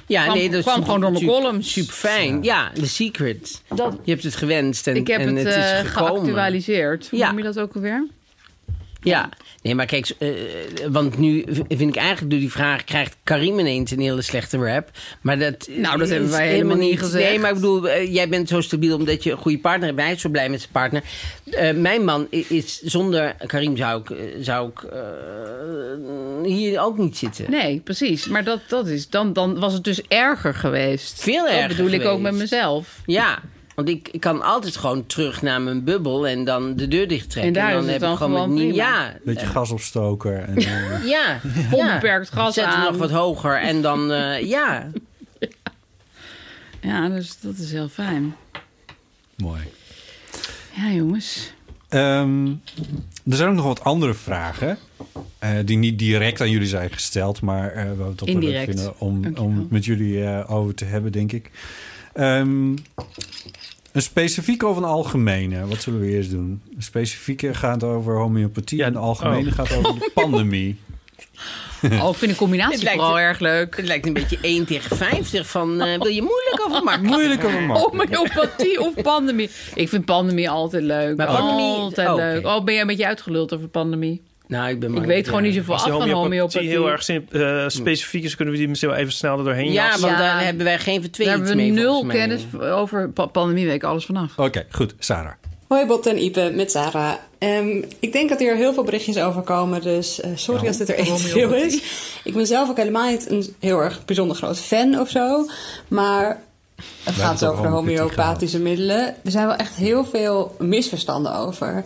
D: Ja,
C: Kwam-
D: nee, dat
C: kwam
D: is
C: gewoon door mijn
D: super-
C: columns.
D: Super fijn. Ja, The Secret.
C: Dat-
D: je hebt het gewenst en,
C: ik heb
D: en
C: het,
D: het,
C: eh,
D: is gekomen.
C: geactualiseerd. Hoe noem je dat ook alweer?
D: Ja, nee, maar kijk, eh, want nu v- vind ik eigenlijk door die vraag krijgt Karim ineens een hele slechte rap. Maar dat
C: Nou, dat
D: is
C: hebben wij helemaal niet gezegd.
D: Nee, maar ik bedoel, eh, jij bent zo stabiel omdat je een goede partner hebt. Hij is zo blij met zijn partner. Eh, mijn man i- is zonder Karim zou ik, eh, zou ik eh, hier ook niet zitten.
C: Nee, precies. Maar dat, dat is, dan, dan was het dus erger geweest.
D: Veel erger
C: Dat bedoel ik ook
D: geweest.
C: met mezelf.
D: Ja, want ik, ik kan altijd gewoon terug naar mijn bubbel en dan de deur dicht
C: En
D: trekken.
C: daar
D: dan
C: is het
D: heb
C: dan
D: ik gewoon,
C: gewoon
D: mijn-
C: prima.
D: Ja,
E: Beetje gas opstoken. En, eh,
D: Ja,
C: Onbeperkt gas
D: Zet hem
C: aan.
D: nog wat hoger en dan, eh, ja.
C: Ja, dus dat is heel fijn.
E: mooi.
C: Ja, jongens.
E: Ehm, er zijn ook nog wat andere vragen. eh, die niet direct aan jullie zijn gesteld, maar eh we het toch wel leuk
C: Indirect.
E: vinden eh, om,
C: Dankjewel.
E: om het met jullie eh, over te hebben, denk ik. Ehm, een specifieke of een algemene? Wat zullen we eerst doen? Een specifieke gaat over homeopathie en de algemene
B: oh.
E: gaat over de pandemie.
C: Oh, ik vind de combinatie
D: Het lijkt-
C: vooral erg leuk.
D: Het lijkt een beetje 1 tegen 50 van eh, wil je moeilijk of makkelijk?
E: Moeilijk of makkelijk?
C: Homeopathie Oh, of pandemie. Ik vind pandemie altijd leuk.
D: Maar pandemie-
C: altijd
D: oh, oké.
C: leuk. Oh, ben jij een beetje uitgeluld over pandemie?
D: Nou, ik ben
C: Ik weet gewoon niet zoveel
B: Als
C: af
B: die
C: van homeopathie.
B: heel erg sim- eh, specifiek is, kunnen we die misschien wel even snel er doorheen
D: Ja,
B: jassen.
D: want daar hebben wij geen
C: Daar
D: vertweeling
C: hebben
D: mee.
C: we nul
D: volgens mij.
C: kennis over pa- pandemie, weet ik alles vanaf.
E: Oké, goed, Sarah.
I: Hoi Bob en Ipe, met Sarah. Ehm, ik denk dat hier heel veel berichtjes over komen, dus eh, sorry
J: Ja.
I: als dit er één te
J: Romeo
I: veel
J: Botti.
I: is. Ik ben zelf ook helemaal niet een heel erg bijzonder groot fan of zo, maar het
J: hebben
I: gaat
J: het
I: over
J: over
I: de
J: homeopathie
I: homeopathische middelen. Er zijn wel echt heel veel misverstanden over.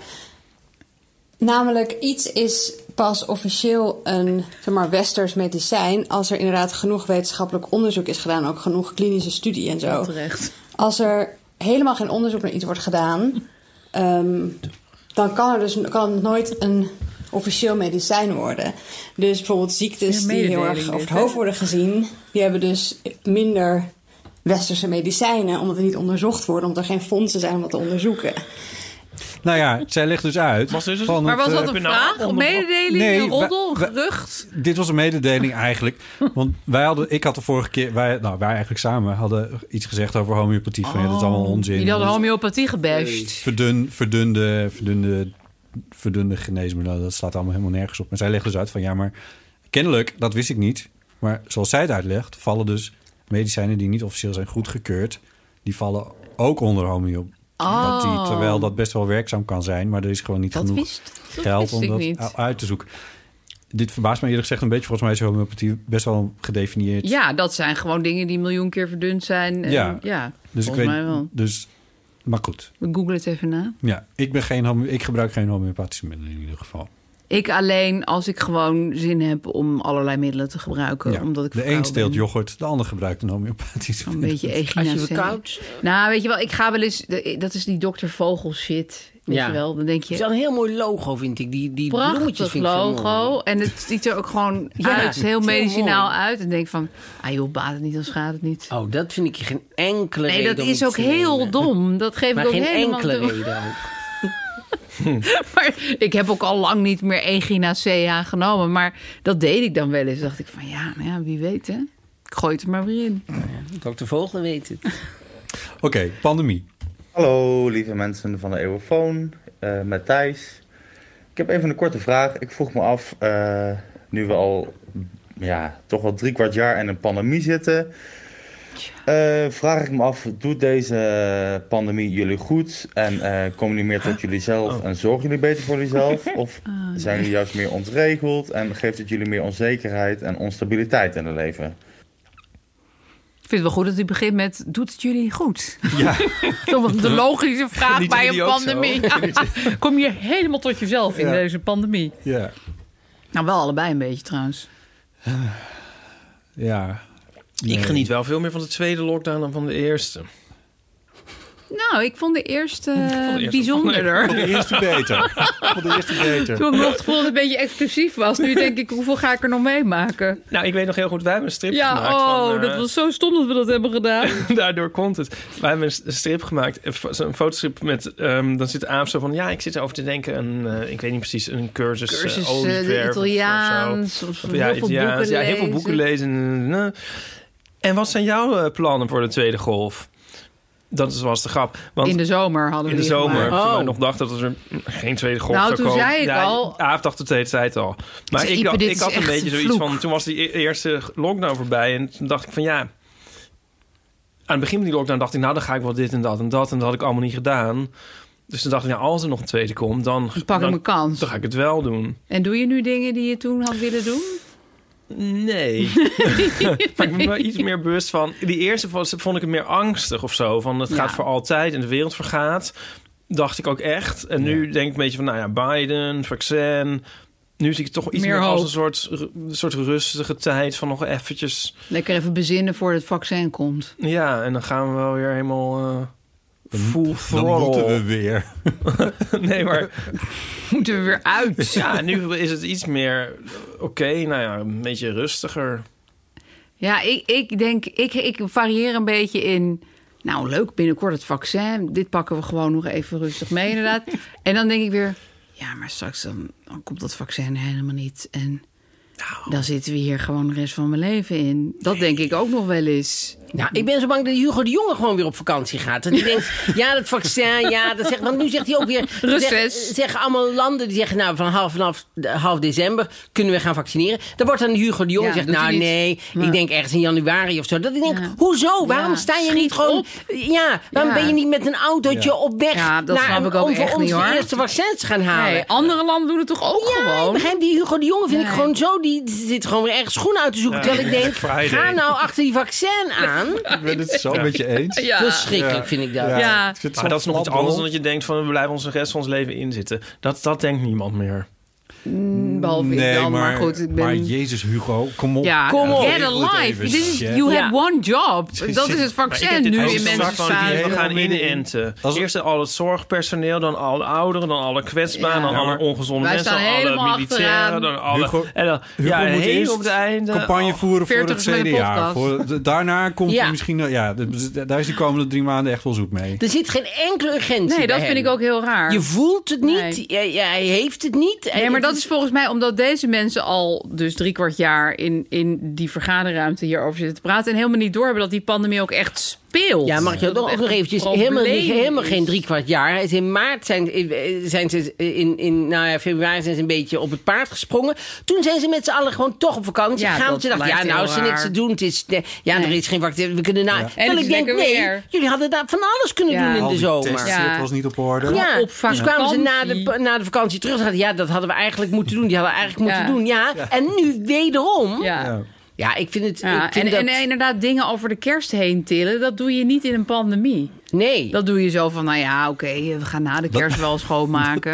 I: Namelijk, iets is pas officieel een zeg maar, westers medicijn als er inderdaad genoeg wetenschappelijk onderzoek is gedaan, ook genoeg klinische studie en zo.
C: Terecht.
I: Als er helemaal geen onderzoek naar iets wordt gedaan, ehm, dan kan, er dus, kan het nooit een officieel medicijn worden. Dus bijvoorbeeld ziektes
C: Ja,
I: die heel
C: mededeling
I: erg
C: dit,
I: over het
C: hè?
I: hoofd worden gezien, die hebben dus minder westerse medicijnen, omdat er niet onderzocht worden, omdat er geen fondsen zijn om dat te onderzoeken.
E: Nou ja, zij legt dus uit.
B: Was dus
E: van
C: maar was
E: het,
C: dat
E: eh,
C: een vraag, een mededeling,
E: Nee,
C: een roddel, een
E: wij-
C: gerucht?
E: Dit was een mededeling eigenlijk. Want wij hadden, ik had de vorige keer, wij, nou, wij eigenlijk samen hadden iets gezegd over homeopathie. Van ja, dat is allemaal onzin. Oh.
C: Jullie hadden
E: Dat is
C: homeopathie gebashed.
E: verdun, verdunde, verdunde, verdunde geneesmiddelen. nou, Dat slaat allemaal helemaal nergens op. Maar zij legt dus uit van ja, maar kennelijk, dat wist ik niet. Maar zoals zij het uitlegt, vallen dus medicijnen die niet officieel zijn goedgekeurd, die vallen ook onder homeopathie.
C: Oh.
E: Terwijl dat best wel werkzaam kan zijn, maar er is gewoon niet
C: Dat
E: genoeg
C: wist- dat
E: geld
C: wist
E: om
C: ik
E: dat
C: niet.
E: u- uit te zoeken. Dit verbaast me eerlijk gezegd een beetje. Volgens mij is homeopathie best wel gedefinieerd.
C: Ja, dat zijn gewoon dingen die een miljoen keer verdund zijn. En, ja,
E: dus ik
C: volgens
E: weet,
C: mij wel.
E: Dus, maar goed.
C: We googlen het even na.
E: Ja, ik, ben geen, home- ik gebruik geen homeopathische middelen in ieder geval.
C: Ik alleen als ik gewoon zin heb om allerlei middelen te gebruiken.
E: Ja,
C: Omdat ik
E: de
C: vrouw
E: een steelt
C: ben.
E: yoghurt, de ander gebruikt een homeopathische
C: Een beetje echinacea. Nou, weet je wel, ik ga wel eens... de- Dat is die dokter Vogel shit. Weet
D: Ja.
C: je wel, dan denk je...
D: Het is wel een heel mooi logo, vind ik. Die, die bloemetjes
C: Prachtig
D: vind ik zo mooi.
C: logo. En het ziet er ook gewoon
D: Ja,
C: uit.
D: het is
C: heel
D: heel
C: medicinaal
D: mooi.
C: uit. En denk van, ah joh, baat het niet, dan schaadt het niet.
D: Oh, dat vind ik geen enkele
C: Nee,
D: reden.
C: dat
D: om
C: is
D: het
C: ook
D: te nemen.
C: heel dom. Dat geef
D: Maar
C: ik ook
D: geen
C: helemaal
D: enkele
C: toe.
D: reden ook.
C: Maar ik heb ook al lang niet meer Echinacea genomen. Maar dat deed ik dan wel eens. dacht ik van, ja, nou ja, wie weet hè. Ik gooi het er maar weer in.
D: Dokter Vogel weet het.
E: Oké, pandemie.
H: Hallo lieve mensen van de Eeuwofoon, eh met Thijs. Ik heb even een korte vraag. Ik vroeg me af, eh, nu we al ja, toch wel drie kwart jaar in een pandemie zitten, eh, vraag ik me af, doet deze pandemie jullie goed en eh, komen jullie meer tot jullie zelf en zorgen jullie beter voor jezelf? Of zijn jullie juist meer ontregeld en geeft het jullie meer onzekerheid en onstabiliteit in het leven?
C: Ik vind het wel goed dat hij begint met, doet het jullie goed?
E: Ja.
C: Toch wel de logische vraag
E: Genieten
C: bij
E: jullie
C: een
E: ook zo?
C: pandemie. Kom je helemaal tot jezelf in
E: Ja.
C: deze pandemie.
E: Ja,
C: Nou, wel allebei een beetje trouwens.
E: ja.
B: Ik geniet wel veel meer van de tweede lockdown dan van de eerste.
C: Nou, ik vond de eerste,
B: eerste-
C: bijzonderder.
B: Ik vond de eerste
E: beter. Voor de eerste beter.
C: Toen ik nog het gevoel dat het een beetje exclusief was. Nu denk ik, hoeveel ga ik er nog meemaken?
B: Nou, ik weet nog heel goed, wij hebben een strip
C: Ja,
B: gemaakt.
C: oh,
B: van, eh,
C: dat was zo stom dat we dat hebben gedaan.
B: Daardoor komt het. Wij hebben een s- een strip gemaakt, een fo- zo'n fotostrip met... ehm, dan zit Aaf zo van, ja, ik zit erover te denken. Een, eh, ik weet niet precies, een cursus,
C: Cursus,
B: eh,
C: eh,
B: olieverf of- of zo.
C: Italiaans, of heel veel
B: Italiaans.
C: boeken
B: ja, heel veel
C: lezen.
B: boeken lezen. eh, eh. En wat zijn jouw eh, plannen voor de tweede golf? Dat is- was de grap. Want
C: in de zomer hadden we
B: in de
C: die
B: zomer,
C: gemaakt.
B: toen wij nog dachten dat er geen tweede golf
C: Oh. Nou,
B: zou
C: toen
B: komen.
C: zei ik
B: Ja,
C: al-
B: Aaf dacht het de hele tijd al. Maar
C: zei,
B: ik,
C: Ipe,
B: dacht,
C: dit
B: ik
C: is
B: had een
C: echt
B: beetje
C: een
B: zoiets
C: vloek.
B: van... Toen was die e- eerste lockdown voorbij en toen dacht ik van ja... Aan het begin van die lockdown dacht ik... Nou, dan ga ik wel dit en dat en dat. En dat had ik allemaal niet gedaan. Dus toen dacht ik, nou, als er nog een tweede komt, dan...
C: pak ik
B: dan-
C: mijn kans.
B: Dan ga ik het wel doen.
C: En doe je nu dingen die je toen had willen doen?
B: Nee. maar ik ben wel iets meer bewust van... Die eerste was, vond ik het meer angstig of zo. Van het gaat voor altijd en de wereld vergaat. Dacht ik ook echt. En nu denk ik een beetje van, nou ja, Biden, vaccin. Nu zie ik het toch iets
C: Meer
B: meer, als
C: hoop.
B: een soort, ru- soort rustige tijd van nog eventjes...
C: Lekker even bezinnen voordat het vaccin komt.
B: Ja, en dan gaan we wel weer helemaal eh full
E: Dan
B: throttle.
E: moeten we weer.
B: nee, maar...
C: Moeten we weer uit.
B: Ja, nu is het iets meer... Oké, nou ja, een beetje rustiger.
C: Ja, ik, ik denk, ik, ik varieer een beetje in. Nou, leuk, binnenkort het vaccin. Dit pakken we gewoon nog even rustig mee, inderdaad. En dan denk ik weer, ja, maar straks dan, dan komt dat vaccin helemaal niet. En dan zitten we hier gewoon de rest van mijn leven in. Dat denk ik ook nog wel eens.
D: Nou, ik ben zo bang dat Hugo de Jonge gewoon weer op vakantie gaat. Dat hij denkt, ja, dat vaccin, ja, dat zegt... Want nu zegt hij ook weer...
C: Reces.
D: zeg- Zeggen allemaal landen, die zeggen, nou, vanaf, vanaf de- half december kunnen we gaan vaccineren. Dan wordt dan Hugo de Jonge
C: Ja,
D: zegt,
C: doet hij
D: nou,
C: niet.
D: nee,
C: Ja.
D: ik denk ergens in januari of zo. Dat ik denk, hoezo? Waarom
C: Ja,
D: sta je niet gewoon... Ja, waarom
C: Ja.
D: ben je niet met een autootje
C: Ja.
D: op weg
C: Ja, dat
D: naar,
C: snap ik ook
D: om voor
C: echt
D: ons
C: niet, hoor.
D: de eerste vaccins te gaan halen?
C: Nee, andere landen doen het toch ook
D: Ja, ik
C: gewoon?
D: begrijp die Hugo de Jonge vind ik
C: Nee.
D: gewoon zo. Die zit gewoon weer ergens schoenen uit te zoeken.
B: Ja,
D: terwijl ik
B: Black
D: denk,
B: Friday.
D: ga nou achter die vaccin aan.
E: Ik ben het zo
B: Ja.
E: met je eens.
C: Ja.
D: Verschrikkelijk vind ik dat.
C: Ja.
E: Ik vind het
B: Maar
E: zo
B: dat is nog iets
E: flapdrol.
B: anders dan dat je denkt van we blijven ons de rest van ons leven inzitten. Dat, dat denkt niemand meer.
C: Mm, Behalve ik dan, maar, goed. Ik ben...
E: maar Jezus Hugo, kom op.
C: ja,
E: Kom op.
C: get a life. This is, you had one job. Dat is het
B: Maar ik
C: vaccin
B: heb
C: nu
B: dit
C: in
B: als
C: mensen
B: straks van die hele gaan
C: staan.
B: inenten. Eerst al het zorgpersoneel, dan alle ouderen, dan alle kwetsbaren,
C: Ja.
B: dan alle ongezonde
C: Wij
B: mensen,
C: staan
B: dan alle
C: helemaal
B: militairen,
C: achteraan.
B: dan alle...
E: Hugo-
B: en dan,
E: Hugo
B: ja, en
E: moet eerst
B: heel op het einde... Oh.
E: campagne
B: al-
E: voeren voor het
B: 40 is mijn
E: CDA.
B: podcast.
E: Voor, de- daarna komt
D: Ja.
E: hij misschien... Ja, d- d- daar is die komende drie maanden echt wel zoek mee.
D: Er zit geen enkele urgentie
C: Nee, dat
D: bij
C: vind
D: hem.
C: ik ook heel raar.
D: Je voelt het niet, jij, jij heeft het niet.
C: Nee, maar dat is volgens mij omdat deze mensen al dus drie kwart jaar in, in die vergaderruimte hierover zitten te praten. En helemaal niet doorhebben dat die pandemie ook echt speelt.
D: Ja, mag je dat
C: het
D: ook
C: echt
D: nog
C: een
D: eventjes?
C: probleem
D: Helemaal, niet-
C: is.
D: helemaal geen drie kwart jaar. Hij is in maart zijn, zijn ze in, in nou ja, februari zijn ze een beetje op het paard gesprongen. Toen zijn ze met z'n allen gewoon toch op vakantie
C: Ja,
D: gegaan.
C: dat
D: Want ze dachten, ja,
C: lijkt
D: nou,
C: heel
D: als ze niks
C: raar.
D: te doen, het is, nee, ja, er is geen vaccin. We kunnen nou.
C: Ja. En
D: Terwijl
C: het is
D: ik denk,
C: lekker
D: nee,
C: weer.
D: jullie hadden daar van alles kunnen
C: Ja.
D: doen in
E: Al
D: de
E: die
D: zomer.
E: testen, het was niet op orde.
D: Ja,
C: op
D: dus kwamen ze na
C: vakantie.
D: de, na de vakantie terug. en zeiden, Ja, dat hadden we eigenlijk moeten doen. Die hadden we eigenlijk
C: Ja.
D: moeten doen. Ja. En nu wederom.
C: Ja.
D: Ja, ik vind het.
C: Ja,
D: ik vind
C: en,
D: dat-
C: en inderdaad dingen over de kerst heen tillen, dat doe je niet in een pandemie.
D: Nee.
C: Dat doe je zo van, nou ja, oké, we gaan na de kerst wel schoonmaken.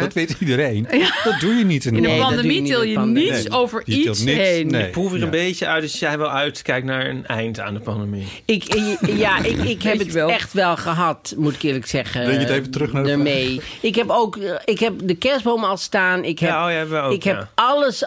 E: Dat weet iedereen. Dat doe je niet in
C: In een
E: een
C: pandemie til je niets over
E: je tilt
C: iets
E: niks.
C: heen.
E: Nee.
B: Ik proef er
E: Ja.
B: een beetje uit dat jij wel uitkijkt naar een eind aan de pandemie.
D: Ik, eh, ja, ik, ik heb het echt wel gehad, moet ik eerlijk zeggen.
B: Breng je het even terug naar de
D: daarmee. Ik heb ook eh, ik heb de kerstboom al staan. Ik heb,
B: Ja, oh ja, hebben we ook,
D: ik heb
B: ja.
D: alles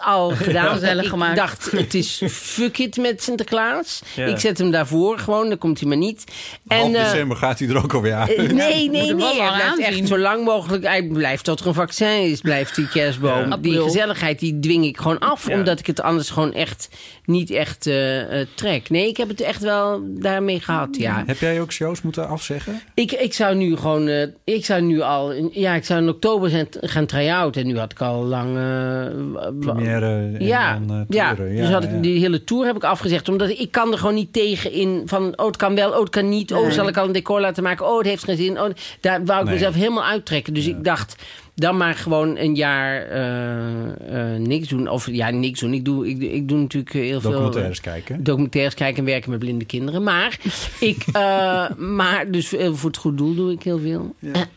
D: al gedaan.
C: Gezellig
D: ik
C: gemaakt.
D: dacht, het is fuck it met Sinterklaas.
E: Ja.
D: Ik zet hem daarvoor gewoon, dan komt hij maar niet.
E: Half
D: eh,
E: december gaat hij er ook alweer aan.
D: eh, nee,
C: moet
D: nee,
C: hem wel
D: nee. Hij
C: maar
D: blijft
C: aanzien.
D: echt zo lang mogelijk. Hij blijft tot er een vaccin is, blijft die kerstboom.
C: Ja.
D: Die
C: April.
D: gezelligheid, die dwing ik gewoon af.
C: Ja.
D: Omdat ik het anders gewoon echt niet echt eh, eh, trek. Nee, ik heb het echt wel daarmee gehad,
C: Mm.
D: ja.
E: Heb jij ook shows moeten afzeggen?
D: Ik, ik zou nu gewoon, eh, ik zou nu al, in- ja, ik zou in oktober zijn, gaan try-outen. En nu had ik al lang... eh, w- w-
E: Première en
D: ja,
E: dan, eh,
D: ja.
E: toeren.
D: dus
E: Ja,
D: had ik
E: ja.
D: die hele tour heb ik afgezegd. Omdat ik kan er gewoon niet tegen in van, oh het kan wel, oh het kan niet. Oh
C: Nee.
D: zal ik al een decor laten maken, oh het heeft geen zin. Oh, daar wou ik
C: Nee.
D: mezelf helemaal uittrekken. Dus ik dacht, dan maar gewoon een jaar eh, eh, niks doen. Of ja, niks doen. Ik doe, ik, ik doe natuurlijk eh, heel
C: dus
D: veel...
E: Documentaires kijken.
D: Documentaires kijken en werken met blinde kinderen. Maar ik, eh, maar dus eh, voor het goed doel doe ik heel veel.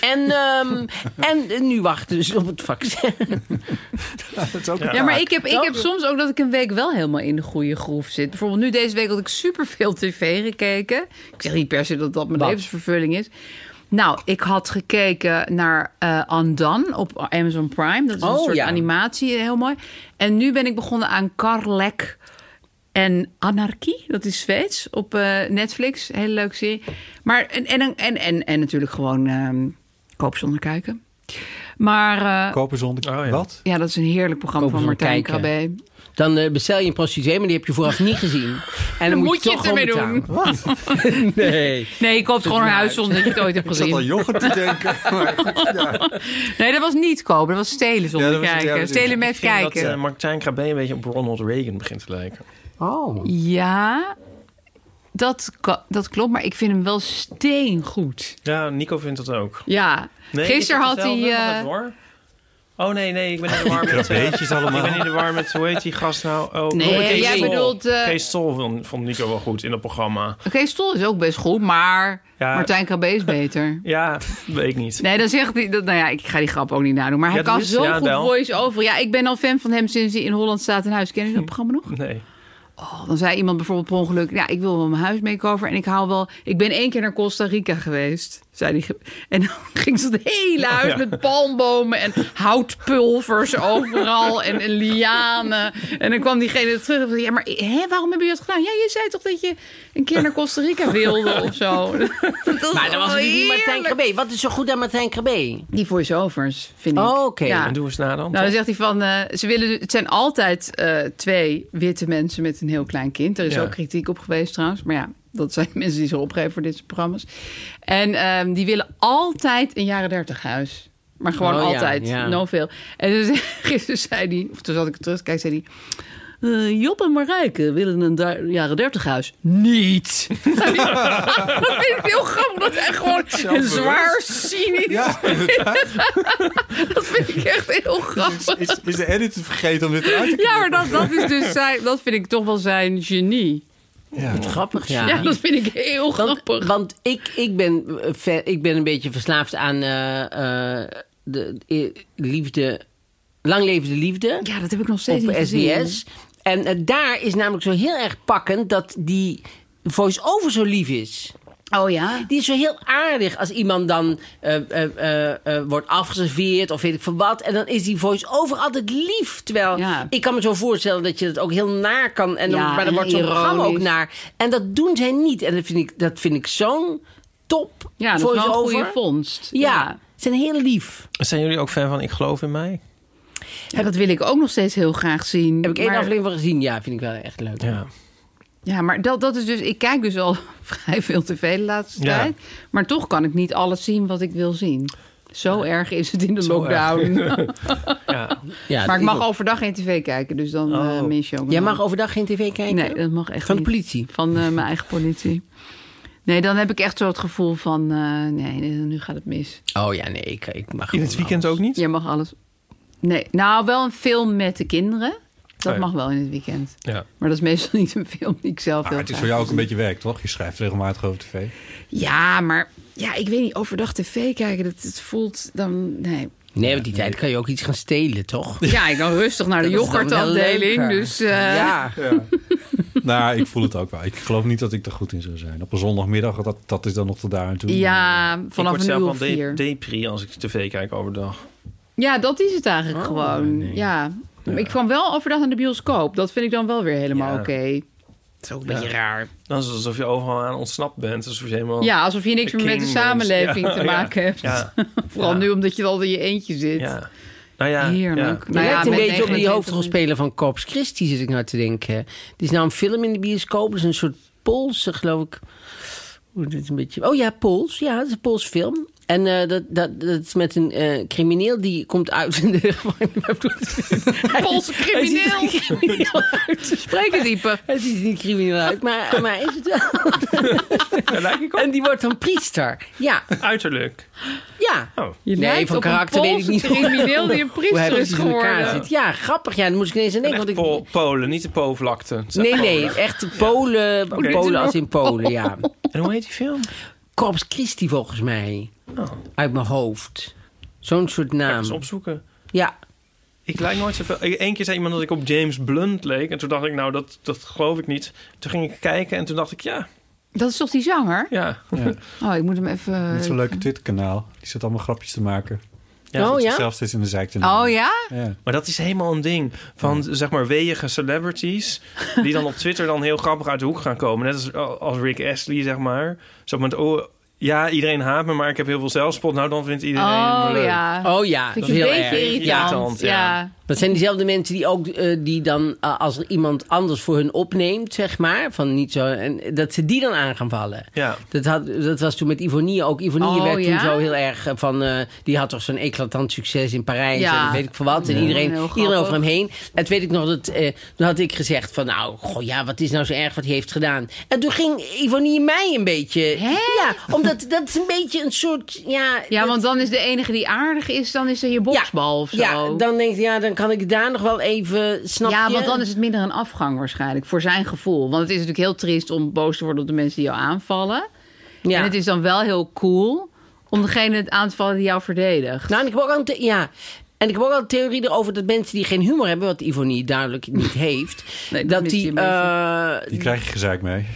D: En, ehm, en nu wachten dus op het vaccin.
C: Ja, maar ik heb, ik heb soms ook dat ik een week wel helemaal in de goede groef zit. Bijvoorbeeld nu deze week had ik superveel tv gekeken. Ik zeg niet per se dat dat mijn
J: Wat?
C: levensvervulling is. Nou, ik had gekeken naar eh Andan op Amazon Prime. Dat is een
J: Oh,
C: soort
J: ja.
C: animatie, eh, heel mooi. En nu ben ik begonnen aan Karlek en Anarchie. Dat is Zweeds op eh, Netflix. Hele leuke serie. Maar en, en, en, en, en natuurlijk gewoon ehm koop zonder kijken. Maar eh,
E: Kopen zonder...
B: Oh,
E: Wat?
C: ja, dat is een heerlijk programma
D: Kopen
C: van
D: zonder
C: Martijn
D: kijken.
C: Krabbe.
D: Dan eh, bestel je een prostituee, maar die heb je vooraf niet gezien. En dan,
C: Dan
D: moet je,
C: moet
D: toch
C: je het
D: gewoon
C: ermee
D: betalen. nee.
C: Nee, je koopt gewoon een
D: Nou,
C: huis zonder dat je het ooit hebt
D: ik
C: gezien.
D: zat al
E: yoghurt te denken.
C: Nee, dat was niet kopen. Dat was stelen zonder
B: dat was- ja,
C: kijken.
B: dat is-
C: stelen
B: Ik
C: met
B: vind
C: kijken.
B: Dat eh, Martijn Krabbe een beetje op Ronald Reagan begint te lijken.
D: Oh.
C: Ja, dat, ka- dat klopt. Maar ik vind hem wel steengoed.
B: Ja, Nico vindt dat ook.
C: Ja,
B: Nee,
C: gisteren
B: is
C: had
B: het
C: hij...
B: hetzelfde? Wacht
C: eh,
B: even hoor. Oh nee, nee, ik ben in de war met... eh,
E: Krabbeetjes allemaal.
B: Ik ben in de war met, hoe heet die gast nou? Oh,
C: Nee,
B: Robert Kees
C: jij
B: Stol.
C: bedoelt, eh,
B: Kees Stol vond, vond Nico wel goed in dat programma.
C: Oké, Stol is ook best goed, maar
B: Ja.
C: Martijn Krabbe is beter.
B: Ja, weet ik niet.
C: Nee, dan zegt hij... Dat, nou ja, ik ga die grap ook niet nadoen. Maar hij
B: Ja, dat
C: kan
B: is-
C: zo
B: ja,
C: goed
B: wel.
C: voice-over. Ja, ik ben al fan van hem sinds hij in Holland staat in huis. Ken
B: Hm.
C: je dat programma nog?
B: Nee.
C: Oh, dan zei iemand bijvoorbeeld per ongeluk... ja, ik wil wel mijn huis makeover en ik haal wel... ik ben één keer naar Costa Rica geweest, zei die. ge- En dan ging ze het hele huis
J: Ja.
C: met palmbomen en houtpulvers overal... en, en lianen. En dan kwam diegene terug en zei... ja, maar hè, waarom hebben jullie dat gedaan? Ja, je zei toch dat je een keer naar Costa Rica wilde of zo?
D: Maar dat was natuurlijk niet Martijn
C: heerlijk.
D: Krabbe. Wat is zo goed aan Martijn Krabbe?
C: Die voice-overs, vind
D: ik. Oh, oké.
C: Ja.
B: En doe eens na dan.
C: Nou, dan
B: toch?
C: zegt hij van, eh, ze willen, het zijn altijd eh, twee witte mensen met een heel klein kind. Er is
B: Ja.
C: ook kritiek op geweest trouwens, maar ja, dat zijn mensen die zich opgeven voor dit soort programma's. En ehm, die willen altijd een jaren dertig huis. Maar gewoon
J: Oh, ja,
C: altijd,
J: ja.
C: no veel. En dus, gisteren zei hij, of toen zat ik terug te kijken, zei hij... "Eh, Job en Marijke willen een da- jaren dertig huis. Niet! dat vind ik heel grappig. Dat hij gewoon een
J: Zelfbewust.
C: zwaar cynisch... dat vind ik echt heel grappig.
E: Is, is de editor vergeten om dit eruit te knippen?
C: Ja, maar dat, dat is dus zijn, dat vind ik toch wel zijn genie.
E: Ja.
D: Grappig, ja.
C: Ja, dat vind ik heel grappig.
D: Want ik, ik, ben, eh, ver- ik ben een beetje verslaafd aan eh, eh, de, eh, liefde... Lang leven de liefde.
C: Ja, dat heb ik nog steeds
D: Op
C: niet
D: SBS.
C: gezien.
D: En eh, daar is namelijk zo heel erg pakkend dat die voice-over zo lief is.
C: Oh ja?
D: Die is zo heel aardig als iemand dan eh, eh, eh, eh, wordt afgeserveerd of weet ik van wat. En dan is die voice-over altijd lief. Terwijl ik kan me zo voorstellen dat je dat ook heel naar kan. En dan,
C: Ja,
D: maar dan
C: en
D: wordt zo'n programma ook
C: ironisch.
D: naar. En dat doen zij niet. En dat vind ik, dat vind ik zo'n top
C: Ja, dat is wel een
D: voice-over.
C: goede vondst.
D: Ja, zijn heel lief.
C: dus-
B: Zijn jullie ook fan van Ik geloof in mij?
C: Ja, dat wil ik ook nog steeds heel graag zien.
D: Heb ik één
C: maar-
D: aflevering van gezien? Ja, vind ik wel echt leuk.
B: Ja.
C: Ja, maar dat, dat is dus... Ik kijk dus al vrij veel tv de laatste
D: Ja.
C: tijd. Maar toch kan ik niet alles zien wat ik wil zien. Zo erg is het in de
D: Zo erg.
C: lockdown.
B: ja.
C: maar ik mag overdag geen tv kijken, dus dan eh mis je ook
D: Oh. Jij
C: nog.
D: mag overdag geen tv kijken?
C: Nee, dat mag echt
D: Van de
C: niet.
D: politie?
C: Van eh, mijn eigen politie. Nee, dan heb ik echt zo het gevoel van... eh, nee, nu gaat het mis.
D: Oh ja, nee, ik, ik mag
B: In het weekend ook niet?
C: Jij mag alles. Nee, nou wel een film met de kinderen. Dat
E: Oh ja.
C: mag wel in het weekend.
B: Ja.
C: Maar dat is meestal niet een film die ik zelf wil
E: Ah, het is voor
C: kijken.
E: jou ook een beetje werk, toch? Je schrijft regelmatig over tv.
C: Ja, maar ja, ik weet niet, overdag tv kijken, dat het voelt dan... Nee.
D: Nee, want die tijd kan je ook iets gaan stelen, toch?
C: Ja, ik kan rustig naar de
D: Dat is dan wel
C: yoghurtafdeling,
D: leuker.
C: dus... eh,
D: Ja.
E: nou, ik voel het ook wel. Ik geloof niet dat ik er goed in zou zijn. Op een zondagmiddag, dat, dat is dan nog tot daar aan toe.
C: Ja, vanaf
B: ik word
C: een
B: zelf
C: uur
B: wel
C: of vier.
B: depri als ik tv kijk overdag.
C: Ja, dat is het
B: Oh,
C: eigenlijk gewoon. Ja. Ik kwam wel overdag naar de bioscoop. Dat vind ik dan wel weer helemaal
B: Ja.
C: oké. Dat is ook een beetje
B: Ja.
C: raar.
B: Dan is het alsof je overal aan ontsnapt bent. Alsof je helemaal
C: Ja, alsof je niks
B: Oh. de
C: meer met de
B: king
C: samenleving
B: bent. Ja,
C: te maken
B: ja,
C: hebt.
B: Ja.
C: Vooral nu omdat je al in je eentje zit.
B: Ja. Nou ja,
C: Heerlijk.
B: ja.
D: Je lijkt een
C: met
D: beetje op die
C: 29
D: hoofdrolspeler van Corpus Christi, zit ik nou te denken. Het is nou een film in de bioscoop, het is een soort Poolse, geloof ik. Oeh, dit is een beetje... Oh ja, Pools. Ja, het is een Pools film. En eh, dat, dat, dat is met een eh, crimineel die komt uit in de
C: Poolse crimineel. Spreken dieper.
D: Het is niet crimineel uit, maar, maar is het wel. en die wordt dan priester. Ja,
B: Uiterlijk.
D: ja.
B: Oh.
C: Je
D: nee,
C: lijkt
D: van
C: op een
D: karakter weet ik
C: Poolse
D: niet. hoe-
C: crimineel die een
D: hoe
C: priester
D: hij precies
C: is
D: in elkaar
C: geworden.
D: zit. Ja, grappig. Ja, dan moest ik ineens aan denken.
B: Echt
D: Want ik,
B: Pool- Polen, niet de Po-vlakte. Het zijn
D: nee, nee,
B: Polen.
D: echt de Polen, Polen als in Polen, ja.
B: En hoe heet die film?
D: Corpus Christi volgens mij,
B: Oh,
D: uit mijn hoofd. Zo'n soort
B: eens
D: naam.
B: opzoeken.
D: Ja,
B: Ik lijk nooit zoveel. Ik- Eén keer zei iemand dat ik op James Blunt leek. En toen dacht ik, nou, dat, dat geloof ik niet. Toen ging ik kijken en toen dacht ik, ja,
C: Dat is toch die zanger?
B: ja.
E: Ja.
C: Oh, ik moet hem even...
E: Met zo'n leuke Twitter-kanaal. Die zit allemaal grapjes te maken.
B: Ja.
C: Oh, ja?
E: Zelfs steeds in de zeik te nemen.
C: Oh ja?
E: Ja.
B: Maar dat is helemaal een ding van zeg maar weeige celebrities die dan op Twitter dan heel grappig uit de hoek gaan komen, net als, als Rick Astley zeg maar. Zo met oh ja, iedereen haat me, maar ik heb heel veel zelfspot. Nou, dan vindt iedereen me
C: Oh
B: leuk.
C: ja.
D: oh ja,
C: Vind
D: dat
C: je
D: is
C: een
D: heel
C: beetje
D: erg.
C: irritant.
B: Irritant, ja.
C: ja.
D: Dat zijn diezelfde mensen die ook eh, die dan, eh, als er iemand anders voor hun opneemt, zeg maar, van niet zo, en dat ze die dan aan gaan vallen.
B: Ja.
D: Dat, had, dat was toen met Ivonie ook. Ivonie
C: Oh,
D: werd toen
C: ja?
D: zo heel erg eh, van... eh, die had toch zo'n eclatant succes in Parijs
C: Ja.
D: en weet ik veel wat. En
C: Ja.
D: iedereen,
C: Heel grappig.
D: iedereen over hem heen. En toen weet ik nog dat... eh, toen had ik gezegd van nou, goh ja, wat is nou zo erg wat hij heeft gedaan. En toen ging Ivonie mij een beetje... Ja, omdat dat is een beetje een soort... Ja,
C: Ja,
D: dat-
C: want dan is de enige die aardig is, dan is er je boksbal of zo.
D: ja, dan denk ik, ja, dan kan ik daar nog wel even... Snap
C: ja,
D: je?
C: want dan is het minder een afgang waarschijnlijk voor zijn gevoel. Want het is natuurlijk heel triest om boos te worden op de mensen die jou aanvallen.
D: Ja.
C: En het is dan wel heel cool om degene aan te vallen die jou verdedigt.
D: Nou, en ik heb ook al een, the- ja. En ik heb ook al een theorie erover dat mensen die geen humor hebben, wat Ivonie duidelijk niet heeft,
C: Nee, dat
D: dat
C: mist je
D: die,
C: een beetje.
D: eh,
E: Die krijg je gezeik mee.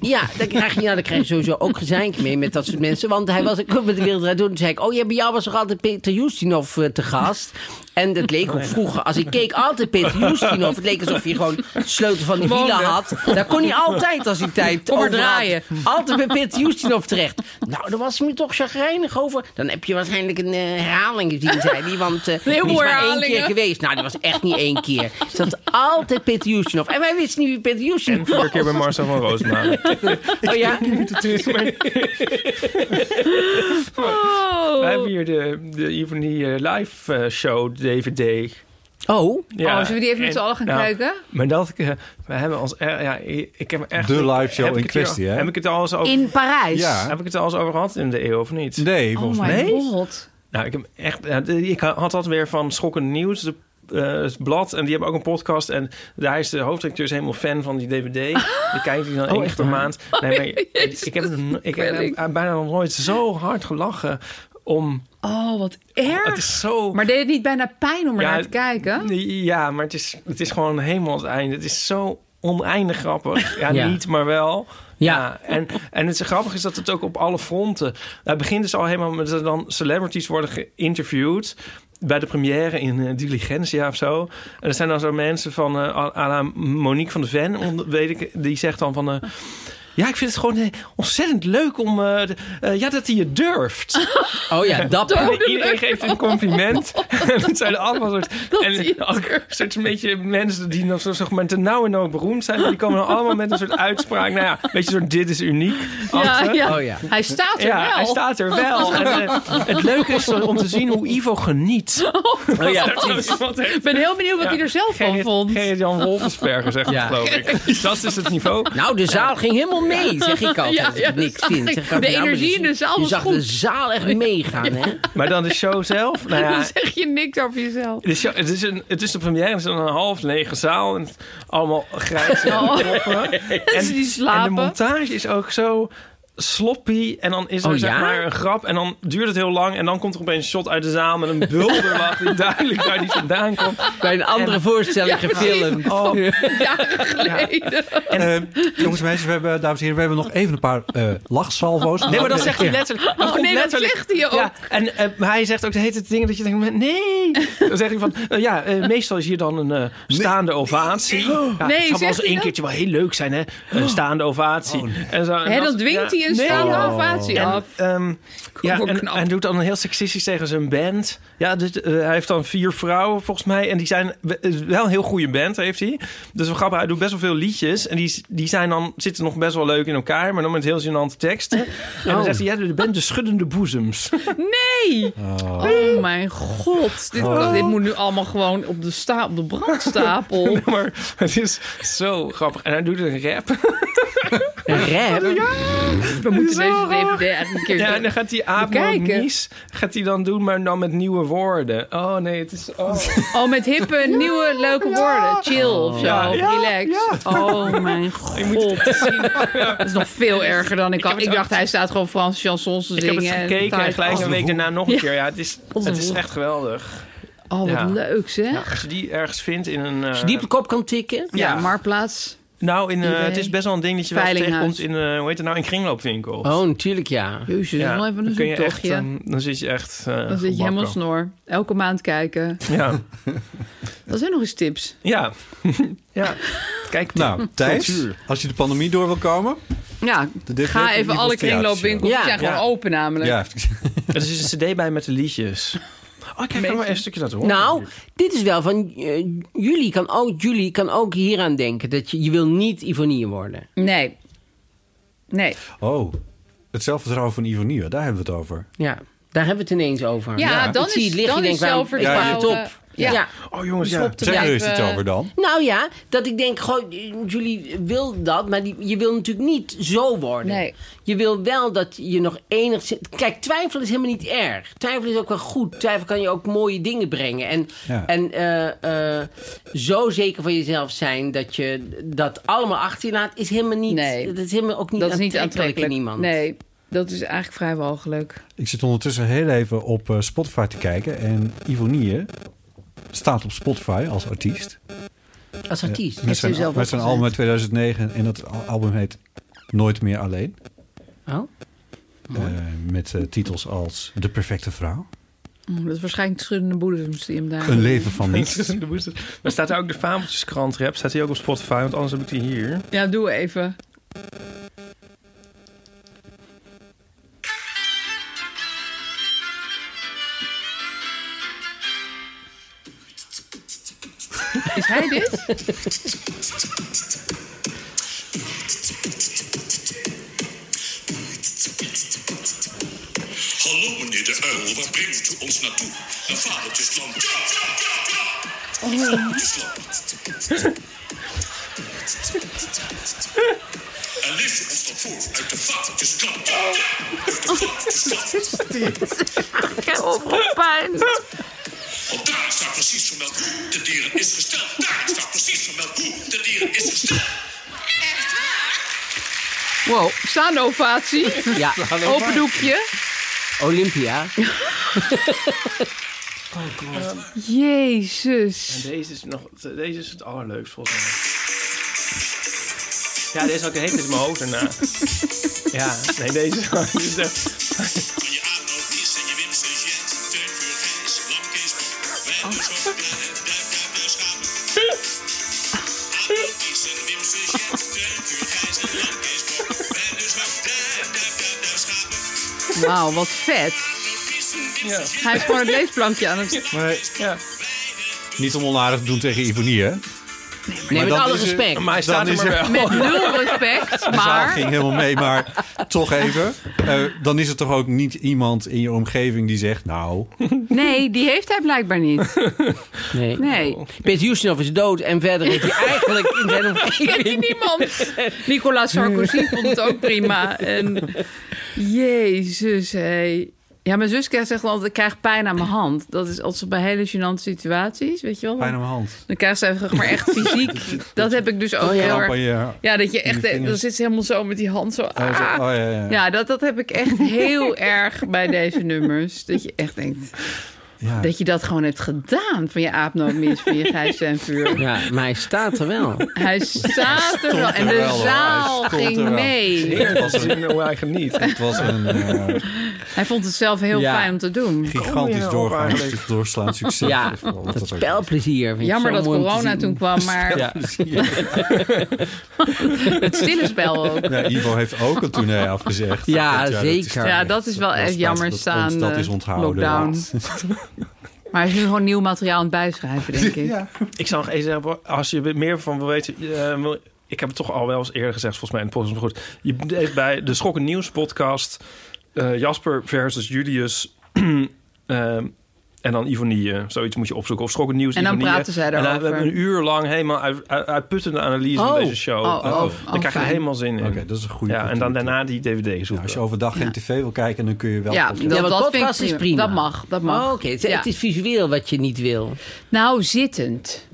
D: Ja, dan krijg je, ja, dan krijg je sowieso ook gezeik mee met dat soort mensen. Want hij was ook met de wereld Draait Door. Toen zei ik, oh ja, bij jou was toch altijd Peter Justinov eh, te gast? En dat leek ook vroeger. Als ik keek altijd Peter Justinov. Het leek alsof hij gewoon sleutel van die villa had. Daar kon hij altijd als hij tijd
C: Kom maar
D: over had,
C: draaien.
D: Altijd bij Peter Justinov terecht. Nou, daar was hij me toch chagrijnig over. Dan heb je waarschijnlijk een eh, herhaling gezien, zei hij. Want eh die is
C: heleboel
D: maar één keer
C: herhalingen.
D: geweest. Nou, die was echt niet één keer. Er Zat altijd Peter Justinov. En wij wisten niet wie Peter
B: En
D: Justinov
B: vorige
D: was.
B: keer bij Marcel van Roosmalen.
D: Oh ja?
B: We hebben hier de, de Ivonie eh, live eh, show DVD.
D: Oh,
B: Ja,
C: oh, zullen we die even
B: en-
C: met z'n allen gaan
B: nou,
C: kijken?
B: Maar dat eh, we hebben als eh, ja, ik ik heb echt
E: De live show
B: heb ik
E: in
B: het hier-
E: kwestie, hè?
B: Heb ik het al eens over?
C: In Parijs?
E: Ja.
B: Heb ik het al eens over gehad in de eeuw of niet?
E: Nee, volgens
C: Oh
E: mij.
C: my
B: Nee?
C: god.
B: Nou, ik, heb echt, ja, de- ik had dat weer van Schokkend Nieuws, de, eh, het blad. En die hebben ook een podcast. En daar is de hoofdredacteur is helemaal fan van die DVD. Die kijkt hij dan één keer per maand. Nee, maar ik, ik heb, ik heb bijna nog nooit zo hard gelachen om...
C: Oh, wat erg.
B: Het is zo...
C: Maar deed het niet bijna pijn om ernaar te kijken?
B: Ja, maar het is, het is gewoon helemaal het einde. Het is zo oneindig grappig. Ja,
C: Ja.
B: niet, maar wel. Ja. En, en het grappige is dat het ook op alle fronten... Het begint dus al helemaal met dat er dan celebrities worden geïnterviewd... Bij de première in eh, Diligentia of zo. En er zijn dan zo mensen van... eh à la Monique van de Ven, on- weet ik... Die zegt dan van... eh, ja, ik vind het gewoon eh, ontzettend leuk om... eh, de- eh, ja, dat hij het durft.
D: Oh ja, dapper.
B: En Iedereen geeft een compliment. en het zijn allemaal soort... en ook soort een beetje mensen die nog zo zeg maar te nauw en nauw beroemd zijn. maar Die komen dan allemaal met een soort uitspraak. Nou ja, weet je, soort dit is uniek. achter.
C: ja. Oh ja. Hij staat er
B: Ja,
C: wel.
B: hij staat er wel. En, eh, het leuke is om te zien hoe Ivo geniet.
C: Oh ja, precies. Ik ben heel benieuwd wat hij er zelf van vond.
B: Jan Wolfensperger zegt het, geloof ik. Dat is het niveau.
D: Nou, de zaal ging helemaal mee, zeg ik altijd.
C: Ja,
D: als ik
C: ja,
D: niks
C: dat
D: vind.
C: zag
D: Zeg ik
C: ik. De
D: altijd, nou, maar
C: energie
D: je-
C: in de zaal
D: Je
C: was
D: zag
C: goed.
D: de zaal echt meegaan, hè?
B: Maar dan de show zelf. Nou ja,
C: Dan zeg je niks over jezelf.
B: De show- het, is een, het is de première, het is een half lege zaal. En het- allemaal grijs en
C: Oh.
B: kloppen. En,
C: die slapen.
B: en de montage is ook zo sloppy. En dan is er
D: Oh,
B: zeg
D: ja?
B: maar een grap. En dan duurt het heel lang. En dan komt er opeens een shot uit de zaal met een bulderwacht... die duidelijk waar die vandaan komt.
D: Bij een andere voorstelling
B: Ja,
D: gefilmd.
B: Oh,
E: Eh, jongens en meisjes, we hebben, dames en heren, we hebben nog even een paar eh lachsalvo's.
B: Nee, maar dan zegt hij letterlijk.
C: Oh,
B: komt
C: nee, dat
B: letterlijk-
C: zegt hij ook.
B: Ja, en eh, maar hij zegt ook de hele tijd dingen dat je denkt: nee. Dan zegt hij van: eh, ja, eh, meestal is hier dan een eh, staande ovatie. Ja,
C: Nee,
B: het zou
C: zegt
B: wel eens
C: hij
B: één
C: dat?
B: keertje wel heel leuk zijn, hè?
E: Oh.
B: Een staande ovatie. en zo, en
C: Hè,
B: dat-
C: dan dwingt
B: ja,
C: hij een
B: nee.
C: staande ovatie
B: En,
C: af.
B: ehm, ja,
C: wel
B: en, en doet dan heel seksistisch tegen zijn band. Ja, dus, eh, hij heeft dan vier vrouwen volgens mij. En die zijn we- eh, wel een heel goede band, heeft hij. Dus wel grappig, hij doet best wel veel liedjes. En die, die zijn dan, zitten nog best wel leuk in elkaar. Maar dan met heel gênante teksten. En dan
C: Oh.
B: zegt hij, ja, de band De Schuddende Boezems.
C: Nee! Oh, mijn god. Dit,
B: Oh.
C: dit moet nu allemaal gewoon op de, sta, op de brandstapel.
B: Nee, maar het is zo grappig. En hij doet een rap.
D: Rap?
C: We moeten
B: Zo
C: deze
B: grappig.
C: DVD echt een keer
B: Ja, en dan gaat die aap
C: bekijken.
B: Mies, gaat hij dan doen, maar dan met nieuwe woorden. Oh nee, het is... Oh.
C: Oh, met hippe, nieuwe, leuke woorden. Chill of zo.
B: Ja,
C: of
B: ja,
C: relax. Oh, mijn god. Dat is nog veel erger dan ik had. Ik dacht, hij staat gewoon Frans chansons te
B: Ik heb
C: zingen.
B: het gekeken en
C: taart-
B: gelijk een
C: Oh,
B: week daarna nog een
C: Ja.
B: keer. Ja, het is,
C: Wat een
B: het is
C: woel.
B: echt geweldig.
C: Oh, wat
B: Ja.
C: leuk zeg.
B: Ja, als je die ergens vindt in een... eh,
D: Als je die op de kop kan tikken.
C: Ja,
B: Ja.
C: Marktplaats.
B: Nou, in, eh,
C: Idee.
B: het is best wel een ding dat je wel eens
C: Veilinghuis.
B: tegenkomt in, eh, hoe heet het nou, in kringloopwinkels.
D: Oh, natuurlijk ja.
C: Jezus, dat is wel even
B: dan
C: een
B: kun je echt,
C: zoektochtje.
B: ehm, dan zit je echt... eh,
C: Dan zit je helemaal
B: gebakken.
C: snor. Elke maand kijken.
B: Ja,
C: Dat zijn nog eens tips.
B: ja. ja. Kijk,
E: Nou, Thijs,
B: Cultuur.
E: als je de pandemie door wil komen...
C: Ja,
E: DVD
C: ga even
E: van
C: alle
E: Lieve
C: kringloopwinkels.
B: Theatershow.
C: Die zijn
B: Ja.
C: gewoon open namelijk.
E: Ja,
B: er is een cd bij met de liedjes. Oh, ik heb er maar even een stukje dat hoor.
D: Nou, dit is wel van... eh, jullie, kan ook, jullie kan ook hieraan denken. Dat je, je wil niet Ivonie worden.
C: Nee. Nee.
E: Oh, het zelfvertrouwen van Ivonie, daar hebben we het over.
D: Ja, daar hebben we het ineens over.
C: Ja, dan
D: Ik zie
C: is,
D: het liggen,
C: dan
D: ik
C: is
D: denk, waarom-
C: zelfvertrouwen.
D: ik pak het op.
C: Ja.
D: Ja.
B: Oh jongens, ja.
C: Stop te
E: Zeg er eens
C: blijven-
E: iets over dan.
D: Nou ja, dat ik denk, goh, jullie wil dat, maar die, je wil natuurlijk niet zo worden.
C: Nee.
D: Je wil wel dat je nog enigszins... Kijk, twijfel is helemaal niet erg. Twijfel is ook wel goed. Twijfel kan je ook mooie dingen brengen. En,
E: Ja.
D: en eh, eh, zo zeker van jezelf zijn dat je dat allemaal achter je laat, is helemaal niet...
C: Nee.
D: Dat is helemaal ook niet
C: Dat is
D: aantrekkelijk,
C: niet aantrekkelijk.
D: in iemand.
C: Nee, dat is eigenlijk vrij walgelijk.
E: Ik zit ondertussen heel even op eh, Spotify te kijken. En Ivonie staat op Spotify als artiest.
D: Als artiest.
E: Eh, met zijn,
D: zelf
E: met zijn album uit 2009. En dat al- album heet Nooit meer alleen.
D: Oh.
E: Eh, met eh, titels als De Perfecte Vrouw.
C: Oh, Dat is waarschijnlijk schuddende boedems die hem daar...
E: Een leven van niets.
B: De boezers. maar staat daar ook de Fabeltjeskrant rap? Staat die ook op Spotify? Want anders heb ik die hier.
C: Ja, doe even. Is hij dit?
J: Hallo meneer de uil, waar brengt u ons naartoe? Naar vadertjesland. Ja, ja, ja, ja. Vadertjesland. En lees u ons dan voor uit de vadertjesland. Ja, ja. Uit de vadertjesland.
C: Ik heb overal pijn.
J: Want daar staat precies vermeld hoe de dieren is gesteld. Daar staat precies vermeld hoe de dieren is gesteld.
C: Wow, staande ovatie.
D: Ja.
C: Open doekje.
D: Olympia.
C: Jezus.
B: En deze is, nog, deze is het allerleukst volgens mij. Ja, deze had ik helemaal in mijn hoofd daarna. Ja, nee, deze is echt...
C: Wauw, wat vet.
B: Ja.
C: Hij is gewoon het leesplankje aan het...
B: Ja.
E: Niet om onaardig te doen tegen Ivonie, hè?
C: Nee, met
E: dan
C: alle
E: is er-
C: respect.
B: Maar hij
E: dan
B: staat er
E: is
B: maar
E: er-
C: Met nul respect,
E: De zaal
C: maar...
E: ging helemaal mee, maar toch even. Eh, dan is er toch ook niet iemand in je omgeving die zegt... nou,
C: Nee, die heeft hij blijkbaar niet.
D: Nee.
C: Nee.
E: Oh.
D: Pete Ustinov is dood en verder heeft hij eigenlijk in zijn omgeving...
C: Kent hij niemand? Nicolas Sarkozy vond het ook prima. En jezus, hé. Ja, mijn zus krijgt zegt altijd, ik krijg pijn aan mijn hand. Dat is als ze bij hele gênante situaties, weet je wel.
E: pijn aan mijn hand.
C: Dan krijgt ze zeg maar echt fysiek. Dat heb ik dus ook
E: Oh ja.
C: heel
E: Kramp aan
C: erg.
E: je-
C: Ja, dat
E: in je
C: je echt, eh, dan
E: vingers.
C: zit ze helemaal zo met die hand zo.
E: Oh, zo-
C: ah.
E: oh, ja, ja.
C: Ja, dat, dat heb ik echt heel erg bij deze nummers. Dat je echt denkt...
D: Ja.
C: Dat je dat gewoon hebt gedaan van je aapnootmis, van je gijs en vuur.
D: Ja, maar hij staat er wel.
C: Hij staat er
D: Stond
C: wel.
D: er
C: En de
D: wel, hoor.
C: zaal
D: Hij stond er
C: ging
D: wel.
C: mee.
B: Heerlijk om te zien hoe oh, hij geniet.
E: Het was een eh,
C: Hij vond het zelf heel
E: Ja.
C: fijn om te doen.
E: gigantisch doorgaan, doorslaan succes.
D: Ja,
E: Wat
D: dat
E: ook
D: spelplezier. vind ik
C: Jammer
D: zo
C: dat
D: mooi om te
C: corona
D: zien.
C: toen kwam, maar
D: Ja.
C: het stille spel ook.
E: is. Ja, Ivo heeft ook een toernooi afgezegd.
C: Ja,
E: Dat, dat is-
C: zeker. Ja, dat is wel echt
E: was-
C: jammer
E: dat-
C: staan,
E: Dat, dat is
C: eh,
E: onthouden.
C: lockdown.
E: ja.
C: Maar hij is nu gewoon nieuw materiaal aan het bijschrijven, denk ik.
B: Ik zou nog eens zeggen, als je meer van wil weten... eh, wil- ik heb het toch al wel eens eerder gezegd, volgens mij in de podcast. Maar goed, je deed bij de Schokken Nieuws podcast... eh, Jasper versus Julius... ehm, en dan Ivonie, eh, zoiets moet je opzoeken. Of Schokken Nieuws,
C: En dan
B: Ivonie,
C: praten zij
B: En dan-
C: erover.
B: We hebben een uur lang helemaal uit, uit- uitputtende analyse
C: Oh.
B: van deze show.
C: Oh, oh, oh,
B: Daar krijg je
C: fijn.
B: helemaal zin in.
E: Oké, dat is een goede
B: Ja, en dan daarna die dvd zoeken.
E: Als je overdag geen tv wil kijken, dan kun je wel...
C: Ja,
E: podcast-
C: dat-
D: Ja, want
C: dat vind ik
D: podcast is
C: prima.
D: prima.
C: Dat mag, dat mag.
D: Oh, Oké, het,
C: Ja.
D: het is visueel wat je niet wil.
C: Nou, zittend.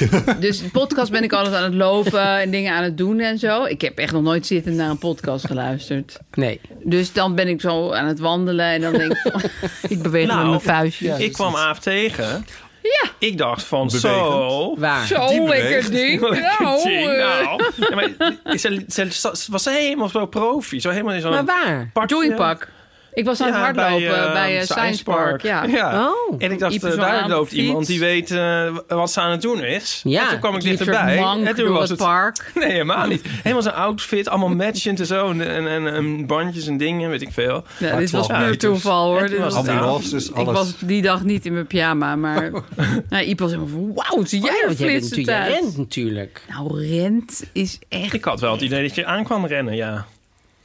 C: dus de podcast ben ik altijd aan het lopen en dingen aan het doen en zo. Ik heb echt nog nooit zittend naar een podcast geluisterd.
D: Nee.
C: Dus dan ben ik zo aan het wandelen en dan denk ik... Nou, ik beweeg met mijn vuistjes.
B: ik kwam Aaf tegen.
C: Ja.
B: Ik dacht van zo.
C: Bewegend. Waar? Zo, Die beweegt. Oh, lekker ding. Nou,
B: ding,
C: eh.
B: nou. Ja, maar ze, ze- ze- was ze helemaal zo profi. Zo helemaal in zo'n...
C: Maar waar?
B: pakje.
C: Joypak. Ik was aan het
B: Ja,
C: hardlopen bij,
B: eh,
C: eh, Science Park. Ja. Oh,
B: En ik dacht,
C: Iep
B: eh,
C: zo aan
B: daar
C: de
B: loopt
C: fiets.
B: iemand die weet eh, wat ze aan het doen is.
C: Ja,
B: En toen kwam ik
C: die
B: dichterbij.
C: vermank
B: en toen
C: door
B: was
C: het park.
B: Nee, helemaal niet. Helemaal zijn outfit, allemaal matchend en zo. En, en, en, en bandjes en dingen, weet ik veel.
C: Ja, dit was puur toeval hoor. Dit was ik was die dag niet in mijn pyjama, maar nou, Iep was helemaal van, wauw, zie jij een
D: Oh, want jij bent
C: flitsen
D: natuurlijk- jij
C: thuis?
D: rent natuurlijk.
C: Nou, rent is echt...
B: Ik had wel het idee dat je aan kwam rennen, ja.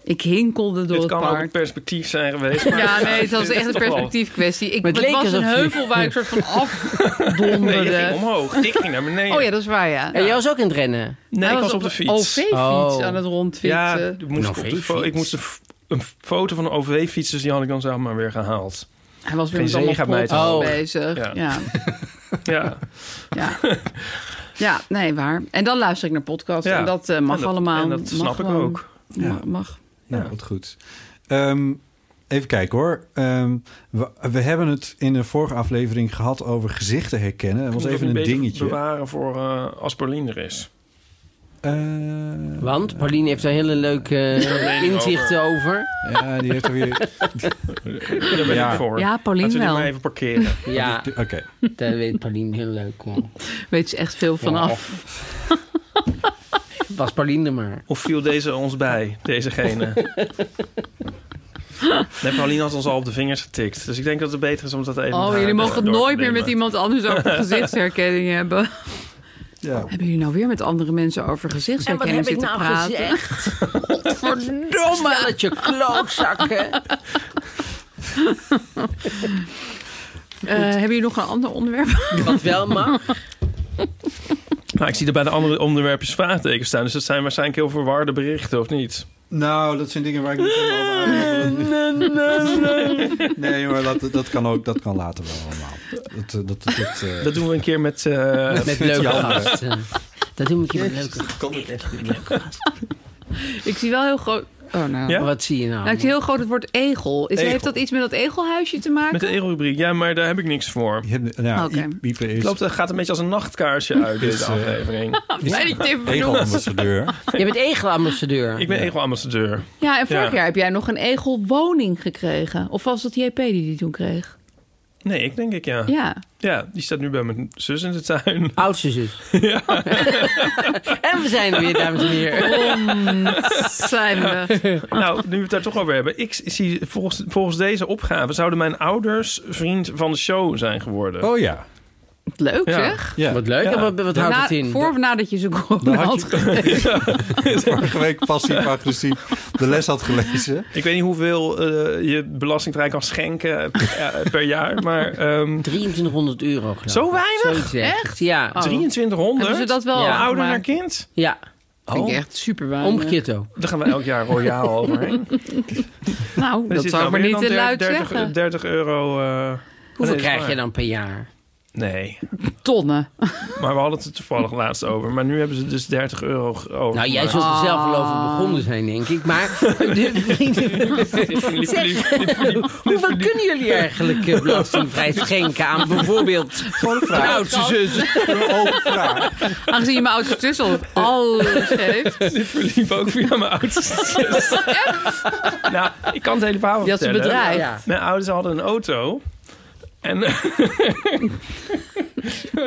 C: Ik hinkelde door
B: Dit
C: het
B: kan ook een
C: park.
B: perspectief zijn geweest. maar-
C: Ja, nee, het was
B: dit
C: echt
B: is
C: een
B: toch wel-
C: perspectiefkwestie. Ik,
B: Maar het
C: het
B: leek
C: was een
B: alsof je-
C: heuvel waar ik soort van afdonderde.
B: Nee, je ging omhoog. Ik ging naar beneden.
C: Oh ja, dat is waar, ja.
D: En jij was ook in het rennen?
B: Nee,
C: Hij
B: ik
C: was
B: was op
C: op Oh,
B: de
C: een
B: fiets.
C: OV-fiets aan het rondfietsen.
B: Ja, ik moest,
D: Een
B: op de
D: OV-fiets?
B: fo- ik moest een, f- een foto van een OV-fiets, dus die had ik dan zelf maar weer gehaald.
C: Hij was weer
B: Geen
C: met allemaal
B: zegen bij
C: proppen
B: het hoofd.
C: bezig.
B: Ja.
C: Ja.
B: Ja.
C: Ja. ja, nee, waar. En dan luister ik naar podcasts.
E: Ja.
C: En dat eh, mag
E: En dat-
C: allemaal.
E: en dat
C: Mag
E: snap ik
C: gewoon.
E: ook.
C: Ja,
E: Ja.
C: mag.
E: Ja, wat goed. Ehm, even kijken hoor. Ehm, we, we hebben het in de vorige aflevering gehad over gezichten herkennen. Dat was
B: Moet ik
E: even
B: ook
E: een
B: beetje
E: dingetje.
B: bewaren voor eh, als Paulien er is.
D: Want Pauline heeft daar hele leuke eh,
B: mening
D: inzichten over.
E: Ja, die heeft er weer...
B: Daar ben ik voor.
C: Ja, Paulien
B: Laten we die
C: wel.
B: maar even parkeren.
D: Ja,
E: oké.
D: Daar weet Pauline heel leuk van.
C: Weet ze echt veel vanaf.
D: Was Pauline er maar.
B: Of viel deze ons bij, dezegene? nee, Paulien had ons al op de vingers getikt. Dus ik denk dat het beter is om dat even... met
C: oh,
B: haar
C: jullie mogen het
B: door te
C: nooit meer
B: nemen.
C: met iemand anders over gezichtsherkenning hebben.
E: Ja.
C: Hebben jullie nou weer met andere mensen over gezichtsherkenning
D: En wat heb ik
C: zitten
D: nou
C: praten?
D: Verdomme! Stelletje klootzakken.
C: Eh, hebben jullie nog een ander onderwerp?
D: Wat wel mag.
B: Nou, ik zie er bij de andere onderwerpen vraagtekens staan. Dus dat zijn waarschijnlijk heel verwarde berichten, of niet?
E: Nou, dat zijn dingen waar ik niet helemaal Nee hoor, dat, dat kan ook. Dat kan later wel allemaal. Dat, eh, dat, dat, eh,
B: Dat doen we een keer met... eh,
E: Met leuke
B: Jan.
E: gasten.
D: Dat doe ik hier met leuke
B: Kan ik echt niet.
C: Ik zie wel heel groot. Oh, nou.
B: Ja?
D: Wat zie je
C: Nou, ik zie heel groot het woord egel. Is,
B: Egel.
C: Heeft dat iets met dat egelhuisje te maken?
B: Met de egelrubriek. Ja, maar daar heb ik niks voor.
C: nou, Oké. i-
E: Ipe is-
B: Het loopt, het gaat een beetje als een nachtkaarsje uit,
E: Is,
B: deze
E: eh,
B: aflevering.
C: is Blij dat je het even benoemt.
E: egelambassadeur.
D: Je bent egelambassadeur.
B: Ik ben egelambassadeur.
C: Ja, en vorig
B: Ja.
C: jaar heb jij nog een egelwoning gekregen. Of was dat JP die die toen kreeg?
B: Nee, ik denk ik ja.
C: Ja.
B: Ja, die staat nu bij mijn zus in de tuin.
D: Oudste zus. En we zijn er weer, dames en heren.
C: Rond zijn we.
B: Nou, nu we het daar toch over hebben. Ik zie, volgens, volgens deze opgave zouden mijn ouders vriend van de show zijn geworden.
E: Oh ja.
C: Leuk
B: Ja.
C: zeg.
E: Ja.
D: Wat leuk.
B: Ja.
D: En Wat, wat houdt
C: Na-
D: het in?
C: Nou, Voor of nadat je ze corona had gekregen?
E: Vorige week passief-agressief de les had gelezen.
B: Ik weet niet hoeveel eh, je belastingvrij kan schenken per, eh, per jaar, maar... ehm
C: Oh.
D: 2300 euro. geloof
B: Zo
D: ik.
B: weinig?
D: Zoiets, ja.
C: Echt?
D: Ja.
C: Oh.
B: 2300?
C: Hebben ze dat wel
B: Van
C: overgemaakt?
B: ouder naar kind?
D: Ja. Oh.
C: Vind ik echt super weinig.
D: Omgekeerd ook.
B: Daar gaan we elk jaar royaal overheen.
C: Nou, dat zou ik maar niet te luid zeggen.
B: 30 euro... eh,
D: Hoeveel
B: nee,
D: krijg je
B: maar-
D: dan per jaar?
B: Nee,
C: Tonnen.
B: maar we hadden het er toevallig laatst over. Maar nu hebben ze dus 30 euro ge- over.
D: Nou, jij zult er zelf al
C: Oh.
D: over begonnen zijn, denk ik. Maar de vrienden... zeg, hoeveel kunnen jullie eigenlijk eh, belastingvrij schenken aan bijvoorbeeld
E: een vraag.
D: de oudste zus?
C: Aangezien je mijn oudste zus al alles heeft.
B: Dit verliep ook via mijn oudste zus. nou, ik kan het hele verhaal
C: Die had zijn
B: vertellen.
C: bedrijf.
D: Ja.
B: Mijn ouders hadden een auto. En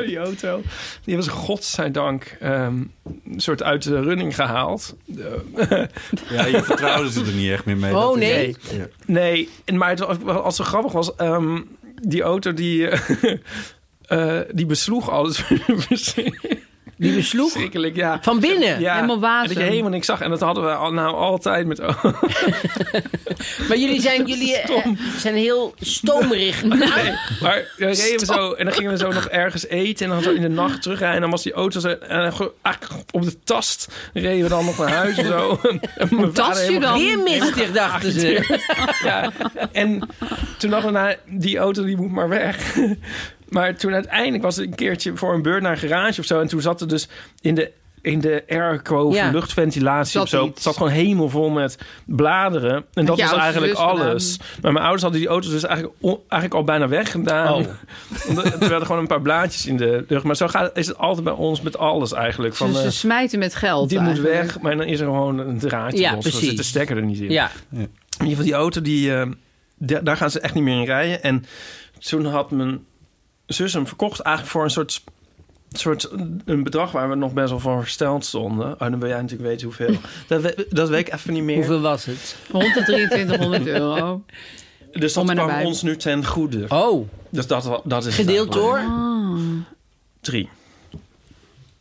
B: die auto, die hebben ze godzijdank ehm, een soort uit de running gehaald. Eh,
E: Ja, je vertrouwde ze er niet echt meer mee.
D: Oh,
E: Dat is-
D: nee.
E: Ja.
B: nee, maar het, was- als het grappig was, ehm, die auto die, eh, eh, die besloeg alles.
D: Die besloeg
B: Verschrikkelijk, ja.
D: van binnen.
B: Ja,
C: Helemaal wazig.
B: Dat je helemaal niks zag. En dat hadden we al, nou altijd met...
D: Maar jullie zijn, jullie, eh, zijn heel stoomrig. Nou,
B: Maar dan reden we zo en dan gingen we zo nog ergens eten en dan zo in de nacht terugrijden. En dan was die auto zo en dan gewoon, ah, op de tast reden we dan nog naar huis en zo. En mijn vader
C: tastje
B: helemaal-
C: dan?
D: Weer mistig, dachten ze.
B: Ja. En toen dachten we, nou, die auto die moet maar weg. Maar toen uiteindelijk was het een keertje voor een beurt naar een garage of zo. En toen zat er dus in de, in de airco,
D: Ja.
B: luchtventilatie
C: Zat
B: of zo.
C: iets.
B: Het zat gewoon helemaal vol met bladeren. En dat
C: je
B: was
C: ouders
B: eigenlijk
C: dus gedaan?
B: alles. Maar mijn ouders hadden die auto dus eigenlijk, on- eigenlijk al bijna weggedaan. Omdat- terwijl er gewoon een paar blaadjes in de lucht. Maar zo gaat, is het altijd bij ons met alles eigenlijk. Van,
C: Ze,
B: eh,
C: ze smijten met geld.
B: dit moet
C: eigenlijk.
B: weg, maar dan is er gewoon een draadje
D: Ja,
B: los. Dan
D: precies.
B: zit de stekker er niet in.
D: Ja,
B: In ieder geval die auto, die, eh, da- daar gaan ze echt niet meer in rijden. En toen had mijn zus hem verkocht eigenlijk voor een soort, soort een bedrag waar we nog best wel van versteld stonden. Oh, dan wil jij natuurlijk weten hoeveel. dat, we- dat weet ik even niet meer.
D: hoeveel was het?
C: 12300 euro.
B: dus dat
C: Om en
B: kwam
C: nabij.
B: ons nu ten goede.
D: Oh,
B: Dus dat, dat is het
D: gedeeld
B: eigenlijk.
D: door.
B: Drie.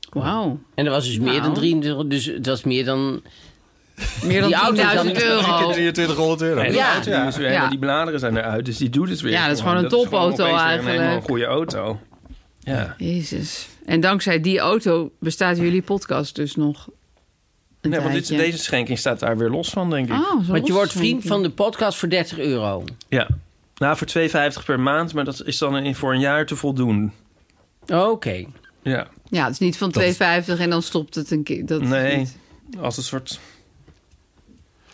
C: Wauw.
D: En er was dus meer dan
C: Nou.
D: 23, dus het was meer dan...
C: Meer
D: Die auto's dan-
C: dan 10.000 euro.
E: 2300 euro.
B: En
D: Ja.
B: die auto, die is weer-
C: Ja.
B: die bladeren zijn eruit, dus die doet het weer.
C: Ja, dat is gewoon een topauto
B: opeens weer een
C: eigenlijk.
B: helemaal goede auto. Ja.
C: Jezus. En dankzij die auto bestaat jullie podcast dus nog een
B: Nee, want dit,
C: tijdje.
B: deze schenking staat daar weer los van, denk ik.
C: Oh, zo'n
D: Want je wordt vriend
C: losschenking.
D: van de podcast voor 30 euro.
B: Ja. Nou, voor 2,50 per maand, maar dat is dan in- voor een jaar te voldoen.
D: Oké.
B: Ja.
C: Ja, het is niet van 2,50 en dan stopt het een keer. Dat is
B: Nee,
C: niet.
B: als een soort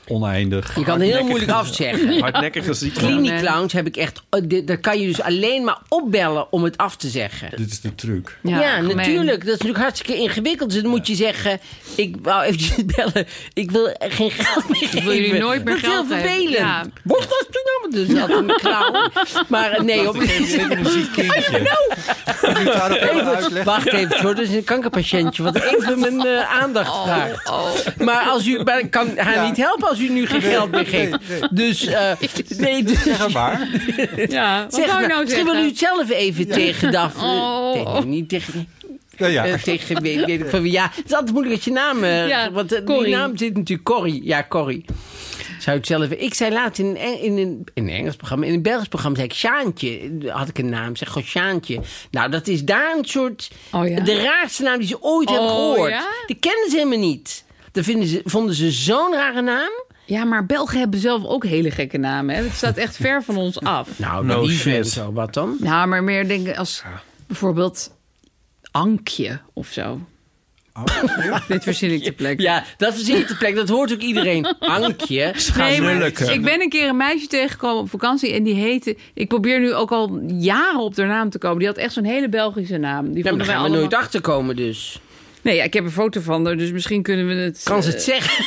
E: Oneindig.
D: Je kan heel moeilijk afzeggen.
B: hardnekkige ziekte.
D: Clinic clowns heb ik echt... oh, dit- Daar kan je dus alleen maar opbellen om het af te zeggen.
E: Dit is de truc.
D: Ja,
C: gemeen.
D: natuurlijk. Dat is natuurlijk hartstikke ingewikkeld. Dus dan moet je zeggen, ik wou eventjes bellen. Ik wil geen geld meer geven.
C: wil jullie nooit meer
D: dat
C: geld
D: is heel
C: geven.
D: vervelend.
C: Ja.
D: Wat was toen allemaal? Dus dat een clown. Maar eh, nee, op
E: Een ziek kindje. Ik moet daarop even
D: Even,
E: uitleggen.
D: wacht even, hoor. Dat is een kankerpatiëntje wat even mijn eh, aandacht
C: Oh.
D: vraagt. Maar, als u, maar ik kan haar niet helpen als u nu geen geld meer geeft. Dus, eh, nee, dus
E: Zeg maar waar.
C: Ja, wat
D: zeg
C: zou je
D: maar,
C: nou
D: misschien
C: zeggen?
D: wil u het zelf even tegen Daphne.
C: Oh.
D: Tegen, niet tegen,
E: Nou ja.
D: eh, tegen weet, weet ik van wie. Ja, het is altijd moeilijk dat je naam... eh,
C: Ja,
D: want eh, die
C: Corrie.
D: naam zit natuurlijk Corrie. Ja, Corrie. Zou het zelf... Ik zei laatst in, een Eng- in, een, in een Engels programma, in een Belgisch programma, zei ik Sjaantje. Had ik een naam, zeg gewoon Sjaantje. Nou, dat is daar een soort...
C: Oh ja.
D: De raarste naam die ze ooit hebben
C: Oh
D: gehoord.
C: ja?
D: Die kennen ze helemaal niet. Dat vinden ze, vonden ze zo'n rare naam.
C: Ja, maar Belgen hebben zelf ook hele gekke namen. Hè? Het staat echt ver van ons af.
D: Nou,
B: No
D: no
B: shit.
D: en zo, wat dan?
C: Nou, maar meer denken als bijvoorbeeld Ankje of zo. Dit verzin ik ter plekke.
D: Ja, dat verzin ik ter plekke. Dat hoort ook iedereen. Ankje. Schaamlijke.
C: ik ben een keer een meisje tegengekomen op vakantie en die heette... Ik probeer nu ook al jaren op haar naam te komen. Die had echt zo'n hele Belgische naam. Die
D: Ja, maar
C: vonden
D: daar
C: wij
D: gaan we
C: allemaal...
D: nooit achter komen dus.
C: Nee, ja, ik heb een foto van haar, dus misschien kunnen we het...
D: Kan ze
C: eh,
D: het zeggen?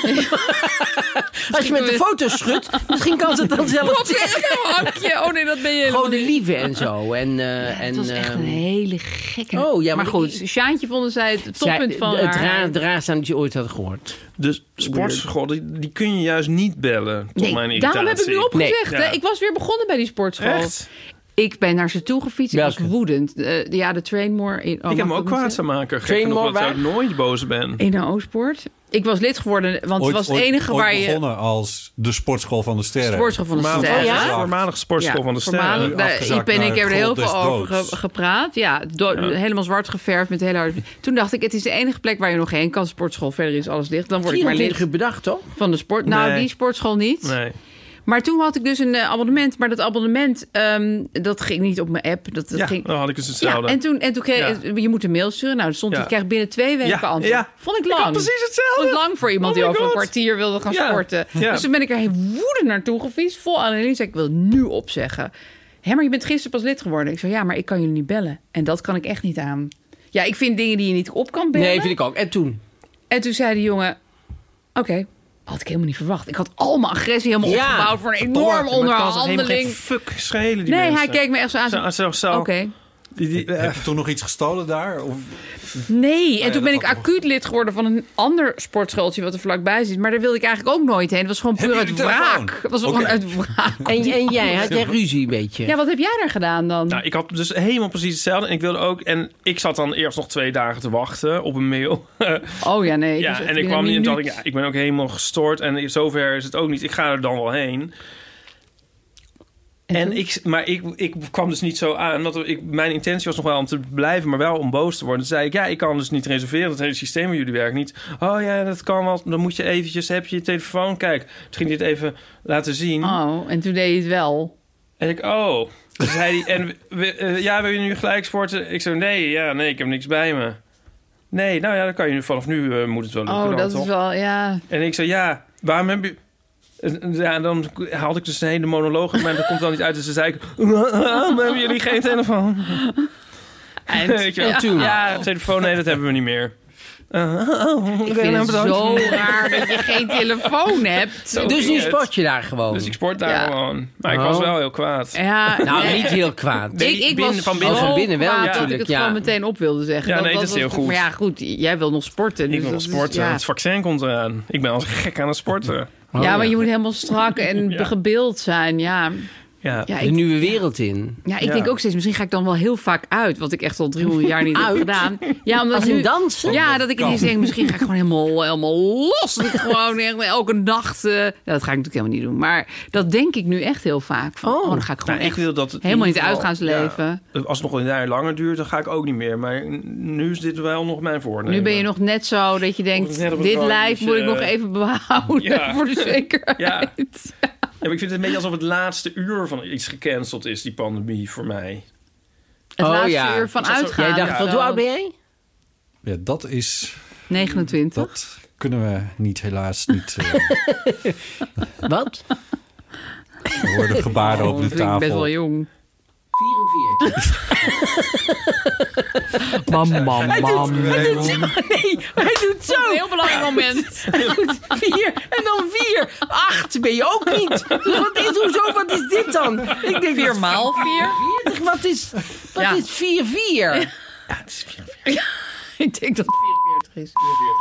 D: Als je met de foto schudt, misschien kan ze het dan zelf
C: Wat zeg je nou, Ankje? Oh nee, dat ben je helemaal
D: Gewoon de
C: niet.
D: lieve en zo. En, eh, en,
C: Het was echt een
D: ehm,
C: hele gekke...
D: Oh, ja, maar
C: goed. Sjaantje vonden zij het
D: zij-
C: toppunt van
D: Het
C: haar.
D: raar, het raarste aan dat je ooit had gehoord.
B: Dus sportschool, die, die kun je juist niet bellen. Tot mijn
C: Nee,
B: irritatie.
C: daarom heb ik nu opgezegd.
B: Ja.
C: hè. Ik was weer begonnen bij die sportschool.
B: Echt?
C: Ik ben naar ze toe gefietst. Ik was woedend. Eh, ja, de Trainmore. In, oh,
B: ik heb
C: mag
B: me ook
C: dat
B: kwaad
C: zeggen?
B: te maken. Gek
C: Train
B: genoeg
C: more
B: dat ik
C: waar?
B: nooit boos ben.
C: In de Oostpoort. Ik was lid geworden, want
E: Ooit-
C: het was
E: ooit-
C: het enige
E: ooit
C: waar je...
E: begonnen als de sportschool van de sterren.
C: Sportschool van de
E: Voormalig
C: Sterren.
E: afgezakt.
C: Ja?
B: Voormalig sportschool van de sterren.
C: Voormalig,
E: Nu
C: daar,
E: afgezakt
C: Iep en
E: naar
C: ik hebben er
E: het
C: heel
E: grot
C: veel
E: des
C: over
E: doods.
C: ge- gepraat. Ja, do-
E: Ja.
C: helemaal zwart geverfd met hele harde... Toen dacht ik, het is de enige plek waar je nog heen kan. Sportschool, verder is alles dicht. Dan word ik maar lid
D: 24 uur bedacht, toch?
C: van de sport. Nou,
D: Nee.
C: die sportschool niet.
B: Nee.
C: Maar toen had ik dus een eh, abonnement. Maar dat abonnement, ehm, dat ging niet op mijn app. Dat, dat
B: Ja,
C: ging...
B: dan had ik dus
C: Ja,
B: hetzelfde.
C: en toen, en toen kreeg je moet een mail sturen. Nou, er stond
B: Ja.
C: je krijgt binnen twee weken
B: Ja,
C: antwoord.
B: ja.
C: Vond ik
B: Ik had
C: lang.
B: precies hetzelfde.
C: Vond ik lang voor iemand
B: Oh
C: die
B: my
C: over een
B: God.
C: kwartier wilde gaan
B: Ja,
C: sporten.
B: ja.
C: Dus toen ben ik er woedend naartoe gefietst. Vol analyse. Ik wil nu opzeggen. Hé, maar je bent gisteren pas lid geworden. Ik zei, ja, maar ik kan jullie niet bellen. En dat kan ik echt niet aan. Ja, ik vind dingen die je niet op kan bellen.
D: Nee, vind ik ook. En toen?
C: En toen zei de jongen, oké. Had ik helemaal niet verwacht. Ik had al mijn agressie helemaal
B: Ja,
C: opgebouwd voor een
B: verdomme.
C: enorme
B: Maar het kan ze helemaal
C: onderhandeling.
B: geen fuck schelen, die
C: nee, hij
B: mensen.
C: keek me echt zo aan.
B: Zo- zo- zo.
C: Oké.
E: Heb je toen nog iets gestolen daar? Of...
C: Nee, en
B: Oh
E: ja,
C: toen
E: dat
C: ben ik
E: had nog-
C: acuut lid geworden van een ander sportschooltje wat er vlakbij zit. Maar daar wilde ik eigenlijk ook nooit heen. Het was gewoon puur uit wraak. Het was gewoon
B: Oké.
C: uit wraak.
D: En, en jij, had jij ruzie een beetje?
C: Ja, wat heb jij daar gedaan dan?
B: Nou, ik had dus helemaal precies hetzelfde. En ik wilde ook. En ik zat dan eerst nog twee dagen te wachten op een mail.
C: oh ja, nee.
B: ja,
C: dus echt
B: en ik
C: binnen
B: kwam niet en
C: een
B: dacht ik,
C: minuut.
B: ja, ik ben ook helemaal gestoord. En in zover is het ook niet. Ik ga er dan wel heen. En ik, maar ik, ik kwam dus niet zo aan. Dat ik, mijn intentie was nog wel om te blijven, maar wel om boos te worden. Toen zei ik, ja, ik kan dus niet reserveren. Dat hele systeem van jullie werkt niet. Oh ja, dat kan wel. Dan moet je eventjes, heb je je telefoon? Kijk, toen ging hij dit even laten zien.
C: Oh, en toen deed je het wel.
B: En ik, oh. Toen zei hij, en we- eh, ja, wil je nu gelijk sporten? Ik zei, nee, ja, nee, ik heb niks bij me. Nee, nou ja, dan kan je nu vanaf nu eh, moet het wel lukken.
C: Oh,
B: dan,
C: dat
B: toch?
C: is wel, ja.
B: En ik zei, ja, waarom heb je... En Ja, dan haalde ik dus een hele monoloog uit, maar dat komt dan niet uit. Dus dan zei ik, waarom hebben jullie geen telefoon?
C: En,
B: Weet je wel.
C: ja. toen?
B: Ja, telefoon, nee, dat hebben we niet meer.
C: Ik
B: ben
C: vind het
B: bedankt.
C: zo raar dat je geen telefoon hebt.
B: Zo Dus nu ging het. sport
D: je daar gewoon?
B: Dus ik sport daar
C: Ja.
B: gewoon. Maar ik
D: Oh.
B: was wel heel kwaad.
C: Ja,
D: Nou,
C: nee.
D: niet heel kwaad.
C: Ik, ik was
B: van binnen.
C: zo
D: Oh, van binnen wel
C: kwaad dat ik
B: natuurlijk,
C: het
B: ja.
C: gewoon meteen op wilde zeggen.
B: Ja, nee, dat is
C: was
B: heel
C: het.
B: goed.
C: Maar ja, goed, jij wil nog sporten.
B: Ik
C: dus
B: wil nog
C: dat is-
B: sporten.
C: ja.
B: Het vaccin komt eraan. Ik ben als gek aan het sporten.
D: Oh,
C: ja, maar je moet helemaal strak en
B: Oh, Ja.
C: gebeeld zijn, ja.
B: Ja,
C: Ja,
D: de
C: ik-
D: nieuwe wereld in.
C: Ja, ik denk ook steeds, misschien ga ik dan wel heel vaak uit. Wat ik echt al 300 jaar niet heb
D: Uit?
C: gedaan. Ja, omdat
D: Als in
C: nu-
D: dansen?
C: Ja, dat ik
D: Kan.
C: ineens denk, misschien ga ik gewoon helemaal, helemaal los. Dat ik gewoon echt elke nacht... eh, ja, dat ga ik natuurlijk helemaal niet doen. Maar dat denk ik nu echt heel vaak. Van, oh. dan ga ik gewoon
B: Nou, ik
C: echt
B: wil dat in
C: helemaal in het
B: ieder geval-
C: uitgaansleven.
B: ja, als het nog een jaar langer duurt, dan ga ik ook niet meer. Maar nu is dit wel nog mijn voornemen.
C: Nu ben je nog net zo dat je denkt,
B: net op het
C: dit
B: randje,
C: lijf moet ik nog
B: eh,
C: even behouden
B: ja.
C: voor de zekerheid.
B: Ja. ja, maar ik vind het een beetje alsof het laatste uur van iets gecanceld is, die pandemie voor mij.
D: Oh,
C: Het laatste uur van
B: Ik zat zo-
C: uitgaan.
B: Jij dacht,
C: of
B: wat,
C: zo.
B: hoe oud
D: ben jij?
E: Ja, dat is...
C: 29.
E: Dat kunnen we niet, helaas niet. eh,
D: Wat?
E: er worden gebaren
C: Oh,
E: op
C: dat
E: de
C: vind ik
E: tafel.
C: best wel jong.
D: 44.
C: mam,
E: mam,
D: Hij doet,
E: mam.
D: hij doet zo. Nee, hij doet zo.
C: een heel belangrijk moment.
D: Hij doet vier en dan vier. Acht ben je ook niet. Dus wat is, hoezo, wat is dit dan? Ik denk,
C: Vier
D: wat-
C: maal vier?
D: 40, Wat is, wat
C: Ja.
D: is vier vier?
C: ik denk dat het 44 is.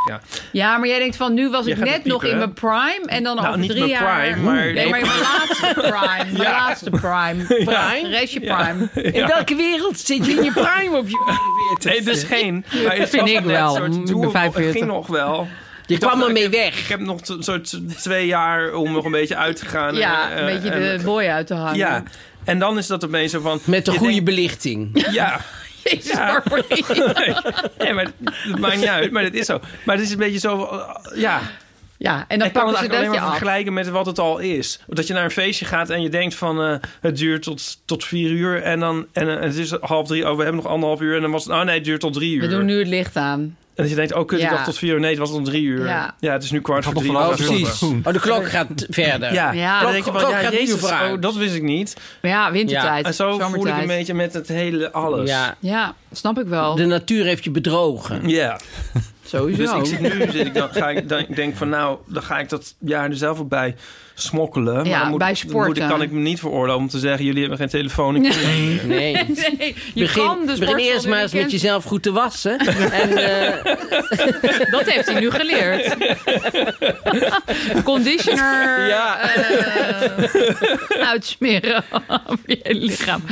B: Ja.
C: Ja, maar jij denkt van nu was
B: Jij
C: ik
B: gaat
C: net
B: het piepen,
C: nog in
B: hè?
C: mijn prime en dan
B: Nou,
C: over
B: niet
C: drie
B: mijn
C: jaar.
B: prime, maar-
C: Nee, maar mijn laatste prime. Mijn
B: Ja.
C: laatste prime. Prime? Restje prime.
D: In welke wereld zit je in je prime op je
B: Nee, dus geen.
D: Dat
B: Maar het
D: vind
B: was
D: ik
B: net
D: wel.
B: een soort
D: Ik ben
B: doable-
D: 45.
B: Het ging nog wel.
D: Je
B: Ik dacht,
D: kwam
B: nou,
D: ermee
B: ik heb- Ik heb nog t- een soort twee jaar om nog een beetje uit te gaan.
C: Ja,
B: en,
C: een
B: eh,
C: beetje
B: en-
C: de boy uit te hangen.
B: Ja, en dan is dat opeens zo van...
D: Met de goede belichting.
B: Ja.
C: Jezus,
B: ja.
C: nee,
B: nee, maar het maakt niet uit, maar dat is zo. Maar het is een beetje zo... van, eh, Ja,
C: Ja, en dan
B: ik kan
C: pakken
B: het
C: ze
B: eigenlijk
C: dat
B: alleen
C: je
B: maar
C: af.
B: vergelijken met wat het al is. Dat je naar een feestje gaat en je denkt van... eh, het duurt tot, tot vier uur en dan... En, eh, het is half drie, oh, we hebben nog anderhalf uur. En dan was het... Oh nee, het duurt tot drie uur.
C: We doen nu het licht aan.
B: En dat je denkt, oh kut,
D: Ja.
B: ik dacht tot vier uur. Nee, het was tot drie uur.
D: Ja.
B: Ja, het is nu kwart
D: Gaat
B: voor
D: nog
B: drie.
D: van
B: we
D: alles
B: gaan
D: precies.
B: stoppen.
D: Oh, de klok gaat verder.
B: Ja,
D: Ja.
B: dan denk je
D: Klok-
B: van, ja,
D: klok gaat
B: jezus,
D: nu vooruit.
B: oh, dat wist ik niet.
C: Maar ja, wintertijd.
B: En zo voel ik
C: zomertijd.
B: een beetje met het hele alles.
D: Ja.
C: Ja, snap ik wel.
D: De natuur heeft je bedrogen.
B: Ja.
C: Sowieso.
B: Dus ik zit nu, zit ik dan, ga ik, dan, ik denk van nou, dan ga ik dat jaar er zelf op bij smokkelen. Maar
C: Ja,
B: dan moet,
C: bij
B: dan
C: sporten.
B: moet ik- kan ik me niet veroorloven om te zeggen, jullie hebben geen telefoon. Ik
D: Nee. Nee.
C: Je
D: begin,
C: kan dus
D: begin eerst maar eens met jezelf goed te wassen. en,
C: Dat heeft hij nu geleerd. Conditioner eh, uitsmeren op je lichaam.
E: Oh,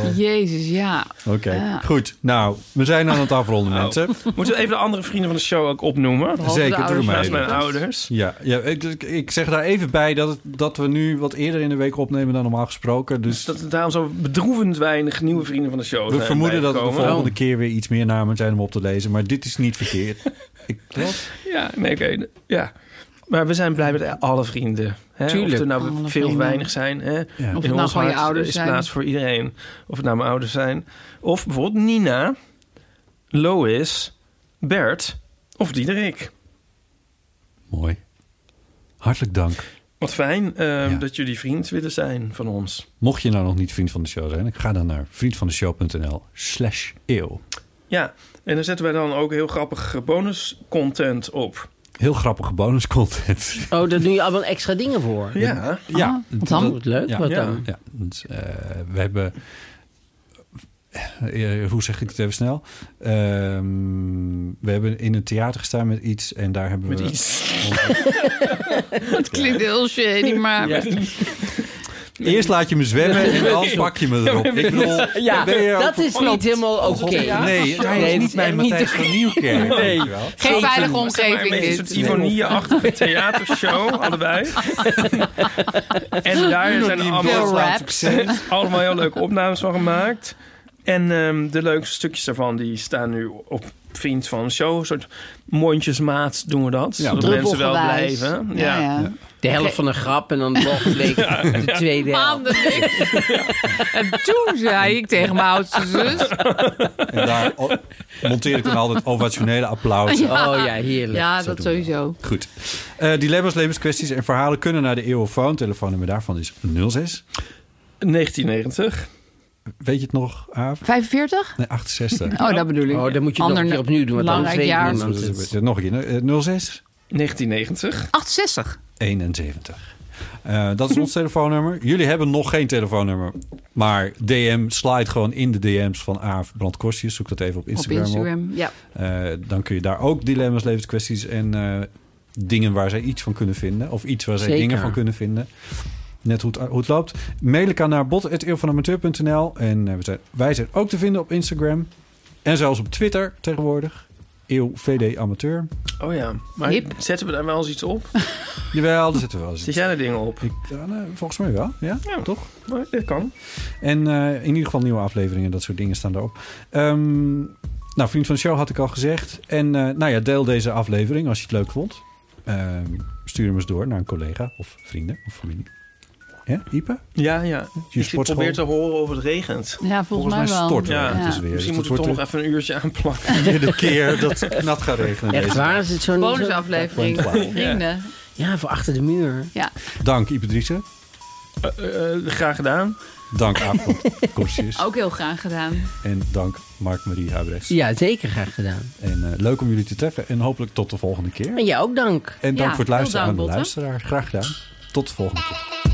E: God.
C: Jezus, ja.
E: Oké,
C: Ja.
E: goed. Nou, we zijn aan het afronden,
C: Nou.
E: mensen.
B: Moeten we even de andere vrienden van de show ook opnoemen?
E: Behalve Zeker, de ouders doe maar
B: Naast
E: even.
B: mijn ouders.
E: Ja, ja ik, dus ik- ik zeg daar even bij dat, het- dat we nu wat eerder in de week opnemen dan normaal gesproken. Dus
B: Dat er daarom zo bedroevend weinig nieuwe vrienden van de show
E: we
B: zijn
E: vermoeden dat we de
B: bijgekomen.
E: volgende keer weer iets meer namen zijn om op te lezen. Maar dit is niet verkeerd. ik, klopt.
B: Ja, nee, oké. de- Ja. Maar we zijn blij met alle vrienden. Hè?
E: Tuurlijk.
B: Of er nou
E: Alle
B: veel of
E: vrienden.
B: weinig zijn. Hè?
E: het nou
B: In ons
E: gewoon je
B: hart
E: ouders
B: is
E: zijn.
B: plaats voor iedereen. Of het nou mijn ouders zijn. Of bijvoorbeeld Nina, Lois, Bert of Diederik.
E: Mooi. Hartelijk dank.
B: Wat fijn eh, dat jullie vriend willen zijn van ons.
E: Mocht je nou nog niet vriend van de show zijn, ik ga dan naar vriendvandeshow.nl slash eeuw.
B: Ja, en daar zetten wij dan ook heel grappig bonus content op.
E: Heel grappige bonuscontent.
D: oh, daar doe je allemaal extra dingen voor.
B: Ja. Ah,
E: Ja,
D: wat dan? leuk.
E: Ja,
D: Wat
E: ja.
D: dan?
E: Ja, dus, eh, we hebben. eh, hoe zeg ik het even snel? Ehm, we hebben in een theater gestaan met iets en daar hebben
B: Met
E: we.
B: iets.
C: Het klinkt heel shady, maar...
B: Ja.
E: Eerst laat je me zwemmen en dan pak je me erop. Ik bedoel,
D: Ja,
E: ben je
D: dat
E: ook-
D: is niet helemaal oké.
E: Nee, hij is niet mijn Matthijs van Nieuwkerk.
B: Nee.
E: weet je wel.
C: Geen veilige
B: Maar een
C: omgeving
B: beetje
C: dit.
B: een soort ironieachtige theatershow, allebei. en daar zijn
C: Veel
B: allemaal,
C: raps.
B: allemaal heel leuke opnames van gemaakt. En ehm, de leukste stukjes daarvan die staan nu op Vriend van de Show. Een soort mondjesmaat doen we dat.
D: Ja,
B: zodat mensen wel
D: druppelgewijs.
B: blijven.
D: Ja,
B: Ja,
D: ja. De helft van een grap en dan de volgende week de tweede helft.
C: Maanden niks. En toen zei ik tegen mijn oudste zus...
E: En daar o- monteer ik dan altijd ovationele applaus.
C: Ja. Oh ja,
D: heerlijk.
C: Ja,
E: Zo
C: dat
E: doen we
C: sowieso.
E: Goed. Eh, dilemma's, levenskwesties en verhalen kunnen naar de eeuwofoon. Telefoonnummer daarvan is 06.
B: 1990.
E: Weet je het nog, Aaf?
C: 45?
E: Nee, 68.
C: Oh, dat bedoel ik.
D: Oh, dan moet je het nog
C: Ander
D: een keer opnieuw doen, want anders
C: belangrijk
D: weet
C: jaar.
D: niemand
E: Dus
D: het.
E: dat is- Nog een keer. eh, 06
B: 1990.
C: 68.
E: 71. Eh, dat is ons telefoonnummer. Jullie hebben nog geen telefoonnummer. Maar DM, slide gewoon in de DM's van Aaf Brandkorstjes. Zoek dat even op Instagram
C: op
E: op.
C: Instagram. Ja.
E: Eh, dan kun je daar ook dilemma's, levenskwesties en eh, dingen waar zij iets van kunnen vinden. Of iets waar zij
D: Zeker.
E: dingen van kunnen vinden. Net hoe het, hoe het loopt. Mail ik aan naar bot.eeuwvanamateur.nl. En eh, we zijn, wij zijn ook te vinden op Instagram. En zelfs op Twitter tegenwoordig. Eeuw VD Amateur.
B: Oh ja, maar
C: Hip.
B: zetten we daar wel eens iets op?
E: Jawel, daar zitten we wel eens.
B: Zet jij er dingen op?
E: Ja, nou, volgens mij wel, ja, toch?
B: Maar dat kan.
E: En eh, in ieder geval nieuwe afleveringen, dat soort dingen staan erop. Ehm, nou, vriend van de show had ik al gezegd. En eh, nou ja, deel deze aflevering als je het leuk vond. Ehm, stuur hem eens door naar een collega of vrienden of familie. Ja, Ipe?
B: Ja, ja.
E: Je
B: Ik
E: sportschool?
B: probeer te horen of het regent.
C: Ja, volgens, mij, wel.
E: stort
B: Ja,
E: het dus weer. Dus
B: Misschien
E: het
B: moeten we toch nog
E: wordt
B: even een uurtje aanplakken.
E: de vierde keer dat het nat gaat regenen.
D: Echt
E: deze.
D: waar? Is het zo'n...
C: Bonusaflevering.
E: Gewoon klaar.
C: Vrienden.
D: Ja, voor achter de muur.
C: Ja.
E: Dank Ipe Driessen.
B: Eh, eh, graag gedaan.
E: Dank Aaf Korsjes.
C: Ook heel graag gedaan.
E: En dank Mark-Marie Huibrechts.
D: Ja, zeker graag gedaan.
E: En eh, leuk om jullie te treffen. En hopelijk tot de volgende keer.
D: En jij ook dank.
E: En dank
D: Ja,
E: voor het
D: heel
E: luisteren
D: dank,
E: aan de
D: Botte.
E: luisteraar. Graag gedaan. Tot de volgende keer.